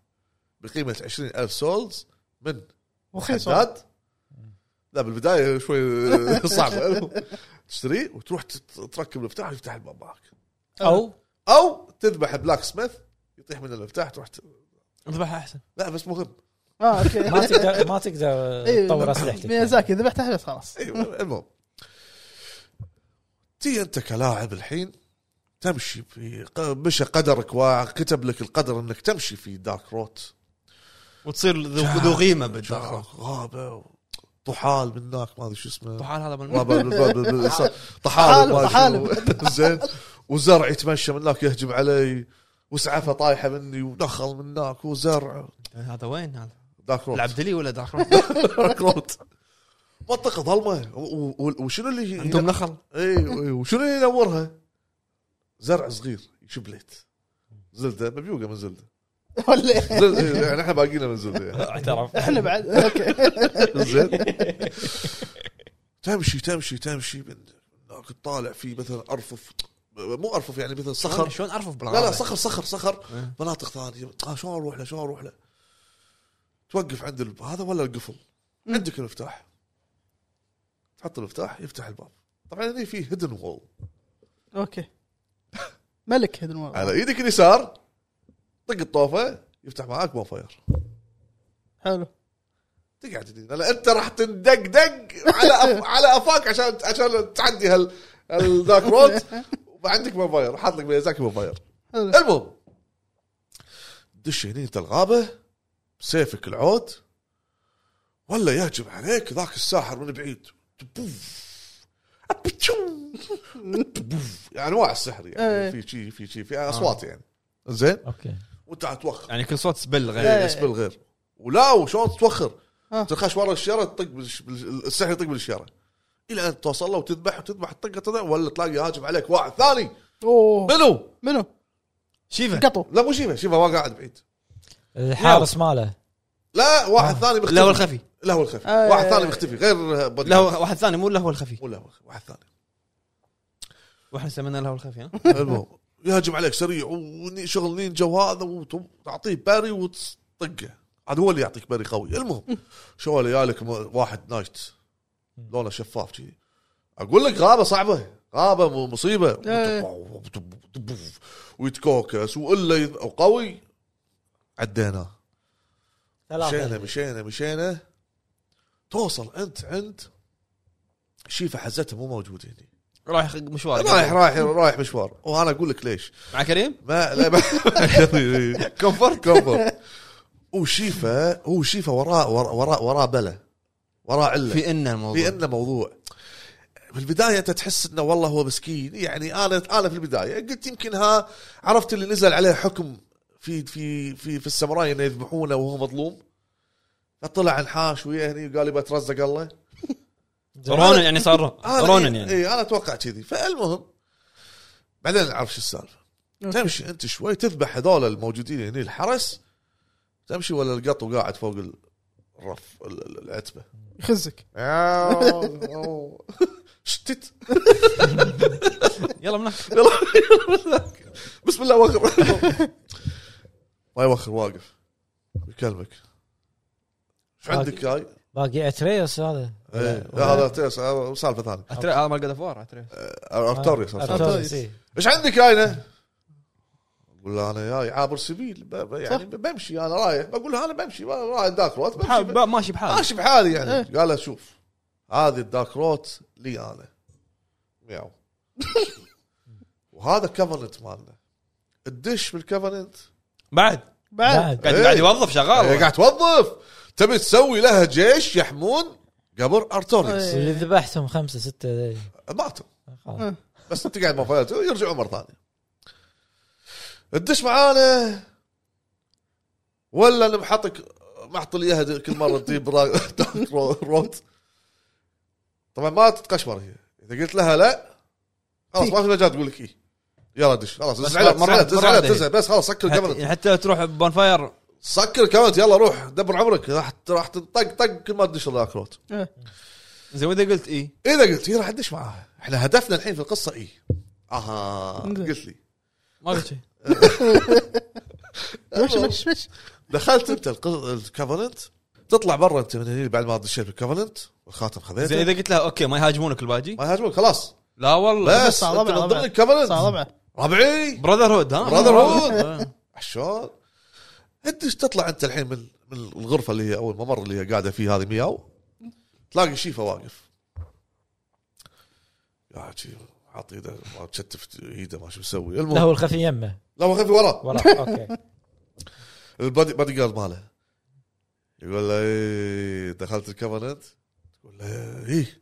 S4: بقيمه 20000 سولز من
S2: رخيص والله.
S4: حداد لا بالبدايه شوي صعبه تشتريه وتروح تت- تركب المفتاح ويفتح الباب معك
S3: او
S4: او تذبح بلاك سميث يطيح من المفتاح تروح ت...
S1: اذبحها احسن
S4: لا بس مهم
S2: اه اوكي
S3: ما تقدر ما تقدر
S2: إيه،
S3: تطور اسلحتك
S2: ميازاكي ذبحته بس خلاص
S4: ايوه المهم تي انت كلاعب الحين تمشي في ق- مشى قدرك وكتب لك القدر انك تمشي في دارك روت
S1: وتصير ذو ذو قيمه بالداخل
S4: شعرك غابه آه. و- طحال من هناك ما ادري شو اسمه
S1: طحال هذا من
S4: ما ب- ب- ب- ب- ص-
S2: طحالب،
S4: طحالب ما
S2: طحالب.
S4: شنو. زين وزرع يتمشى من هناك يهجم علي وسعفه طايحه مني ونخل من هناك وزرع
S1: آه، هذا وين هذا؟
S4: داك روت
S1: العبدلي ولا داخل
S4: داك روت منطقه ظلمه و- و- وشنو اللي إيه،
S1: عندهم نخل
S4: اي وشنو اللي ينورها؟ زرع صغير يشبليت زلده مبيوقه من زلده
S2: ولا إيه؟
S4: زل- يعني احنا باقينا من زلده يعني.
S1: اعترف
S2: احنا بعد اوكي
S4: زين تمشي تمشي تمشي من كنت طالع في مثلا ارفف مو ارفف يعني مثلا صخر
S1: شلون ارفف
S4: لا لا صخر صخر صخر مناطق ثانيه آه شلون اروح له شلون اروح له توقف عند الب... هذا ولا القفل عندك المفتاح تحط المفتاح يفتح الباب طبعا هني في هيدن وول
S2: اوكي ملك هيدن وورد
S4: على ايدك اليسار طق الطوفه يفتح معاك بون فاير
S2: حلو
S4: تقعد هني لان انت راح تندق دق على أف... على افاك عشان عشان تعدي هال هالذاك روت وعندك موبايل حاط لك ميازاكي موبايل
S2: حلو
S4: المهم دش هني انت الغابه بسيفك العود ولا يهجم عليك ذاك الساحر من بعيد تبوف أبتشوم. تبوف. يعني انواع السحر
S2: ايه.
S4: يعني في شي في شي في اصوات يعني زين
S3: اوكي
S4: وانت توخر
S1: يعني كل صوت سبل
S2: إيه.
S1: غير
S4: بس بالغير ولا وشلون توخر
S2: آه.
S4: تخش ورا الشيره تطق بالش- بال- السحر يطق بالشيره الى ان توصل له وتذبح وتذبح تطق تطق ولا تلاقي هاجم عليك واحد ثاني
S2: اوه
S4: منو؟
S2: منو؟
S1: شيفا
S2: قطو
S4: لا مو شيفا شيفا ما قاعد بعيد
S3: الحارس ماله
S4: لا واحد ثاني مختفي
S1: آه. لا هو الخفي
S4: لا هو الخفي
S2: آه.
S4: واحد ثاني مختفي غير بودي
S1: لا هو واحد ثاني مو لا هو الخفي
S4: مو لا واحد ثاني
S1: واحنا سمينا له الخفي ها
S4: المهم يهاجم عليك سريع وشغل نينجا وهذا وتعطيه باري وتطقه عاد هو اللي يعطيك باري قوي المهم شو لك واحد نايت لونه شفاف كذي اقول لك غابه صعبه غابه مو- مصيبه ويتكوكس والا يذ- وقوي عديناه مشينا
S3: ثلاثة
S4: مشينا مشينا توصل انت عند شيفه حزتها مو موجوده هنا
S1: رايح مشوار
S4: رايح رايح رايح مشوار وانا اقول لك ليش
S1: مع كريم
S4: ما لا ما كفرت كفرت وشيفه هو شيفه وراه وراه وراه, وراه بلا وراه عله
S1: في ان الموضوع
S4: في عندنا موضوع في البدايه انت تحس انه والله هو مسكين يعني انا انا في البدايه قلت يمكن ها عرفت اللي نزل عليه حكم في في في في الساموراي انه يذبحونه وهو مظلوم فطلع انحاش ويا هني وقال يبغى ترزق الله
S1: رونن يعني صار رون-
S4: انا
S1: رونن يعني
S4: اي انا اتوقع إيه، كذي فالمهم بعدين نعرف شو السالفه تمشي انت شوي تذبح هذول الموجودين هنا الحرس تمشي ولا القطو قاعد فوق الرف ال- ال- العتبه
S2: يخزك
S4: شتت
S1: يلا من هناك.
S4: بسم الله وخر ما يوخر واقف يكلمك ايش عندك هاي؟
S3: باقي اتريوس هذا
S4: إيه، لا هذا تيس- هذا سالفه ثانيه
S1: أتري- هذا مال جاد فور اتري
S4: ارتوريوس أرتوريوس.
S3: ارتوريوس إيه.
S4: ايش عندك هاينا؟ اقول له انا جاي عابر سبيل ب- ب- يعني بمشي انا رايح بقول له انا بمشي رايح داك روت بمشي ب-
S1: ماشي بحاله
S4: ماشي بحالي يعني قال له شوف هذه الدارك روت لي انا مياو وهذا كفرنت مالنا الدش بالكفرنت
S1: بعد
S2: بعد
S3: بعد
S1: قاعد
S4: إيه.
S1: قاعد يوظف
S4: إيه،
S1: شغال
S4: قاعد توظف تبي تسوي لها جيش يحمون قبر ارتوريوس
S2: إيه.
S3: اللي ذبحتهم إيه. خمسه سته ذي.
S4: ماتوا
S3: خلاص.
S4: أه.
S2: آه.
S4: بس تقعد مفايات يرجعوا مره ثانيه الدش معانا ولا اللي محطك محط لي اياها كل مره تجيب را- دارك رو- روت طبعا ما تتقشمر هي اذا قلت لها لا خلاص ما في مجال تقول لك ايه يلا دش خلاص
S1: بس
S4: ازعلت
S1: مرة-
S4: ازعلت
S1: مرة يعني.
S4: ازعلت
S1: واحدة.
S4: ازعلت بس خلاص سكر الكاميرا
S1: حتى- حتى تروح بونفاير
S4: سكر كمان يلا روح دبر عمرك راح راح تنطق طق كل ما تدش ذاك روت
S2: إيه.
S1: زي ما إذا قلت إيه. اي
S4: اذا قلت هي راح تدش معاها احنا هدفنا الحين في القصه ايه اها
S2: زين.
S4: قلت لي
S1: ما قلت شيء
S2: مش مش مش
S4: دخلت انت الق- الكفرنت تطلع برا انت من هنا بعد ما دشيت بالكفرنت والخاتم
S1: زي
S4: خذيته
S1: اذا قلت لها اوكي ما يهاجمونك الباجي
S4: ما يهاجموك خلاص
S1: لا والله
S4: بس
S2: صار
S4: انت
S2: ربع
S4: من ضمن
S2: ربع صار
S4: الكفرنت
S2: ربع
S4: ربعي
S1: براذر هود ها آه. هود
S4: Brotherhood. شلون انت ايش تطلع انت الحين من من الغرفه اللي هي او الممر اللي هي قاعده فيه هذه مياو تلاقي شيفا واقف يا عجيب عاطي ايده ما تشتف ايده ما شو مسوي
S3: لا
S4: المهم
S3: هو الخفي يمه
S4: لا ما خفي وراه
S3: وراه اوكي
S4: البادي بادي جارد ماله يقول له ايه دخلت الكفننت تقول له ايه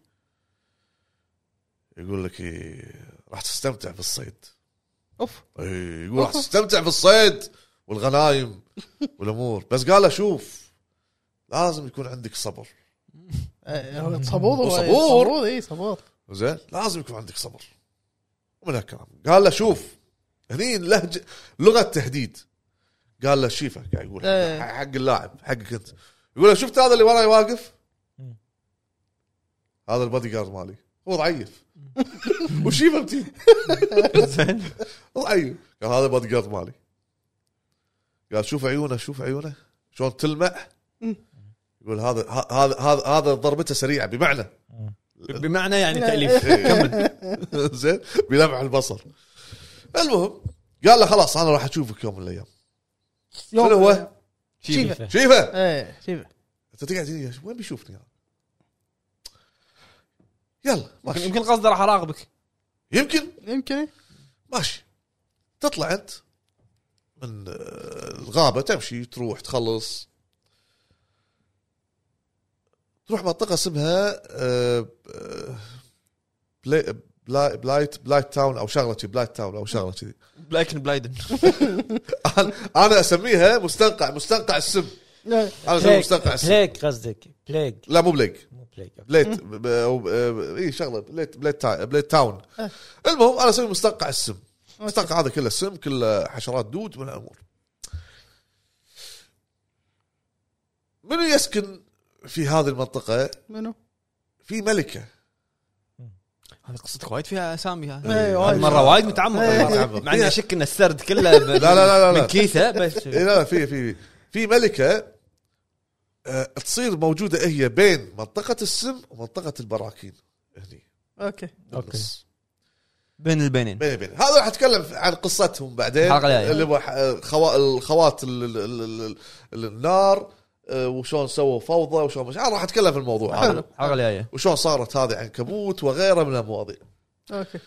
S4: يقول لك ايه راح تستمتع بالصيد
S2: اوف
S4: ايه يقول راح تستمتع بالصيد والغنايم والامور بس قال له شوف لازم يكون عندك صبر
S2: إيه، هو صبور هو.
S4: صبور.
S2: صبور اي صبور
S4: زين لازم يكون عندك صبر ومن هالكلام قال له شوف هني لهجه لغه تهديد قال له شيفه قاعد يقول
S2: إيه.
S4: حق اللاعب حقك انت يقول له شفت هذا اللي وراي واقف
S3: مم.
S4: هذا البادي جارد مالي هو ضعيف وشيفه بتي
S1: زين
S4: ضعيف قال هذا بادي جارد مالي قال شوف عيونه شوف عيونه شلون تلمع
S2: مم.
S4: يقول هذا ه- هذا هذا هذا ضربته سريعه بمعنى
S1: بمعنى يعني تاليف
S4: إيه. كمل زين بلمع البصر المهم قال له خلاص انا راح اشوفك يوم من الايام
S2: يوم-
S4: شنو هو؟
S1: شيفة.
S3: شيفة.
S4: شيفه
S2: ايه شوف
S4: انت تقعد هنا وين بيشوفني هذا؟ يلا ماشي
S1: يمكن قصده راح اراقبك
S4: يمكن
S2: يمكن
S4: ماشي تطلع انت من آه، الغابه تمشي تروح تخلص تروح منطقه اسمها آه، آه، بلا- بلا- بلايت بلايت تاون او شغله شي، بلايت تاون او شغله كذي
S1: بلايكن بلايدن
S4: انا انا اسميها مستنقع مستنقع السم
S2: إيه.
S4: انا اسميها مستنقع السم
S3: بليك قصدك بليك
S4: لا مو بليج
S3: مو بليك أوكي.
S4: بليت ب- أو ب- اي شغله بليت بليت تا- بليت تاون المهم انا اسوي مستنقع السم مستنقع هذا كله سم كله حشرات دود من الامور منو يسكن في هذه المنطقه
S2: منو؟
S4: في ملكه
S1: هذه قصتك وايد فيها اسامي هذه
S2: ايه وايد.
S1: مره وايد متعمق
S2: إيه.
S1: المرة. مع اني اشك ان السرد كله ب-
S4: لا، لا، لا، لا.
S1: من كيسه بس
S4: إيه لا لا في في في ملكه آه، تصير موجوده هي بين منطقه السم ومنطقه البراكين هني
S2: اوكي
S3: اوكي
S4: بالنص.
S1: بين البينين
S4: بيني بيني هذا راح اتكلم عن قصتهم بعدين
S1: الحلقة الجاية.
S4: اللي هو ح- خوا... الخوات ال... ال... ال... ال... ال... النار آه، وشلون سووا فوضى وشلون مش... أنا راح اتكلم في الموضوع هذا
S1: الحلقه الجايه
S4: وشلون صارت هذه عنكبوت وغيره من المواضيع
S2: اوكي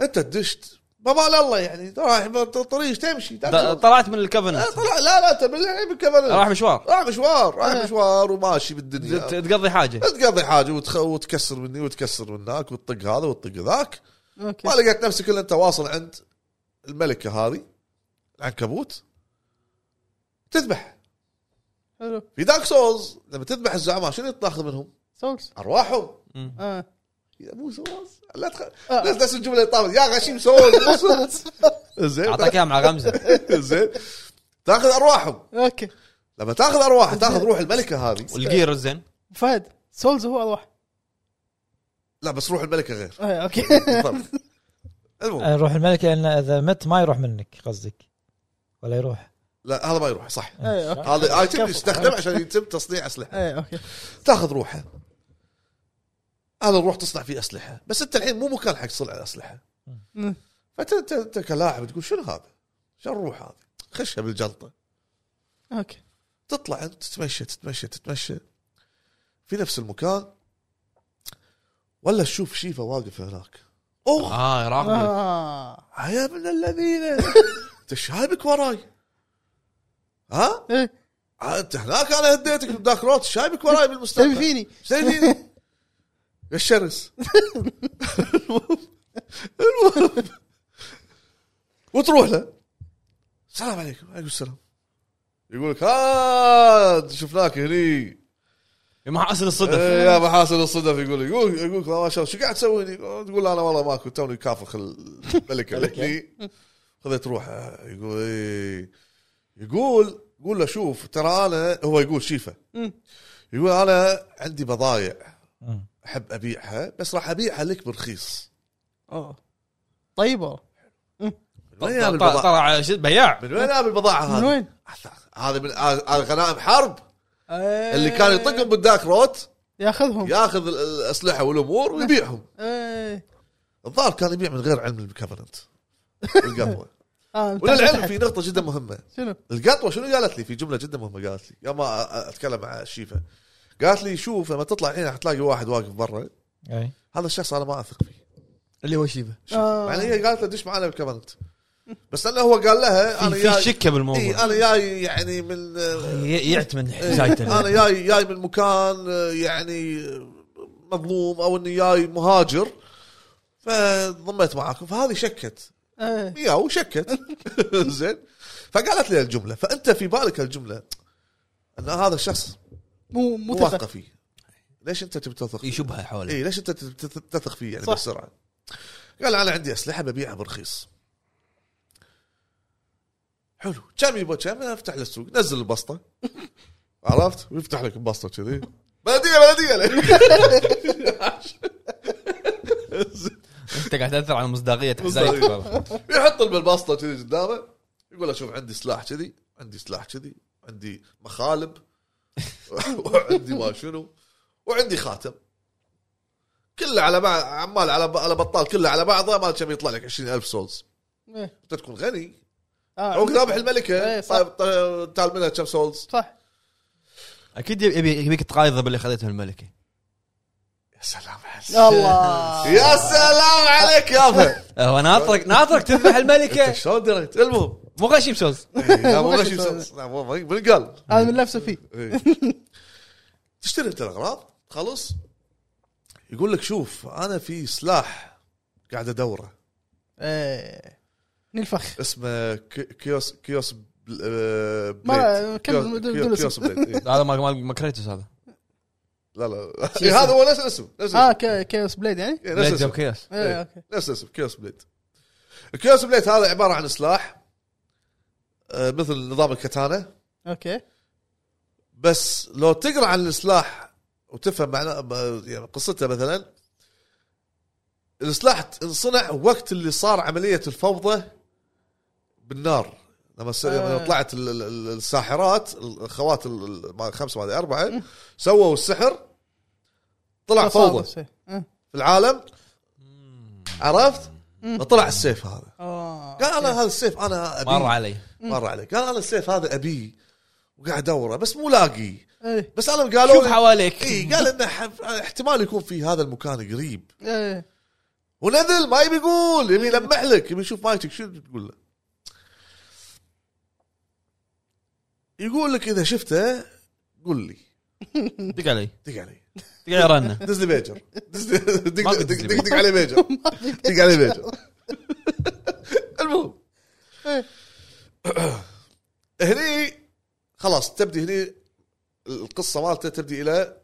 S4: انت دشت ما مال الله يعني رايح بالطريق تمشي
S1: د-
S4: تاكل.
S1: طلعت من الكفن
S4: آه، طلع لا لا انت بالحين بالكفن.
S1: راح آه. مشوار
S4: رايح مشوار رايح مشوار وماشي بالدنيا
S1: ت- تقضي حاجه
S4: تقضي حاجه وتخ... وتكسر مني وتكسر من هناك وتطق هذا وتطق ذاك
S2: اوكي
S4: ما لقيت نفسك الا انت واصل عند الملكه هذه العنكبوت تذبح
S2: حلو
S4: في دارك سولز لما تذبح الزعماء شنو تاخذ منهم؟
S2: سولز
S4: ارواحهم
S2: اه
S4: يا مو سولز لا تخ...
S2: آه.
S4: لا نفس الجمله اللي طافت يا غشيم سولز مو سولز زين
S1: اعطاك اياها مع غمزه
S4: زين تاخذ ارواحهم
S2: اوكي
S4: لما تاخذ ارواح تاخذ روح الملكه هذه
S1: والجير زين
S2: فهد سولز هو اروح
S4: لا بس روح الملكه غير
S2: ايه اوكي
S4: بالضبط. المهم
S3: روح الملك لان اذا مت ما يروح منك قصدك ولا يروح
S4: لا هذا ما يروح صح
S2: ايه اوكي
S4: هذا ايتم يستخدم عشان يتم تصنيع اسلحه
S2: ايه اوكي
S4: تاخذ روحه هذا الروح تصنع فيه اسلحه بس انت الحين مو مكان حق صنع الاسلحه
S2: مم.
S4: فانت انت انت كلاعب تقول شنو هذا؟ شنو الروح هذه؟ خشها بالجلطه
S2: اوكي
S4: تطلع انت تتمشى تتمشى تتمشى في نفس المكان ولا تشوف شيفه واقفه هناك اوه
S1: اه
S4: آه.
S1: راقب
S2: اه
S4: يا ابن الذين انت شايبك وراي ها؟
S2: ايه
S4: انت هناك انا هديتك بداك روت شايبك وراي
S2: تبي
S4: بالمستقبل
S2: فيني
S4: زين الشرس المهم- المهم. وتروح له السلام عليكم عليكم السلام يقول لك ها شفناك هني
S1: يا محاسن الصدف
S4: إيه يا محاسن الصدف يقول لي- يقول يقول لك ما شاء الله شو قاعد تسوي هني؟ تقول له انا والله ماكو توني كافخ الملك هني خذيت روحه يقول إيه. يقول قول له شوف ترى انا هو يقول شيفه
S2: مم.
S4: يقول انا عندي بضايع
S3: مم.
S4: احب ابيعها بس راح ابيعها لك برخيص
S2: اوه طيب والله
S4: من وين جاب
S1: طلع-
S4: البضاعه؟
S1: طلع شو- بياع
S4: من وين جاب البضاعه هذه؟
S2: من وين؟
S4: هذه من هذه غنائم حرب
S2: إيه.
S4: اللي كان يطقهم بالداك روت
S2: ياخذهم
S4: ياخذ ال- الاسلحه والامور ويبيعهم
S2: ايه
S4: الظاهر كان يبيع من غير علم الكفرنت القطوه
S2: اه
S4: وللعلم في نقطه جدا مهمه
S2: شنو؟
S4: القطوه شنو قالت لي في جمله جدا مهمه قالت لي يوم ما اتكلم مع شيفه قالت لي شوف لما تطلع الحين حتلاقي واحد واقف برا
S3: اي
S4: هذا الشخص انا ما اثق فيه
S1: اللي هو شيفه
S4: شوف.
S2: آه.
S4: يعني هي قالت له دش معنا بالكفرنت بس انه هو قال لها انا
S1: في
S4: جاي-
S1: شكه
S4: اي
S1: بالموضوع
S4: انا جاي يعني من
S1: ي- يعتمد
S4: إيه، انا
S1: حكايته
S4: جاي جاي من مكان يعني مظلوم او اني جاي مهاجر فضميت معاكم فهذه شكت
S2: ايه
S4: يا وشكت زين فقالت لي الجمله فانت في بالك الجمله ان هذا الشخص
S2: مو مو
S4: مو
S2: تفهم.
S4: واثقه فيه ليش انت تبي تثق فيه؟ إيه،
S1: يشبها حوله
S4: اي ليش انت تت- تت- تثق فيه يعني
S2: صح.
S4: بسرعه؟ قال انا عندي اسلحه ببيعها برخيص حلو كم يبغى كم افتح له السوق نزل البسطه عرفت ويفتح لك البسطه كذي بلديه بلديه
S1: انت قاعد تاثر على مصداقيه
S4: مصداقية.
S1: حسابك برا.
S4: يحط بالبسطه كذي قدامه يقول له شوف عندي سلاح كذي عندي سلاح كذي عندي مخالب وعندي ما شنو وعندي خاتم كله على بعض عمال على ب- على بطال كله على بعضه ما كم يطلع لك 20000 سولز
S2: إيه.
S4: انت تكون غني
S2: آه،
S4: عوق
S2: عندك-
S4: ذابح الملكه
S2: إيه، صح.
S4: طيب طيب، تعال منها كم سولز
S2: صح
S1: اكيد يبي- يبي- يبيك تقايضه باللي خذيته من الملكه
S4: يا سلام عليك
S2: الله
S4: يا سلام عليك يابا
S1: هو ناطرك أه، ناطرك تذبح
S4: انت
S1: الملكه
S4: شلون دريت المهم
S1: مو غشيم بسوز
S4: إيه، لا مو غشيم سولز. لا مو مو- من قال
S2: هذا من نفسه فيه
S4: إيه. تشتري انت الاغراض خلص يقول لك شوف انا في سلاح قاعد ادوره
S2: ايه نلفخ
S4: اسمه ك- كيوس كيوس بل- آه،
S2: ما- كمل
S4: بليد كيوس-
S2: بدون-
S4: كيو-
S2: بدون
S4: كيوس
S2: اسم.
S4: بليد إيه.
S1: هذا مال مال ماكريتوس هذا
S4: لا لا إيه، هذا هو نفس الاسم نفس الاسم
S2: اه كي- كيوس بليد يعني
S4: إيه، نفس
S1: لا
S4: الاسم
S1: جاب كياس
S2: ايه اوكي
S4: نفس الاسم كيوس بليد الكيوس بليد هذا عباره عن سلاح آه، مثل نظام الكتانه
S2: اوكي
S4: بس لو تقرا عن السلاح وتفهم معنى يعني قصته مثلا السلاح انصنع وقت اللي صار عمليه الفوضى بالنار لما س-
S2: آه.
S4: لما طلعت ال- ال- ال- الساحرات الخوات ال- ال- ما- خمسه ما أدري اربعه سووا السحر طلع فوضى
S2: صار بس. إيه.
S4: في العالم عرفت؟ طلع السيف هذا
S2: آه.
S4: قال انا هذا السيف انا أبيه.
S1: مر علي
S4: مر عليك قال انا السيف هذا ابيه وقاعد ادوره بس مو لاقي
S2: ايه
S4: بس انا قالوا
S1: شوف حواليك
S4: اي إيه، قال انه ح- احتمال يكون في هذا المكان قريب
S2: ايه
S4: ونذل ما يبي يقول يبي يلمح لك يبي يشوف مايتك شو تقول له يقول لك اذا شفته قول لي
S1: دق علي
S4: دق علي
S1: دق علي رنه
S4: دز لي ميجر دز لي- دق
S1: ما
S4: دق
S1: قد دز لي
S4: دق- دق علي ميجر دق علي ميجر المهم هني خلاص تبدي هني القصه مالته تبدي الى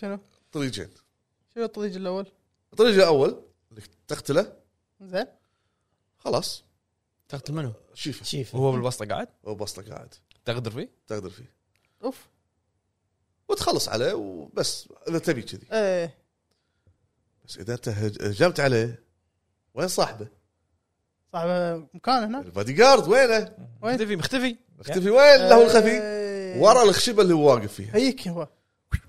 S2: شنو؟
S4: طريقين
S2: شنو الطريق الاول؟
S4: الطريق الاول انك تقتله
S2: زين
S4: خلاص
S1: تقتل منو؟
S4: شيفه
S3: شيف
S1: وهو بالوسطى قاعد
S4: وبصلك قاعد
S1: تغدر فيه؟
S4: تقدر فيه
S2: اوف
S4: وتخلص عليه وبس اذا تبي كذي
S2: ايه
S4: بس اذا انت هج- هجمت عليه وين صاحبه؟
S2: صاحب مكان هناك
S4: البادي جارد وينه؟
S2: وين؟
S1: مختفي مختفي
S4: اختفي وين له الخفي؟
S2: إيه.
S4: ورا الخشبه اللي هو واقف فيها
S2: هيك هو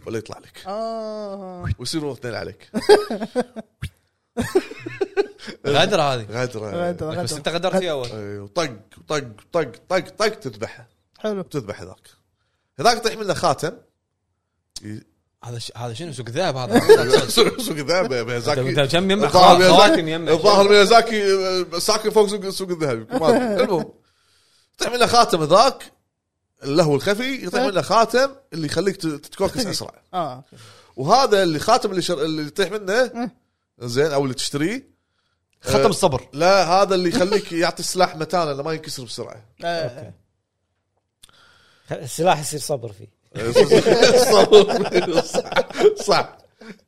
S4: ولا يطلع لك
S2: اه
S4: ويصيروا اثنين عليك
S1: غدره هذه
S4: غدره
S1: بس انت غدرت فيه اول
S4: أي، وطق أيوه. طق طق طق طق تذبحه
S2: حلو
S4: تذبح هذاك هذاك طيح منه خاتم
S1: هذا ش- هذا شنو سوق ذهب هذا
S4: سوق سوق الذهب يا ميازاكي
S1: انت كم يمع
S4: الظاهر
S1: خواتم
S4: ميازاكي
S1: يمع
S4: الظاهر ميازاكي آه، ساكن فوق سوق سوق الذهب يمكن ما أدري. المهم يطيح منه خاتم ذاك اللي هو الخفي يطيح منه خاتم اللي يخليك تت- تتكوكس اسرع
S2: اه
S4: وهذا اللي خاتم اللي شر... اللي يطيح منه زين او اللي تشتريه آه،
S1: ختم الصبر
S4: لا هذا اللي يخليك يعطي السلاح متانه انه ما ينكسر بسرعه
S2: إيه.
S3: السلاح يصير صبر فيه
S4: صح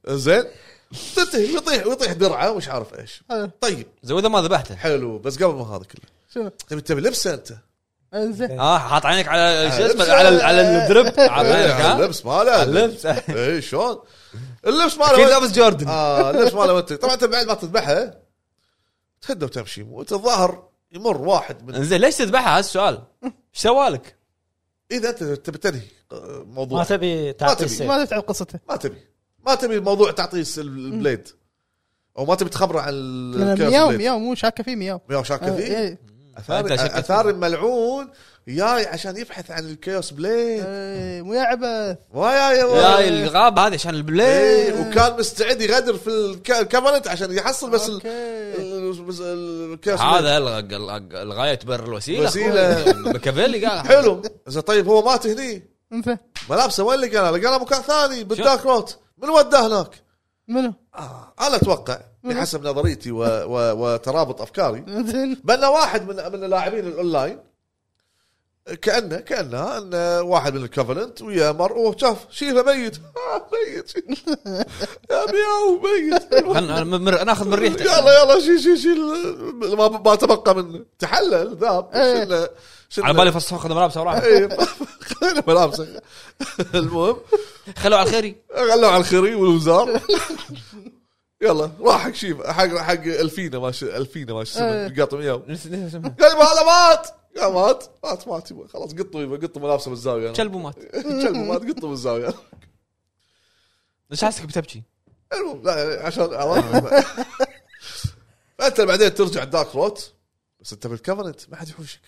S4: زين تنتهي ويطيح ويطيح درعه ومش عارف ايش
S2: حلو.
S4: طيب
S1: زي اذا ما ذبحته
S4: حلو بس قبل ما هذا كله
S2: شنو؟
S4: طيب تبي لبسه انت
S2: إيه، زين
S1: اه حاط عينك على شو
S4: لبس.
S1: اسمه على ال- على الدرب حاط
S4: إيه،
S1: عينك
S4: على
S1: ها
S4: اللبس ماله
S1: اللبس.
S4: اي شلون اللبس
S1: كيف
S4: ماله
S1: لابس جوردن
S4: اه اللبس ماله وانت طبعا انت بعد ما تذبحها تهدى وتمشي وانت الظاهر يمر واحد من
S1: زين ليش تذبحها هذا السؤال ايش سوالك؟
S4: إيه. اذا انت تبي تنهي آه، موضوع
S3: ما تبي تعطي
S4: ما تبي.
S3: السيف
S2: ما تتعب قصته
S4: ما تبي ما تبي الموضوع تعطيه الس- البليد او ما تبي تخبره عن ال-
S2: لأن
S4: الكيرف
S2: مياو
S4: بليد.
S2: مياو مو شاكه فيه مياو
S4: مياو شاكه فيه
S2: إيه.
S4: اثار
S1: أنت شكيت
S4: اثار ملعون جاي عشان يبحث عن الكيوس بليد
S2: إيه، مو يا عبث
S4: ويا يا
S1: يا الغاب هذه عشان البلاي
S4: إيه، وكان مستعد يغادر في الك- الكفنت عشان يحصل بس ال-
S2: اوكي
S4: ال- بس الكاس
S1: هذا الغ- الغ- الغايه تبرر الوسيله
S4: وسيلة.
S1: أخوي. ماكافيلي قال
S4: حلو اذا طيب هو مات هني
S2: انزين
S4: ملابسه وين اللي قالها؟ لقى مكان ثاني بالدارك روت من وداه هناك؟
S2: منو؟
S4: آه انا اتوقع بحسب نظريتي و... و... وترابط افكاري
S2: انزين
S4: بان واحد من من اللاعبين الاونلاين كانه كانه ان واحد من الكفلنت ويا مرء شاف شيله ميت آه، ميت يا مياو ميت
S1: خلنا أنا- مر- ناخذ من ريحته
S4: يلا يلا شيل شيل شيل ما, ما تبقى منه تحلل ذاب شلنا شلنا
S1: على بالي فصحوا خذ ملابسه وراح
S4: إيه، خلينا ملابسه المهم
S1: خلوه على الخيري
S4: خلوه على الخري والوزار يلا راح حق شيف حق حق الفينا ما ش... الفينا ما شو اسمه قاطم اياه
S1: نسيت نسيت اسمه
S4: قال يبا هذا مات يا مات مات مات يبا. خلاص قطوا يبا قطوا ملابسه بالزاويه أنا.
S1: كلبه مات
S4: كلبه مات قطوا بالزاويه
S1: ليش حاسك بتبكي؟
S4: المهم لا يعني عشان عرفت فانت بعدين ترجع الدارك روت بس انت بالكفرنت ما حد يحوشك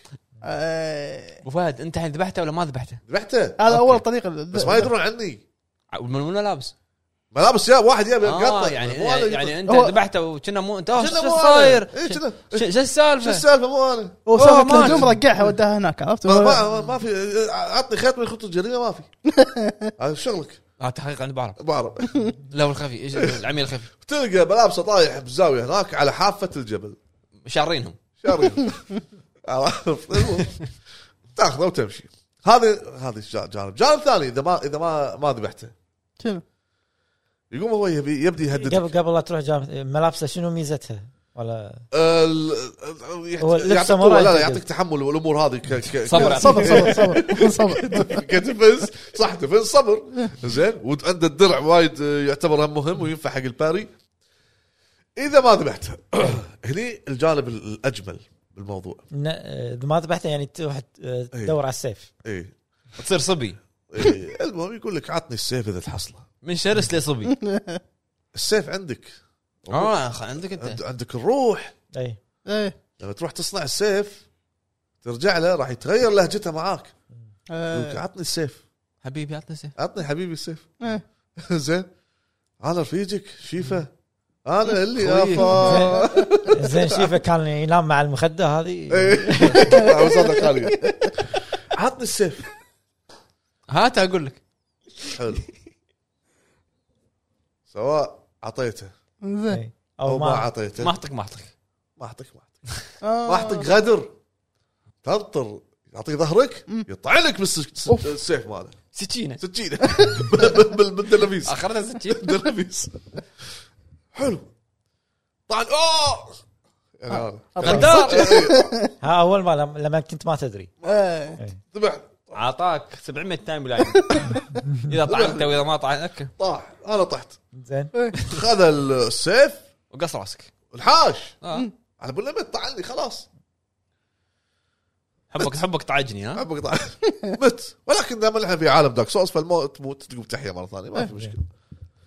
S2: آه،
S1: ابو فهد انت الحين ذبحته ولا ما ذبحته؟
S4: ذبحته
S2: هذا اول طريقه
S4: بس ما يدرون عني
S1: من منو لابس؟
S4: ملابس يا واحد يا
S1: اه
S4: يقطع.
S1: يعني
S4: مو أنا اللي
S1: يعني انت
S2: هو-
S1: ذبحته وكنا مو انت آه،
S4: كنا
S1: شو
S4: مو أنا.
S1: صاير؟
S4: إيه، كنا.
S1: شو شو
S4: شو
S1: السالفه؟
S4: السالفه مو انا
S2: هو
S1: أوه،
S2: سافك
S1: مات.
S2: الهجوم رقعها وداها هناك عرفت
S4: ما,
S2: هو-
S4: ما, ما في عطني خيط من خطوط الجريمه ما في هذا شغلك
S1: اه تحقيق عند بعرف
S4: بعرف
S1: لا والخفي ايش العميل الخفي
S4: تلقى ملابسه طايح بزاويه هناك على حافه الجبل
S1: شارينهم
S4: شارين عرفت المهم، تاخذه وتمشي هذا هذا الجا- جانب جانب ثاني اذا ما اذا ما ما ذبحته
S2: شنو؟
S4: يقوم هو يبي يبدي يهدد
S3: قبل قبل لا تروح جامعة ملابسه شنو ميزتها؟ ولا هو لبسه
S4: يعطيك
S3: مرة
S4: قوة، لا لا
S3: يعتقد.
S4: يعطيك تحمل والامور هذه ك- ك-
S1: صبر.
S2: صبر صبر صبر صبر
S4: كديفنس صح ديفنس صبر زين وعنده الدرع وايد آه، يعتبر هم مهم وينفع حق الباري اذا ما ذبحته هني الجانب ال- الاجمل بالموضوع
S3: ن- آه، إذا ما ذبحته يعني تروح آه، تدور على السيف
S4: ايه
S1: تصير صبي
S4: إيه، المهم يقول لك عطني السيف اذا تحصله
S1: من شرس لصبي
S4: السيف عندك
S1: اه خ- عندك انت
S4: عند- عندك الروح
S3: اي
S2: ايه
S4: لما تروح تصنع السيف ترجع له راح يتغير لهجته معاك يقول لك
S2: آه،
S4: عطني السيف
S1: حبيبي عطنا سيف
S4: عطني حبيبي السيف
S2: إيه.
S4: زين انا رفيجك شيفه انا اللي
S1: خويك.
S4: افا
S2: آه.
S3: زين شيفه كان ينام مع المخده هذه
S4: إيه. وصلنا خالية عطني السيف
S1: هات اقول لك
S4: حلو سواء اعطيته
S2: زين
S3: إي.
S4: او ما
S1: ما
S4: اعطيته
S1: اعطيك ما اعطيك
S4: ما اعطيك ما اعطيك
S2: آه،
S4: ما اعطيك غدر تنطر يعطيك ظهرك يطعنك بالسيف ماله
S1: سكينه
S4: سكينه بال- بال- بالدلافيس
S1: اخرتها سكينه
S4: بالدلافيس حلو طعن اوه يعني هذا.
S1: غدار
S3: ها اول ما لم- لما كنت ما تدري
S2: إيه.
S4: ذبح
S1: اعطاك 700 تايم لاين اذا طعنته واذا ما طعنك
S4: طاح انا طحت
S3: زين
S4: خذ السيف
S1: وقص راسك
S4: الحاش
S1: آه.
S4: على بالله طعني خلاص
S1: حبك حبك تعجني ها
S4: عمرك طبعا مت ولكن دام احنا في عالم دارك سولز فالموت تموت تقوم تحيا مره ثانيه ما في مشكله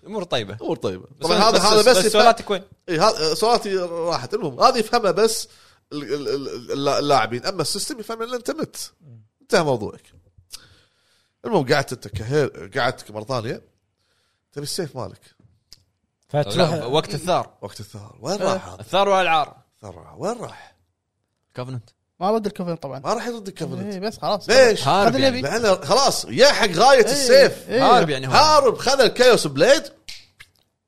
S1: امور طيبه
S4: امور طيبه طبعا هذا هذا بس, يفهم-
S1: سؤالاتك وين؟
S4: إي، هذا سؤالاتي راحت المهم هذه يفهمها بس ال- ال- ال- اللا- اللاعبين اما السيستم يفهم ان انت مت انتهى موضوعك المهم قعدت انت كهير قعدت مره ثانيه تبي السيف مالك
S1: لا،
S3: فتروح
S1: وقت الثار
S4: وقت الثار وين راح هذا
S1: الثار والعار
S4: الثار راح. وين راح؟
S1: كفننت
S2: ما رد الكفن طبعا
S4: ما راح يرد الكفنت
S2: إيه، بس خلاص
S4: ليش؟
S1: هارب
S2: هذا
S1: يعني.
S2: اللي
S4: لانه خلاص يا حق غايه
S2: إيه،
S4: السيف
S2: إيه.
S1: هارب يعني هو
S4: هارب خذ الكايوس بليد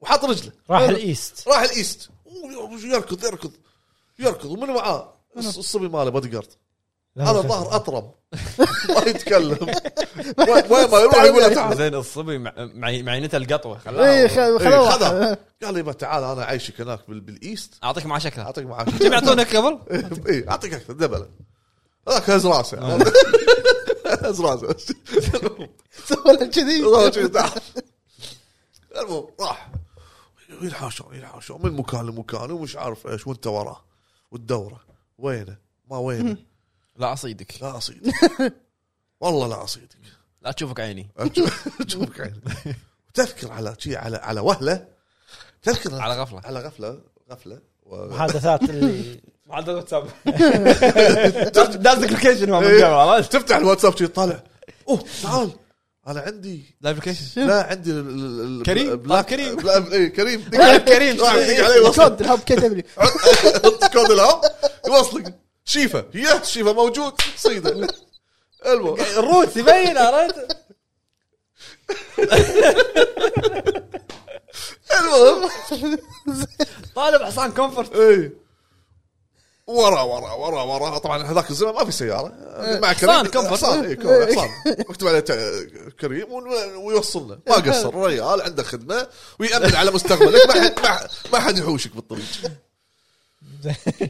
S4: وحط رجله
S3: راح الايست
S4: راح الايست يركض يركض يركض ومن معاه الصبي ماله بودي جارد هذا الظهر اطرب ما يتكلم وين- وين ما يروح يقول له تعال
S1: زين الصبي مع- مع- معينته القطوه
S2: ايه
S1: خلاها
S2: خ-
S4: إيه،
S2: خلاص
S4: خذها قال لي ما تعال انا عايشك هناك بال- بالايست
S1: اعطيك مع شكلها
S4: اعطيك معاك
S1: كم يعطونك قبل؟
S4: اي اعطيك اكثر دبله هذاك هز راسه هز راسه
S2: سوى له كذي
S4: والله شوف تعال. المهم راح ينحاشون ينحاشون من مكان لمكان ومش عارف ايش وانت وراه والدوره وينه ما وينه
S1: لا اصيدك
S4: لا اصيدك والله لا اصيدك
S1: لا تشوفك عيني
S4: اشوفك عيني تذكر على شي على على وهله تذكر
S1: على غفله
S4: على غفله غفله و...
S3: محادثات اللي
S1: على الواتساب دازك لوكيشن هو من قبل عرفت؟
S4: تفتح الواتساب شي طالع اوه تعال انا عندي
S1: لايف لوكيشن
S4: لا عندي ال- ال- ال-
S1: كريم؟
S4: بلاك
S1: طيب كريم.
S4: بلا- إيه، كريم
S1: كريم. طيب.
S4: راح يدق علي وصل
S2: كود الهب كي دبليو
S4: حط كود الهب يوصلك شيفه يا شيفه موجود صيده المهم
S1: الروت يبين عرفت؟
S4: المهم
S1: طالب حصان كومفورت
S4: اي إيه. ورا ورا ورا ورا طبعا هذاك الزمن ما في سياره
S2: إيه.
S4: مع
S1: حصان
S4: كريم
S1: كبر.
S4: حصان إيه، كبر، حصان مكتوب عليه تا- كريم ون- ويوصلنا ما
S2: إيه.
S4: قصر ريال عنده خدمه ويامن على مستقبلك ما حد ما حد- ما حد يحوشك بالطريق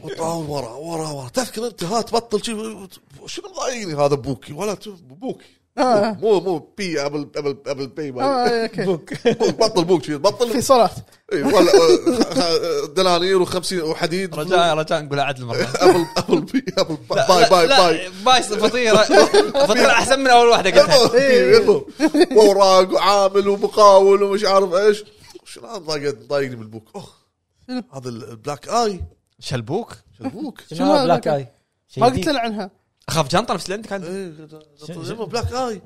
S4: وطال ورا ورا ورا تذكر انت ها تبطل شي- شنو مضايقني هذا بوكي ولا ت- بوكي
S2: آه.
S4: مو مو بي ابل ابل ابل بي ولا-
S2: آه، اوكي
S3: بوك
S4: بوك، بطل بوكي
S2: في
S4: بطل
S2: صلاه
S4: إي، ولا- آه، خ- دنانير و50 وحديد
S1: رجاء رجاء نقول عدل مره
S4: ابل ابل بي ابل باي
S1: لا،
S4: باي
S1: لا،
S4: باي
S1: باي فطيره فطيره احسن من اول واحده قلتها
S4: يلا واوراق وعامل ومقاول ومش عارف ايش شنو هذا ضايق- ضايقني بالبوك اخ هذا البلاك اي
S1: شلبوك
S4: البوك
S3: شنو هذا بلاك اي شيء
S2: ما
S3: جديد.
S2: قلت لنا عنها
S1: اخاف جنطه نفس اللي عندك عندي.
S4: إيه، اسمه بلاك اي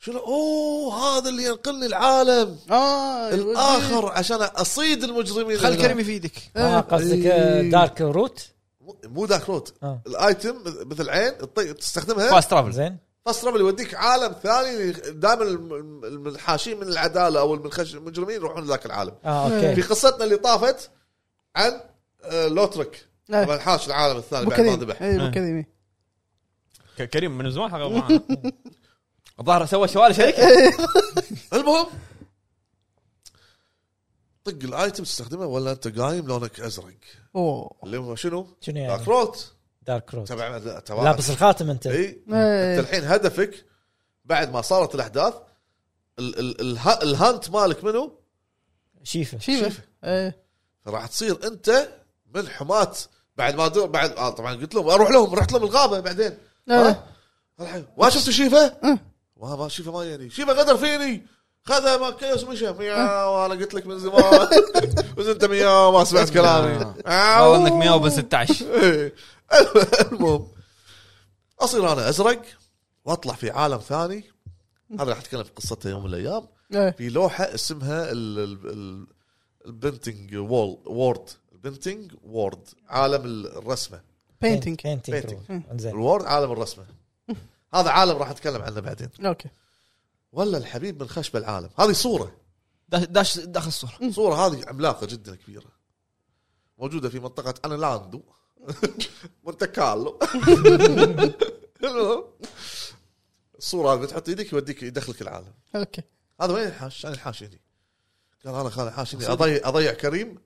S4: شنو اوه هذا اللي ينقلني العالم
S2: اه
S4: الاخر عشان اصيد المجرمين
S1: أيوة، إيه. خل
S4: هنا.
S1: كريم يفيدك
S3: آه، قصدك آه، دارك روت
S4: مو- مو ذاك روت
S3: آه.
S4: الايتم مثل عين تطي- تستخدمها
S1: فاست ترافل
S3: زين
S4: فاست ترافل يوديك عالم ثاني دائما المنحاشين من العداله او المنخش- المجرمين يروحون لذاك العالم
S3: اه
S4: في
S3: اوكي
S4: قصتنا اللي طافت عن آه، لوترك
S2: إيه.
S4: طبعا حاش العالم الثاني
S2: ابو
S4: بعد ما
S2: كريم
S4: ذبح
S2: اي ابو كريم إيه. إي.
S1: ك- كريم من زمان حقق معانا. الظاهر سوى شوال شركه
S4: المهم طق الايتم تستخدمه ولا انت قايم لونك ازرق
S2: اوه
S4: اللي هو شنو؟
S3: شنو يعني؟
S4: دارك روت
S3: دارك روت
S4: تبع تبع
S3: لابس الخاتم انت
S4: اي
S2: إيه.
S4: انت الحين هدفك بعد ما صارت الاحداث ال ال اله- الهانت مالك منو؟
S3: شيفه
S2: شيفه إيه.
S4: راح تصير انت من حماة بعد ما دو بعد آه طبعا قلت لهم اروح لهم رحت لهم الغابه بعدين
S2: آه.
S4: ها؟ الحين ما شفت شيفه؟
S2: أه.
S4: ما ما شيفه ما يعني شيفه غدر فيني خذ ما كيس ومشى مياو انا قلت لك من زمان بس انت مياو ما سمعت كلامي آه،
S1: والله انك 116
S4: إيه. المهم اصير انا ازرق واطلع في عالم ثاني هذا راح اتكلم في قصته يوم من الايام
S2: إيه.
S4: في لوحه اسمها ال- ال- ال- البنتنج وول وورد البنتنج وورد عالم الرسمه
S2: بينتينج
S3: بينتينج
S4: بينتينج.
S3: روت. زين
S4: الوورد عالم الرسمه هذا عالم راح اتكلم عنه بعدين
S2: اوكي
S4: ولا الحبيب من خشب العالم هذه صوره
S1: داش- داش داخل الصوره
S4: صوره هذه عملاقه جدا كبيره موجوده في منطقه انلاندو مونت كارلو المهم، الصوره هذه بتحط ايدك يوديك يدخلك العالم
S2: اوكي
S4: هذا وين الحاش؟ انا الحاش هني قال انا خالي الحاش هني اضيع اضيع كريم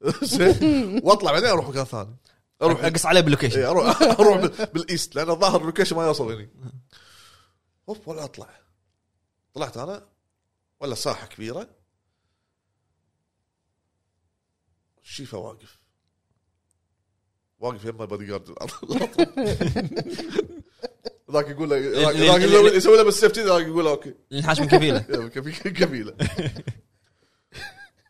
S4: زين واطلع بعدين اروح مكان ثاني اروح
S1: اقص عليه
S4: إيه،
S1: باللوكيشن
S4: اروح اروح بال- بالايست لان الظاهر اللوكيشن ما يوصل هني اوف ولا اطلع طلعت انا ولا ساحه كبيره شيفه واقف واقف يما بادي جارد ذاك يقول له ذاك يسوي له- يسوي له بالسيفتي ذاك يقول له اوكي
S1: الحاش من كفيله
S4: يلا، كفي- كفيله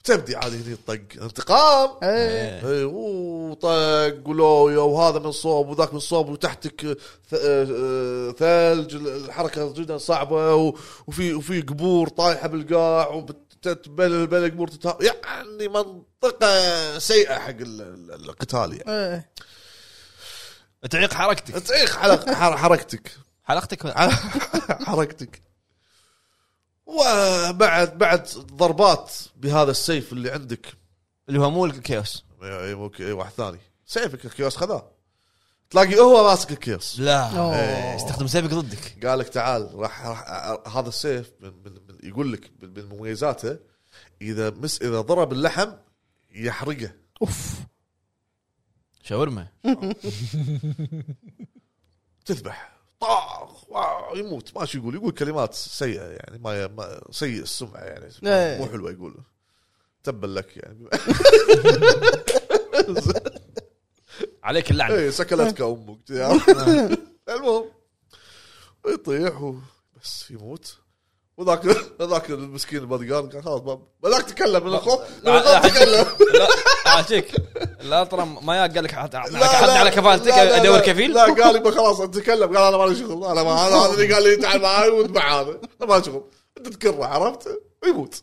S4: تبدي عادي هني الطق انتقام
S2: إيه.
S4: اي وطق ولويا وهذا من صوب وذاك من صوب وتحتك ث- آه، ثلج الحركه جدا صعبه و- وفي وفي قبور طايحه بالقاع وتتبلل بين القبور تتا- يعني منطقه سيئه حق ال- ال- القتال يعني
S2: إيه.
S1: تعيق حركتك
S4: تعيق على حر- حركتك
S1: حلقتك
S4: على حركتك وبعد بعد ضربات بهذا السيف اللي عندك
S1: اللي هو مو الكيوس
S4: اي ممكن اي إيه، واحد ثاني سيفك الكيوس خذاه تلاقي هو ماسك الكيوس
S1: لا إيه،
S2: أوه.
S1: استخدم سيفك ضدك
S4: قال لك تعال راح, راح أ- هذا السيف من من من يقول لك من من مميزاته اذا مس اذا ضرب اللحم يحرقه
S2: اوف
S1: شاورما
S4: تذبح طاخ واو، يموت ما شو يقول يقول كلمات سيئه يعني ما, ما سيء السمعه يعني
S2: إيه.
S4: مو حلوه يقول تبا لك يعني
S1: عليك اللعنه
S4: اي إيه، سكلتك امك المهم يطيح و- بس يموت وذاك ذاك المسكين البادي جارد قال خلاص ما- ذاك تكلم من الخوف من الخوف تكلم
S1: لا عاشيك لا ترى ما يا قال لك حد
S4: لا، لا،
S1: على كفالتك
S4: لا، لا، لا.
S1: ادور كفيل
S4: لا قال يبا خلاص اتكلم قال انا مالي شغل انا ما هذا هذا اللي قال لي تعال معاي واتبع هذا انا مالي شغل انت تكره عرفت ويموت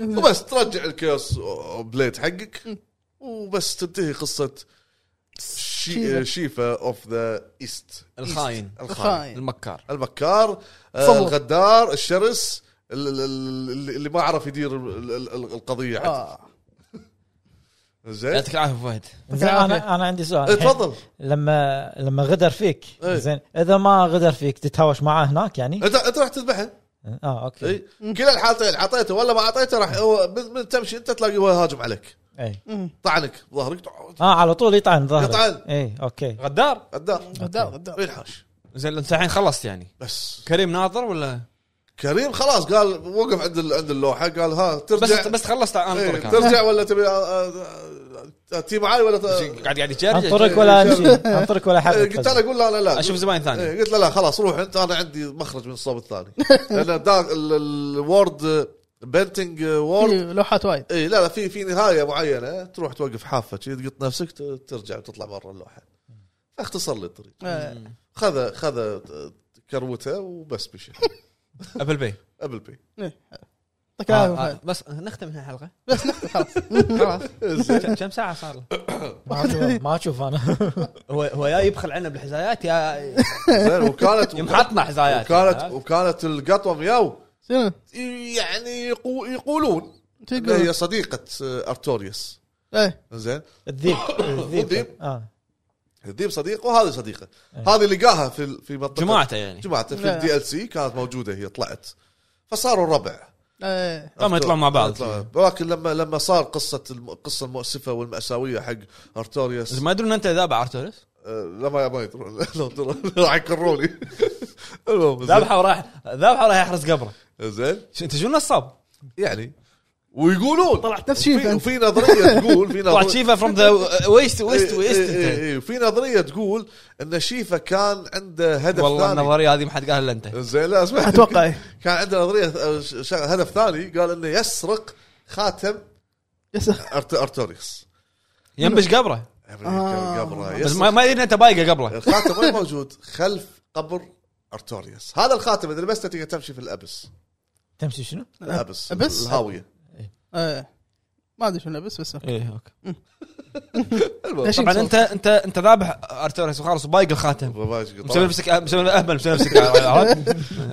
S4: وبس ترجع الكيوس بليد حقك وبس تنتهي قصه شي- شيفا اوف ذا ايست
S1: الخاين
S4: الخاين
S2: خاين
S1: المكار
S4: المكار آه
S2: صبور.
S4: الغدار الشرس آه. ال- ال- ال- اللي ما عرف يدير ال- ال- ال- القضيه عدل.
S2: آه.
S4: زين
S1: إيه. يعطيك العافيه فهد
S3: زين انا انا عندي سؤال
S4: إيه، تفضل
S3: لما لما غدر فيك
S4: إيه.
S3: زين اذا ما غدر فيك تتهاوش معاه هناك يعني
S4: انت انت راح تذبحه
S3: اه اوكي
S4: اي إيه؟ كلا الحالتين عطيته ولا ما عطيته راح هو من من تمشي انت تلاقيه هو هاجم عليك
S3: اي
S4: طعنك بظهرك
S3: اه إيه. على طول يطعن ظهرك إيه،
S4: يطعن. إيه،
S3: اي اوكي
S1: غدار
S4: غدار
S2: غدار غدار
S4: ينحاش
S1: زين انت الحين خلصت يعني
S4: بس
S1: كريم ناطر ولا
S4: كريم خلاص قال وقف عند ال- عند اللوحه قال ها
S1: بس
S4: ترجع
S1: بس خلصت عن
S4: إيه،
S1: طريق أنا.
S4: ترجع ولا تبي آه، آه، آه، تي معاي ولا ت-
S1: قاعد قاعد يتشرج
S3: انطرك ولا امشي انطرك ولا
S4: إيه،
S3: حد
S4: قلت انا اقول لا لا لا
S1: اشوف زباين ثاني
S4: إيه، قلت له لا خلاص روح انت انا عندي مخرج من الصوب الثاني لان دا- ال- ال- الوورد بنتنج وورد
S2: في لوحات إيه، وايد
S4: اي إيه، لا لا في في نهايه معينه تروح توقف حافه شي تقط نفسك ت- ترجع وتطلع برا اللوحه اختصر لي الطريق
S2: آه،
S4: خذ خذ كروته وبس مشي
S1: ابل بي
S4: ابل بي
S2: إيه. يعطيك العافيه فهد.
S1: آه، بس نختم هنا الحلقه
S2: بس نختم خلاص
S1: خلاص كم ساعه صار له؟
S3: ما أشوف- ما اشوف انا
S1: هو هو يا يبخل عنا بالحزايات يا
S4: زين وكانت
S1: يمحطنا حزايات
S4: وكانت وكانت القطوه مياو
S2: شنو؟
S4: يعني يقو- يقولون
S2: شو
S4: إنها هي
S2: تقول؟
S4: صديقه آه، ارتوريوس
S2: ايه
S4: زين
S3: الذيب
S4: الذيب.
S3: اه
S4: الذيب صديقه وهذه صديقه هذه لقاها في ال- في منطقه
S1: إيه. جماعته يعني
S4: جماعته في
S2: لا.
S4: الدي ال سي كانت موجوده هي طلعت فصاروا ربع
S2: ايه
S1: لما يطلعون مع بعض.
S4: يطلعون. ولكن لما لما صار قصه الم- القصه المؤسفه والماساويه حق ارتوريوس
S1: ما يدرون ان انت ذابح ارتورس
S4: آه، لما ما يدرون لو دروا- راح يكروني المهم زين.
S1: ذابحه وراح ذابحه وراح يحرس قبره
S4: زين
S1: ش- انت شو نصاب؟
S4: يعني ويقولون
S2: طلعت نفس شيفا
S4: وفي-
S2: أنت.
S4: وفي نظريه تقول في
S1: طلعت
S4: نظريه
S1: شيفا فروم ذا ويست ويست
S4: إيه،
S1: ويست
S4: إيه، إيه،
S1: انت
S4: إيه. في نظريه تقول ان شيفا كان عنده هدف
S1: والله
S4: ثاني
S1: النظريه هذه ما حد قالها الا انت
S4: زين لا اسمع
S2: اتوقع ايه
S4: كان عنده نظريه آه، ش- ش- هدف ثاني قال انه يسرق خاتم
S2: يس-
S4: أرت- ارتوريوس
S1: ينبش قبره
S2: آه.
S4: قبره
S1: بس
S4: يسرق
S1: ما, ما يدري انت بايقه قبره
S4: الخاتم وين موجود؟ خلف قبر ارتوريوس هذا الخاتم اذا لبسته تقدر تمشي في الابس
S3: تمشي شنو؟
S4: الابس
S2: أبس؟
S4: الهاويه
S2: ايه ما ادري شنو بس بس
S1: ايه اوكي
S4: المهم
S2: ليش
S1: طبعا
S2: يمسوي؟
S1: انت انت انت ذابح ارتورس وخلاص بايق الخاتم مسوي
S4: طبعاً.
S1: نفسك مسوي اهبل مسوي نفسك عرفت؟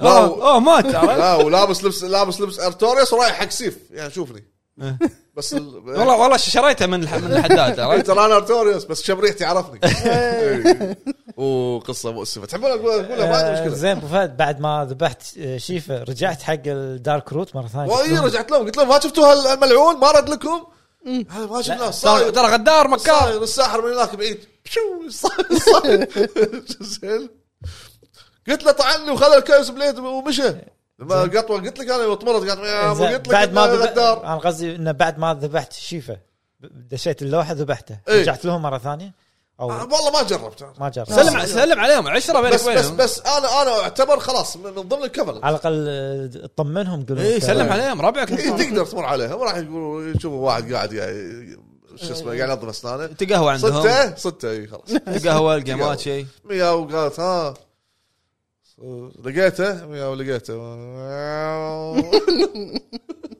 S1: اوه أوه، مات عرفت؟
S4: لا ولابس لبس لابس لبس ارتوريوس ورايح حق سيف يعني شوفني
S1: إيه.
S4: بس ال...
S1: والله والله شريته من الح- من الحداد
S4: إيه،
S1: عرفت؟
S4: ترى انا ارتوريوس بس شبريحتي عرفني إيه. وقصه مؤسفه تحبون اقول اقولها ما عندي
S3: آه،
S4: مشكله
S3: زين ابو فهد بعد ما ذبحت آه، شيفا رجعت حق الدارك روت مره ثانيه
S4: واي إيه، رجعت لهم قلت لهم ما شفتوا هال- الملعون ما رد لكم هذا ما شفناه
S1: ترى
S4: صاير
S1: ترى غدار مكار
S4: صاير الساحر من هناك بعيد شو صاير صاير زين. قلت له طعني وخذ الكايوس بليد ومشى ما قطوه قلت لك انا وطمرت قالت يا أبو
S3: زين،
S4: قلت لك
S3: بعد
S4: ما
S3: ما ذب-
S4: غدار
S3: انا قصدي انه بعد ما ذبحت شيفا ب- دشيت اللوحه ذبحته
S4: إيه.
S3: رجعت لهم مره ثانيه او
S4: آه، والله ما جربت أنا.
S3: ما جرب
S1: سلم ع- سلم عليهم عشره بينك
S4: بس بس
S1: وبينهم
S4: بس انا انا اعتبر خلاص من من ضمن الكفل
S3: على الاقل آه، طمنهم قول
S1: اي إيه، سلم عليهم ربعك
S4: إيه، تقدر تمر عليهم راح يقولوا يشوفوا واحد قاعد يعني شو اسمه قاعد ينظف اسنانه
S1: تقهوى عندهم
S4: صدته صدته اي خلاص
S1: تقهوى الجيمات شيء
S4: مياو قالت ها لقيته مياو لقيته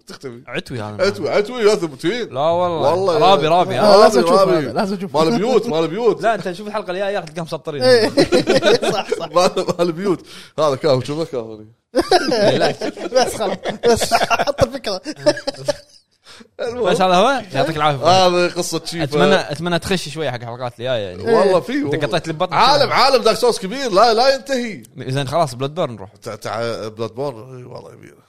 S4: تختفي
S1: عتوي هذا
S4: عتوي عتوي يا ثبتين
S1: لا والله
S4: والله.
S1: رابي رابي
S4: آه،
S2: آه، لازم
S4: رابي،
S2: اشوف
S4: رابي.
S2: هذا، لازم اشوف
S4: مال بيوت مال بيوت
S1: لا انت شوف الحلقه الجايه ياخذ تلقاهم مسطرين
S4: إيه.
S2: صح صح
S4: مال مال بيوت هذا كاهو شوف له كاهو
S2: بس خلاص بس حط الفكره
S4: المهم،
S1: بس هذا هو
S4: إيه.
S1: يعطيك العافيه
S4: هذا قصه شيفا
S1: اتمنى اتمنى تخش شويه حق الحلقات الجايه يعني
S4: والله في
S1: انت
S4: والله.
S1: قطيت لي ببطنك
S4: أيوه. عالم عالم دارك سوس كبير لا لا ينتهي
S1: زين خلاص بلاد بيرن نروح
S4: تع تع بلاد بورن إي والله يبيله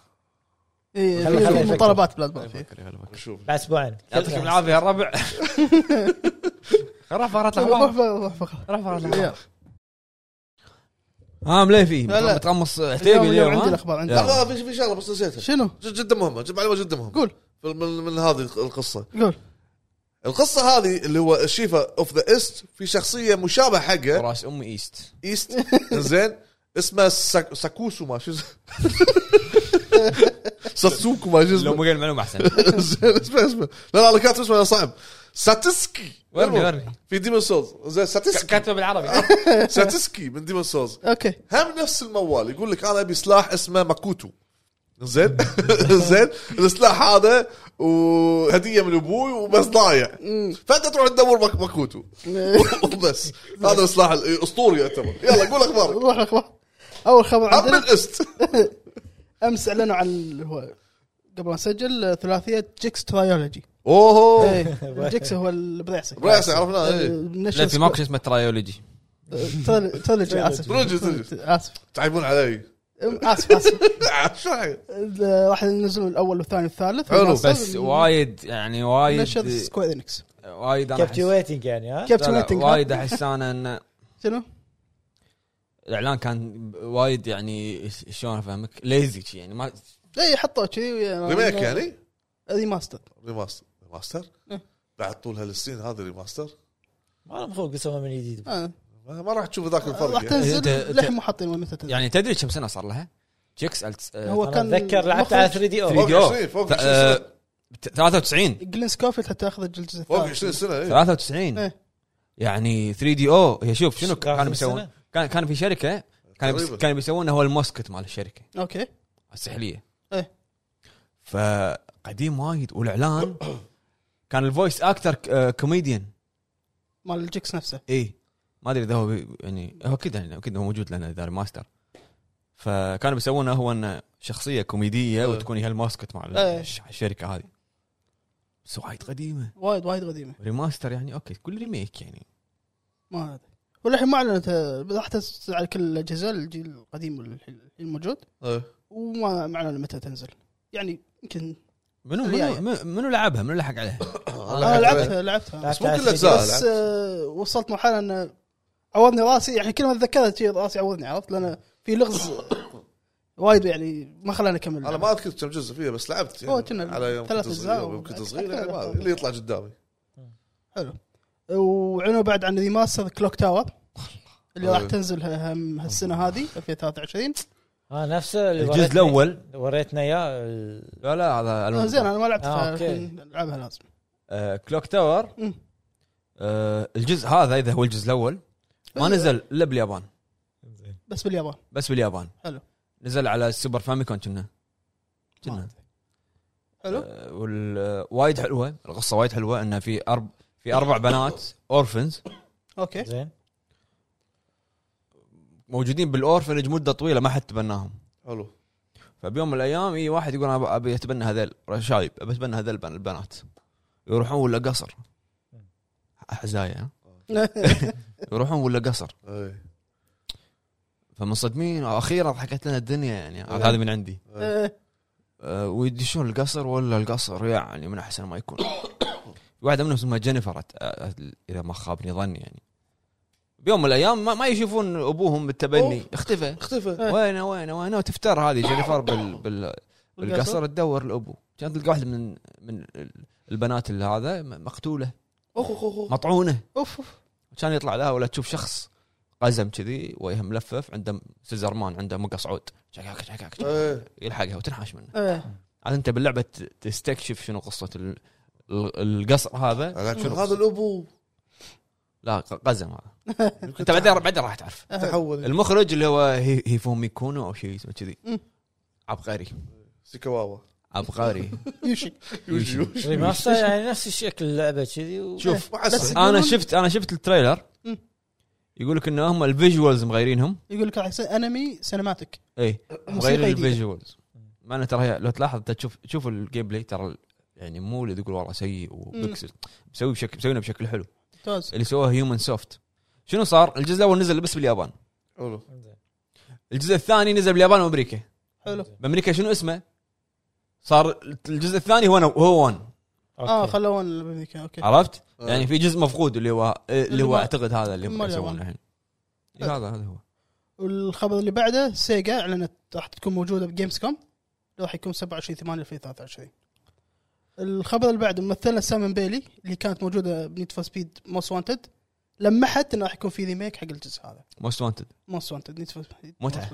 S2: إيه،
S3: خلي- خلي
S2: في
S3: الفكرة.
S2: مطالبات بلاد بورن فيه.
S4: نشوف
S3: بعد اسبوعين
S1: يعطيكم العافيه يا الربع روح فقرات
S2: روح
S1: الاخبار
S2: روح فقرة.
S1: روح فقرات الاخبار
S2: يلا.
S1: ها مليفي
S2: لا، لا.
S1: متقمص عتيبي
S2: اليوم
S1: اليوم
S2: اليوم
S1: ها؟
S2: عندي الاخبار عندي
S1: يلا.
S4: لا في في شغله بس نسيتها
S2: شنو؟
S4: ج- جدا مهمه ج- معلومه جدا مهمه
S2: قول.
S4: من من, من هذه القصه
S2: قول
S4: القصه هذه اللي هو شيفا اوف ذا ايست في شخصيه مشابهه حقه
S1: راس امي ايست
S4: ايست زين اسمه ساك... ساكوسو ما شو اسمه ساتسوكو ما شو
S1: لو مو
S4: اسمه
S1: قال المعلومه احسن
S4: زين اسمه اسمه لا لا انا كاتب اسمه صعب ساتسكي
S1: ورني
S4: المهم،
S1: ورني
S4: في ديمون سولز زين ساتسكي
S1: كاتبه بالعربي
S4: ساتسكي من ديمون سولز
S2: اوكي
S4: هم نفس الموال يقول لك انا ابي سلاح اسمه ماكوتو زين زين السلاح هذا وهديه من ابوي وبس ضايع فانت تروح تدور ماك- ماكوتو وبس هذا السلاح الاسطوري يعتبر يلا قول اخبارك
S2: نروح الاخبار اول خبر
S4: هم
S2: عندنا
S4: الاست
S2: امس اعلنوا عن اللي هو قبل ما نسجل آه، ثلاثيه جيكس ترايولوجي
S4: اوه
S2: إيه، جيكس هو البضيعسي
S4: بريس عرفناه إيه.
S1: لا في
S2: البضيعسي
S1: ماكو شيء اسمه ترايولوجي
S2: ترايولوجي اسف
S4: ترايولوجي، ترايولوجي.
S2: اسف
S4: تعيبون علي
S2: أم، اسف اسف
S4: شو هاي؟
S2: آه، راح ينزلون الاول والثاني والثالث
S4: حلو.
S2: والماستر
S1: بس وايد يعني وايد
S2: نشر سكوير انكس
S1: وايد انا
S3: كابتي
S1: أحس-
S3: ويتنج يعني ها
S1: لا، لا،
S2: كابتن
S1: وايد احس انا انه
S2: شنو؟
S1: الاعلان كان وايد يعني ش- شلون افهمك ليزي شي يعني ما
S2: اي حطوه إيه، كذي
S4: ريميك يعني
S2: ريماستر
S4: ريماستر ريماستر
S2: إيه.
S4: بعد طول هالسنين هذا ريماستر
S3: ما لهم خلق يسوون من جديد
S2: آه.
S4: ما ما راح تشوف ذاك
S2: راح
S4: الفرق يعني.
S1: أنت- أنت-
S2: تنزل للحين مو حاطين وين متى تنزل
S1: يعني تدري كم سنه صار لها؟ جيكس ألت- آه،
S2: هو
S3: انا
S2: كان
S3: اتذكر لعبت على 3 دي او
S4: فوق
S1: فيديو. فيديو.
S4: 20 فوق
S1: ت-
S4: 20
S1: آه،
S4: سنه
S1: ت- 93
S2: جلين سكوفيلد حتى اخذ الجزء
S4: فوق
S2: الثالث
S4: 20 سنه إيه.
S1: 93
S2: إيه.
S1: يعني 3 دي او هي شوف شنو
S3: شو كان
S1: كانوا
S3: في
S1: بيسوون
S3: السنة؟
S1: كان كان في شركه كانوا بيس-
S4: تقريباً.
S1: كانوا بيسوونه هو الموسكت مال الشركه
S2: اوكي
S1: السحليه
S2: إيه.
S1: فقديم وايد والاعلان كان الفويس اكتر آه، كوميديان
S2: مال الجيكس نفسه
S1: اي ما ادري اذا هو بي- يعني هو كذا يعني اكيد هو موجود لانه داري ماستر فكانوا بيسوونه هو انه شخصيه كوميديه
S2: إيه.
S4: أه.
S1: وتكون هي الماسكت مع ال-
S2: أه.
S1: الش- الشركه هذه بس وايد قديمه
S2: وايد وايد قديمه
S1: ريماستر يعني اوكي كل ريميك يعني
S2: ما ادري والحين ما اعلنت آه، راح تنزل على كل الاجهزه الجيل القديم والحين الموجود
S1: آه.
S4: إيه.
S2: وما ما اعلن متى تنزل يعني يمكن
S1: منو
S2: الرياية.
S1: منو منو لعبها منو لحق عليها
S2: إيه، انا آه، لعبتها لعبتها
S4: بس مو كل
S3: لعبت على
S4: اجزاء
S2: بس
S4: لعبت.
S2: آه، وصلت مرحله ان عوضني راسي يعني كل ما اتذكرت شيء راسي عوضني عرفت لان في لغز وايد يعني ما خلاني اكمل
S4: انا ما اذكر كم جزء فيها بس لعبت يعني
S2: هو كنا
S4: على يوم
S2: ثلاث
S4: كنت
S2: أجزاء
S4: صغير يوم كنت
S2: وأكثر
S4: صغير يعني ما
S2: أكثر.
S4: أدري. اللي يطلع قدامي
S2: وعنوا بعد عن ريماستر كلوك تاور اللي راح
S4: أيوه.
S2: تنزل ه- هم هالسنه هذه 2023
S3: اه نفسه اللي
S1: الجزء
S3: وريتني-
S1: الاول
S3: وريتنا اياه ال-
S1: لا لا هذا
S2: آه،
S1: ألون.
S2: زين انا ما لعبت
S3: آه، أوكي.
S2: فالحين العبها لازم
S1: آه، كلوك تاور
S2: مم.
S1: آه، الجزء هذا اذا هو الجزء الاول
S2: إيه.
S1: ما نزل الا باليابان
S2: بس باليابان
S1: بس باليابان
S2: حلو.
S1: نزل على السوبر فاميكون كنا
S2: ما
S1: كنا
S2: أدري. حلو
S1: آه، وال- آه، وايد حلوه القصه وايد حلوه انه في ارب في اربع بنات اورفنز
S2: اوكي
S3: زين
S1: موجودين بالاورفنج مده طويله ما حد تبناهم
S4: حلو
S1: فبيوم من الايام اي واحد يقول انا أبي- ابي اتبنى هذيل شايب ابي اتبنى هذيل البن- البنات يروحون ولا قصر حزايا ها؟ يروحون ولا قصر
S4: إيه.
S1: فمنصدمين اخيرا ضحكت لنا الدنيا يعني هذا من عندي
S2: آه،
S1: أه، ويدشون القصر ولا القصر يعني من احسن ما يكون واحده منهم اسمها جينيفر أت- أه، اذا ما خابني ظني يعني بيوم من الايام ما, ما يشوفون ابوهم بالتبني اختفى
S4: اختفى
S1: وينه وينه وينه وتفتر هذه جينيفر بال بال بالقصر تدور الابو كانت تلقى واحده من من ال- البنات اللي هذا م- مقتوله
S2: اوف اوف اوف
S1: مطعونه
S2: اوف اوف
S1: كان يطلع لها ولا تشوف شخص قزم كذي وجهه ملفف عنده سيزرمان عنده مقص عود شكاك شكاك شكاك.
S4: إيه.
S1: يلحقها وتنحاش منه
S2: إيه.
S1: عاد انت باللعبه ت- تستكشف شنو قصه ال- ال- القصر هذا
S4: أنا
S1: شنو
S4: أقول هذا
S1: قصة؟
S4: الابو
S1: لا ق- قزم هذا انت بعدين بعدين راح تعرف
S4: تحول
S1: المخرج اللي هو هي- هيفو ميكونو او شيء اسمه كذي
S2: مم.
S1: عبقري
S4: سيكاواوا
S1: عبقري
S2: يوشي
S4: يوشي يوشي
S3: ريماستر يعني نفس الشكل اللعبه كذي و...
S1: شوف
S4: مع السلامة.
S2: إيه. بس-
S1: انا
S2: يقولون-
S1: شفت انا شفت التريلر
S2: مم.
S1: يقول لك ان هم الفيجوالز مغيرينهم
S2: يقول لك راح يصير انمي سينماتيك
S1: اي
S2: موسيقى
S1: مغيرين
S2: جديدة.
S1: الفيجوالز مع انه ترى هي- لو تلاحظ انت تشوف شوف الجيم بلاي ترى ال- يعني مو اللي تقول والله سيء وبكسل مسوي بشكل مسوينه بشكل حلو
S2: ممتاز
S1: اللي سواه هيومن سوفت شنو صار؟ الجزء الاول نزل بس باليابان
S4: حلو
S3: زين.
S1: الجزء الثاني نزل باليابان وامريكا
S2: حلو
S1: بامريكا شنو اسمه؟ صار الجزء الثاني هو هو 1
S2: اه
S3: أوكي.
S2: خلوه الامريكا اوكي
S1: عرفت؟
S4: آه.
S1: يعني في جزء مفقود اللي هو اللي هو
S2: ما-
S1: اعتقد هذا اللي
S2: ما
S1: يسوونه
S2: اليابان.
S1: الحين إي، هذا هذا هو
S2: والخبر اللي بعده سيجا اعلنت راح تكون موجوده بجيمز كوم راح يكون 27 8 2023 الخبر اللي بعده ممثله سامن بيلي اللي كانت موجوده بنيت فور سبيد موست وانتد لمحت انه راح يكون في ريميك حق الجزء هذا
S1: موست وانتد
S2: موست وانتد نيت فور سبيد
S1: متعة.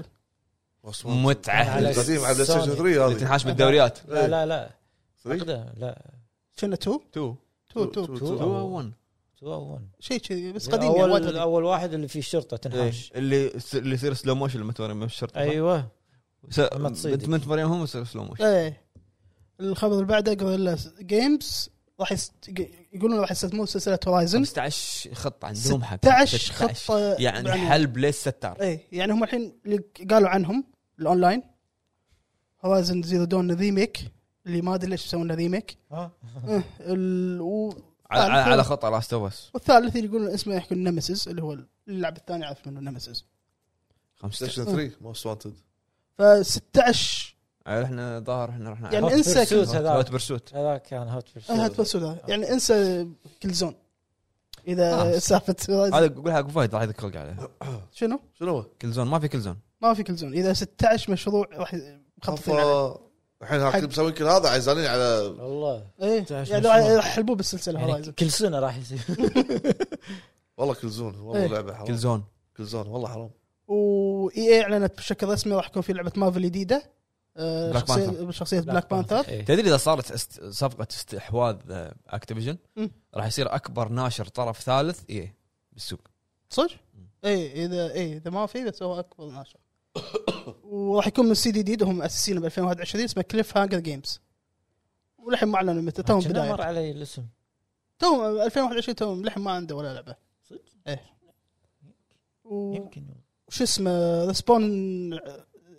S4: عثمان.
S1: متعه
S3: على
S4: القديم على بلاي ستيشن
S3: سوني.
S4: 3
S1: اللي
S4: هذه
S1: تنحاش بالدوريات
S3: لا لا لا
S4: ثري؟
S3: أقدم، لا
S2: شنو 2
S1: 2
S2: 2 2
S4: تو-
S1: 2
S3: أول.
S1: 1
S3: تو اول
S2: شيء كذي بس قديم يعني وايد
S3: اول
S2: قديم.
S3: اول واحد اللي فيه الشرطه
S4: إيه.
S3: تنحاش
S1: إيه. اللي يصير- اللي يصير سلو موشن لما توري مش شرط
S3: ايوه
S1: س-
S3: لما تصيد.
S1: بنت- بنت مريم هم يصير سلو موشن
S2: ايه الخبر اللي بعده غوريلا جيمز راح يست... يقولون راح يستثمرون سلسله هورايزن
S1: 15 خطه عندهم حق
S2: 16 خطه
S1: يعني
S2: بعنوان.
S1: حلب للستار
S2: ايه يعني هم الحين اللي قالوا عنهم الاونلاين هورايزن زيرو دون ريميك اللي ما ادري ليش يسوون له ريميك
S3: ها
S2: إيه، ال- و-
S1: على, على,
S2: آه،
S1: على خطا لاست اوف اس
S2: والثالث اللي يقولون اسمه يحكون نمسيس اللي هو اللاعب الثاني عارف منه نمسيس
S4: ستيشن 3 موست وانتد
S2: ف16
S1: آه، احنا ظاهر احنا رحنا
S2: يعني
S3: Hot
S2: انسى
S3: Pursuit
S1: على-
S3: هذاك.
S1: Hot Pursuit.
S3: هذاك كان هوت
S2: آه، هات بس ولا. يعني انسى كل زون اذا
S1: آه.
S2: سالفه
S1: هذا قول حق أبو فهد راح يذكرك عليه
S2: شنو؟
S4: شنو هو؟
S1: كل زون ما في كل زون
S2: ما في كل زون اذا 16 مشروع راح مخططين عليه
S4: أفا. الحين هاك مسوين كل هذا عايزانين على
S3: والله
S2: ايه
S3: 16
S2: يعني
S3: مشروع.
S2: راح يحلبوه بالسلسله
S3: يعني
S2: هورايزن
S3: كل سنه راح يصير
S4: والله كل زون والله
S2: إيه.
S4: لعبه
S1: كل
S4: حرام
S1: زون
S4: كل زون والله حرام
S2: واي اي اعلنت E بشكل رسمي راح يكون في لعبه مارفل جديده آه،
S1: Black
S2: شخصية-
S1: Panther.
S2: بشخصيه بلاك بانثر
S3: إيه.
S1: تدري اذا صارت است... صفقه استحواذ آه، اكتيفيجن
S2: مم.
S1: راح يصير اكبر ناشر طرف ثالث ايه بالسوق
S2: صدق؟ إيه، اي اذا اي اذا ما في بس هو اكبر ناشر وراح يكون من سي دي جديد وهم مؤسسينه ب 2021 اسمه كليف هانجر جيمز ولحين ما اعلنوا متى
S1: آه،
S2: توهم
S3: كنا مر
S2: بدايه
S3: علي الاسم
S2: توهم 2021 توهم لحين ما عنده ولا لعبه
S3: صدق؟
S2: ايه و-
S3: يمكن
S2: وش اسمه ريسبون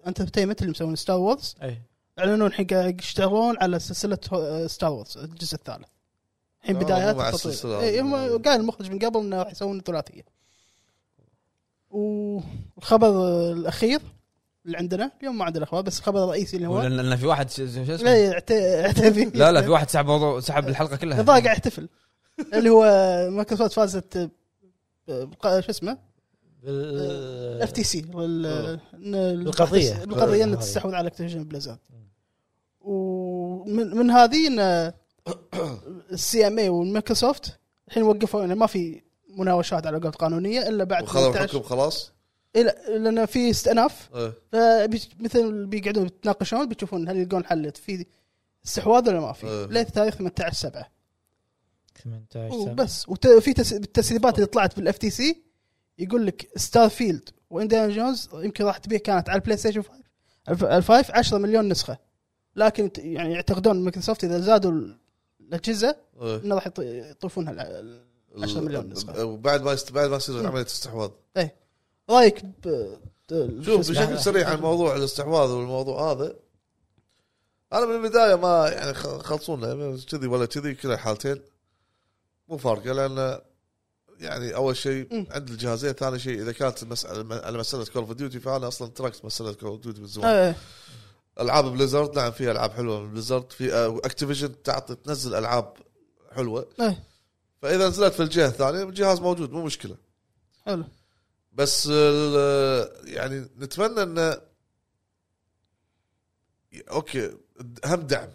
S2: انترتينمنت اللي مسوين ستار وورز
S3: ايه
S2: اعلنوا الحين قاعد يشتغلون على سلسله ستار وورز الجزء الثالث الحين
S4: آه،
S2: بدايات
S4: مو مع
S2: التطوير.
S4: السلسلة.
S2: إيه، هم قال المخرج من قبل انه راح يسوون ثلاثيه والخبر الاخير اللي عندنا اليوم ما عندنا اخبار بس الخبر الرئيسي اللي
S1: هو
S2: هو
S1: لان لأن في واحد ش- ش- شو اسمه
S2: أيوة. لا يعت- يعتذر
S1: لا لا في واحد سحب موضوع سحب الحلقه كلها
S2: الظاهر قاعد يحتفل اللي هو مايكروسوفت فازت ب- ب- شو اسمه
S3: بال
S2: اف تي سي
S3: القضية.
S2: القضيه ان
S3: هذه.
S2: تستحوذ على اكتيفيجن بليزرد ومن من هذه ان السي ام اي والمايكروسوفت الحين وقفوا انه ما في مناوشات على قول قانونيه الا بعد
S4: وخذوا
S2: 18
S4: الحكم خلاص
S2: إلا- لان في استئناف
S4: إيه.
S2: فمثل بيقعدون يتناقشون بيشوفون هل يلقون حل في استحواذ ولا ما في
S4: إيه.
S2: لين تاريخ 18 7
S3: 18 سنه
S2: وبس وفي التسريبات اللي طلعت بالاف تي سي يقول لك ستار فيلد وانديانا جونز يمكن راح تبيع كانت على البلاي ستيشن 5 الفايف 10 مليون نسخه لكن ت- يعني يعتقدون مايكروسوفت اذا زادوا ال- الاجهزه
S4: إيه.
S2: انه راح يط- يطوفونها الع- ال- 10 مليون نسخة. إيه.
S4: وبعد ما يست... بعد ما يصير عمليه استحواذ
S2: رايك إيه. ب ب- شو
S4: شوف
S2: اسمه؟ آه،
S4: بشكل سريع عن موضوع الاستحواذ والموضوع هذا انا من البدايه ما يعني خ- خلصونا كذي ولا كذي كلا الحالتين مو فارقه لان يعني اول شيء
S2: مم.
S4: عند الجهازين ثاني شيء اذا كانت المساله على مساله كول اوف ديوتي فانا اصلا تركت مساله كول اوف ديوتي من زمان
S2: إيه.
S4: العاب بليزرد نعم في العاب حلوه من بليزرد في اكتيفيجن تعطي تنزل العاب حلوه
S2: إيه.
S4: فاذا نزلت في الجهه الثانيه الجهاز موجود مو مشكله
S2: حلو
S4: بس ال- يعني نتمنى ان اوكي هم دعم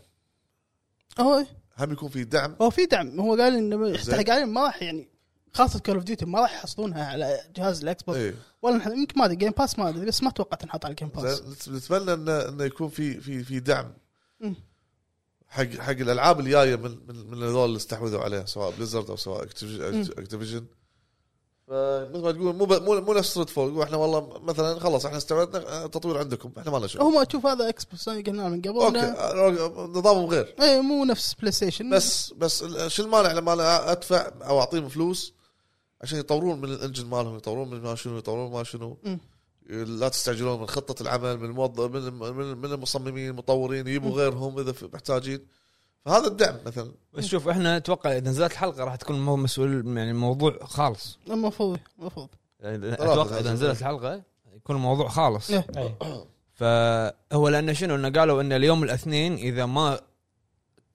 S2: هو
S4: هم يكون في دعم
S2: هو في دعم هو قال انه يحتاج
S4: زين.
S2: عليهم ما راح يعني خاصه كول اوف ديوتي ما راح يحصلونها على جهاز الاكس بوكس
S4: ايه
S2: ولا نح- يمكن ما ادري جيم باس ما ادري بس ما توقع تنحط على الجيم باس
S4: زين، نت- نتمنى ان انه يكون في في في دعم
S2: مم.
S4: حق حق الالعاب اللي جايه من من من هذول اللي استحوذوا عليها سواء بليزرد او سواء
S2: مم.
S4: أكتيفيج- اكتيفيجن فمثل ما تقول مو ب- مو مو نفس ريد فول احنا والله مثلا خلاص احنا استوعبنا التطوير عندكم احنا ما لنا شغل
S2: هم اشوف هذا اكس بوكس أنا قلنا من قبل
S4: اوكي
S2: إنه-
S4: نظامهم غير
S2: اي مو نفس بلاي ستيشن
S4: بس بس ال- شو المانع لما انا ادفع او اعطيهم فلوس عشان يطورون من الانجن مالهم يطورون من ما شنو يطورون ما شنو
S2: مم.
S4: لا تستعجلون من خطه العمل من الموظف من من, من المصممين المطورين يجيبوا غيرهم اذا في- محتاجين فهذا الدعم مثلا
S1: بس شوف احنا نتوقع اذا نزلت الحلقه راح تكون مو مسؤول يعني الموضوع خالص
S2: المفروض المفروض
S1: يعني اتوقع اذا نزلت الحلقه يكون الموضوع خالص
S2: إيه.
S3: إيه.
S1: فهو لانه شنو انه قالوا ان اليوم الاثنين اذا ما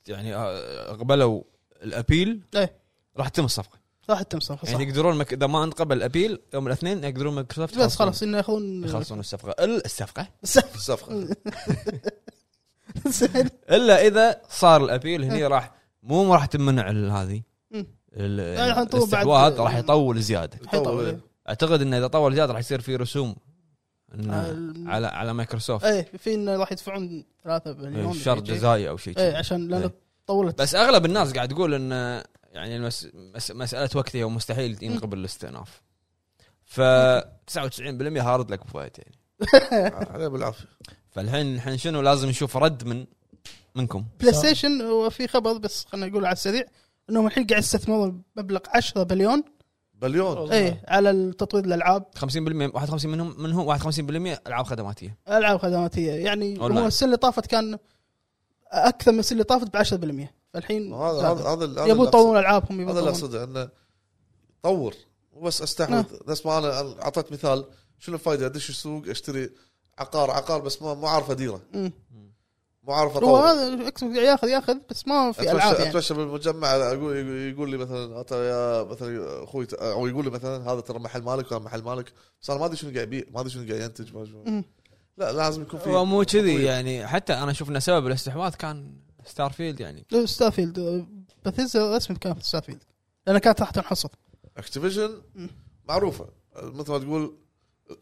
S1: يعني آه، قبلوا الابيل
S2: إيه.
S1: راح تتم الصفقه
S2: راح تتم صح
S1: يعني يقدرون مك... اذا ما انقبل الابيل يوم الاثنين يقدرون مايكروسوفت
S2: بس خلاص انه ياخذون
S1: يخلصون الصفقه ال- الصفقه
S4: في الصفقه
S2: زين.
S1: الا اذا صار الابيل هني راح مو ما راح تمنع ال- هذه
S2: إيه. مم. يعني
S1: ال-
S2: راح نطول بعد-
S1: الاستحواذ راح يطول زياده
S2: حيطول، إيه.
S1: اعتقد انه اذا طول زياده راح يصير في رسوم إنه
S2: على-
S1: نعم. على على مايكروسوفت
S2: ايه في انه راح يدفعون ثلاثة مليون
S1: شر
S2: شيء.
S1: جزائي او شيء
S2: ايه
S1: كذا.
S2: عشان لان
S1: إيه.
S2: طولت
S1: بس اغلب الناس قاعد تقول ان يعني المس... مس... مساله وقتيه ومستحيل ينقبل الاستئناف ف 99% هارد لك بفايت يعني
S4: عليه بالعافيه
S1: فالحين الحين شنو لازم نشوف رد من منكم
S2: بلاي ستيشن هو في خبر بس خلينا نقول على السريع انهم الحين قاعد يستثمرون مبلغ 10 بليون
S4: بليون
S2: ايه على تطوير الالعاب
S1: 50% 51 منهم منهم 51% العاب خدماتيه
S2: العاب خدماتيه يعني
S1: أونلاين.
S2: هو السنه اللي طافت كان اكثر من السنه اللي طافت ب 10% فالحين
S4: هذا هذا هذا اللي- هذا
S2: يبون
S4: اللي
S2: يطورون العابهم
S4: هذا
S2: يبون
S4: اللي
S2: يطورون.
S4: اقصده انه طور مو بس
S2: نعم.
S4: استحوذ نفس ما انا أنا اعطيت مثال شنو الفائده ادش السوق اشتري عقار عقار بس ما ما اعرف اديره
S2: أمم.
S4: مو عارف
S2: هو
S4: اطور
S2: هذا اكس بوكس ياخذ ياخذ بس ما في العاب
S4: اتمشى
S2: يعني
S4: اتمشى بالمجمع اقول يقول لي مثلا أت- يا مثلا اخوي ت- او يقول لي مثلا هذا ترى محل مالك وهذا محل مالك بس انا ما ادري شنو قاعد يبيع ما ادري شنو قاعد ينتج ما شنو-
S2: أمم.
S4: لا لازم يكون في
S1: هو مو كذي يعني حتى انا اشوف انه سبب الاستحواذ كان ستار فيلد يعني
S2: لو ستافيلد بثيزا اسمه كان في ستافيلد لانها كانت راح تنحصر
S4: اكتيفيجن معروفه مثل ما تقول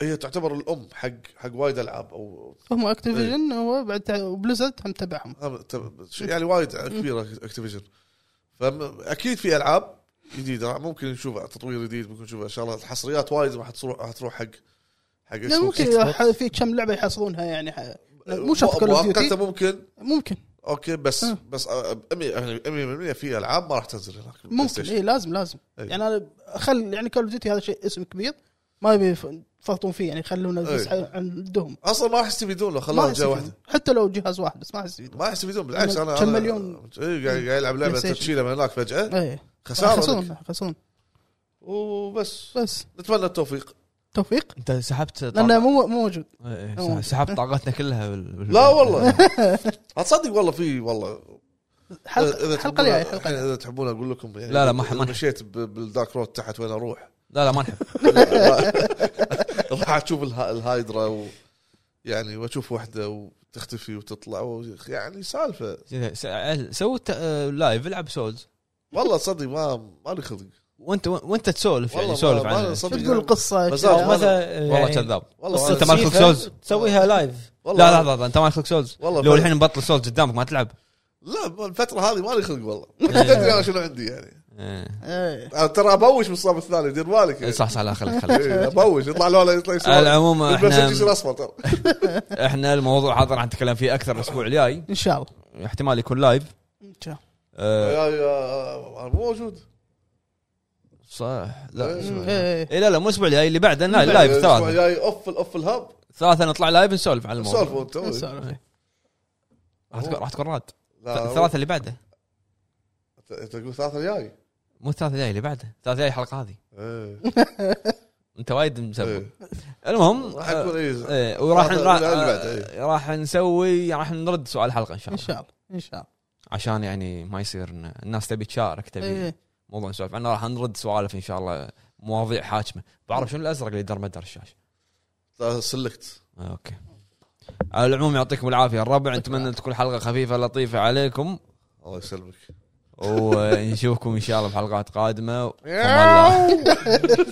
S4: هي تعتبر الام حق حق وايد العاب او
S2: هم
S4: إيه.
S2: اكتيفيجن وبعد تع- وبليزرد هم تبعهم
S4: هم- تب- شيء يعني وايد كبيره اكتيفيجن فاكيد في العاب جديده ممكن نشوف تطوير جديد ممكن نشوف ان شاء الله الحصريات وايد راح تروح راح تروح حق حق
S2: يعني
S4: Xbox.
S2: ممكن إذا ح- في كم لعبه يحصلونها يعني
S4: أه،
S2: ح- مو شرط كول اوف
S4: مؤقتة
S2: ديوتي
S4: ممكن
S2: ممكن
S4: اوكي بس
S2: أه.
S4: بس 100% في العاب ما راح تنزل هناك
S2: ممكن اي لازم لازم
S4: إيه.
S2: يعني انا خل يعني كول اوف ديوتي هذا شيء اسم كبير ما يبي يف- يفرطون فيه يعني يخلونا بس
S4: إيه.
S2: ع- عندهم
S4: اصلا ما راح يستفيدون لو
S2: ما
S4: خلوها
S2: أحس
S4: جهه
S2: يفيدون.
S4: واحده
S2: حتى لو جهاز واحد بس ما احس يفيدون.
S4: ما راح يستفيدون بالعكس
S2: كم
S4: انا
S2: مليون؟
S4: اي قاعد قاعد يلعب لعبه
S2: PlayStation.
S4: تشيله من هناك فجاه
S2: ايه
S4: خساره
S2: خسرون
S4: إيه. لك.
S2: خسرون
S4: وبس
S2: بس
S4: نتمنى التوفيق
S2: توفيق
S1: انت سحبت
S2: لانه مو مو موجود
S1: مو سحبت طاقتنا كلها بال... بال-
S4: لا والله اتصدق والله في والله
S2: حلقه الحلقه الجايه
S4: تحبون-
S2: حلقه الجاية.
S4: اذا تحبون اقول لكم يعني
S1: لا، لا، ما- ما-
S4: مشيت ب- بالدارك رود تحت وين اروح
S1: لا لا ما نحب
S4: راح اشوف الها- الهايدرا و يعني واشوف واحده وتختفي وتطلع و- يعني سالفه
S1: سوي الت- آه، لايف العب سولز
S4: والله تصدق ما ما لي
S1: يعني
S4: خلق
S1: وانت وانت تسولف
S4: والله
S1: يعني
S4: ما-
S1: سولف
S4: ما
S1: عن
S4: صدق. يعني.
S2: شو تقول القصه
S4: بس
S2: كذا؟
S4: أنا- والله-
S3: مثلا
S1: والله
S3: يعني
S1: كذاب
S4: والله
S1: قصة
S4: أنا-
S1: انت مالك
S3: سيفا
S1: سولز.
S3: تسويها لايف
S4: والله
S1: لا
S4: أنا-
S1: لحظه انت ما لك سولز
S4: والله
S1: لو
S4: فعلا.
S1: الحين بطل سولز قدامك ما تلعب
S4: لا الفتره هذه ما لي خلق والله تدري انا شنو عندي يعني
S1: إيه.
S2: إيه.
S4: أنا ترى ابوش بالصف الثاني دير بالك يعني.
S1: صح صح لا خليك خليك
S4: إيه، ابوش يطلع لونه يطلع
S1: على
S4: يسار
S1: العموم
S4: المسج يصير
S1: احنا
S4: اصفر ترى
S1: احنا الموضوع هذا راح نتكلم فيه اكثر الاسبوع الجاي
S2: ان شاء الله
S1: احتمال يكون لايف
S2: ان شاء الله
S1: أه
S4: يا يا أنا مو موجود
S1: صح لا
S2: إيه، إيه.
S1: اي لا لا مو الاسبوع الجاي اللي بعده لا، لايف
S4: الأسبوع
S1: ثلاثة
S4: الجاي اوف اوف الهب
S1: ثلاثة نطلع لايف نسولف عن
S4: سولف
S1: الموضوع
S4: انت
S2: إيه، سالفة.
S1: راح تكون راح تكون راد
S4: لا،
S1: الثلاثة اللي بعده
S4: أنت تقول ثلاثة الجاي
S1: مو الثلاثة الجاي اللي بعده الثلاثة الجاي الحلقة هذه
S4: إيه.
S1: انت وايد مسبب
S4: إيه.
S1: المهم
S4: راح
S1: أه،
S4: يكون إيه.
S1: إيه، وراح
S4: راح-
S1: راح-
S4: اللي بعده، إيه.
S1: راح نسوي راح نرد سؤال الحلقه ان شاء
S2: ان
S1: الله
S2: شاء الله ان شاء الله
S1: عشان يعني ما يصير إن الناس تبي تشارك تبي
S2: إيه.
S1: موضوع نسولف عنه راح نرد سوالف ان شاء الله مواضيع حاكمه بعرف شنو الازرق اللي در مدار الشاشه
S4: سلكت
S1: اوكي آه، على العموم يعطيكم العافيه الربع نتمنى تكون حلقه خفيفه لطيفه عليكم
S4: الله يسلمك
S1: ونشوفكم ان شاء الله بحلقات قادمه والله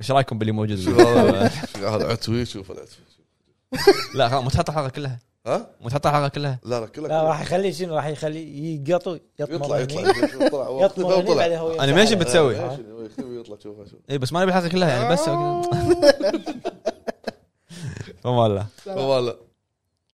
S1: ايش رايكم باللي موجود
S4: هذا عتوي شوف العتوي
S1: لا خلاص مو تحط الحلقه كلها
S4: ها
S1: مو تحط الحلقه كلها
S4: لا لا كله
S3: لا راح يخليه شنو راح يخليه يقطو يطمر
S4: يطلع يطلع
S3: هني.
S4: يطلع
S3: يطمر هني،
S4: يطلع
S3: بعدين هو يمسح
S1: انيميشن
S3: عليه.
S1: بتسوي
S4: يطلع يطلع شوف شوف
S1: اي بس ما نبي الحلقه كلها يعني بس فما الله
S4: والله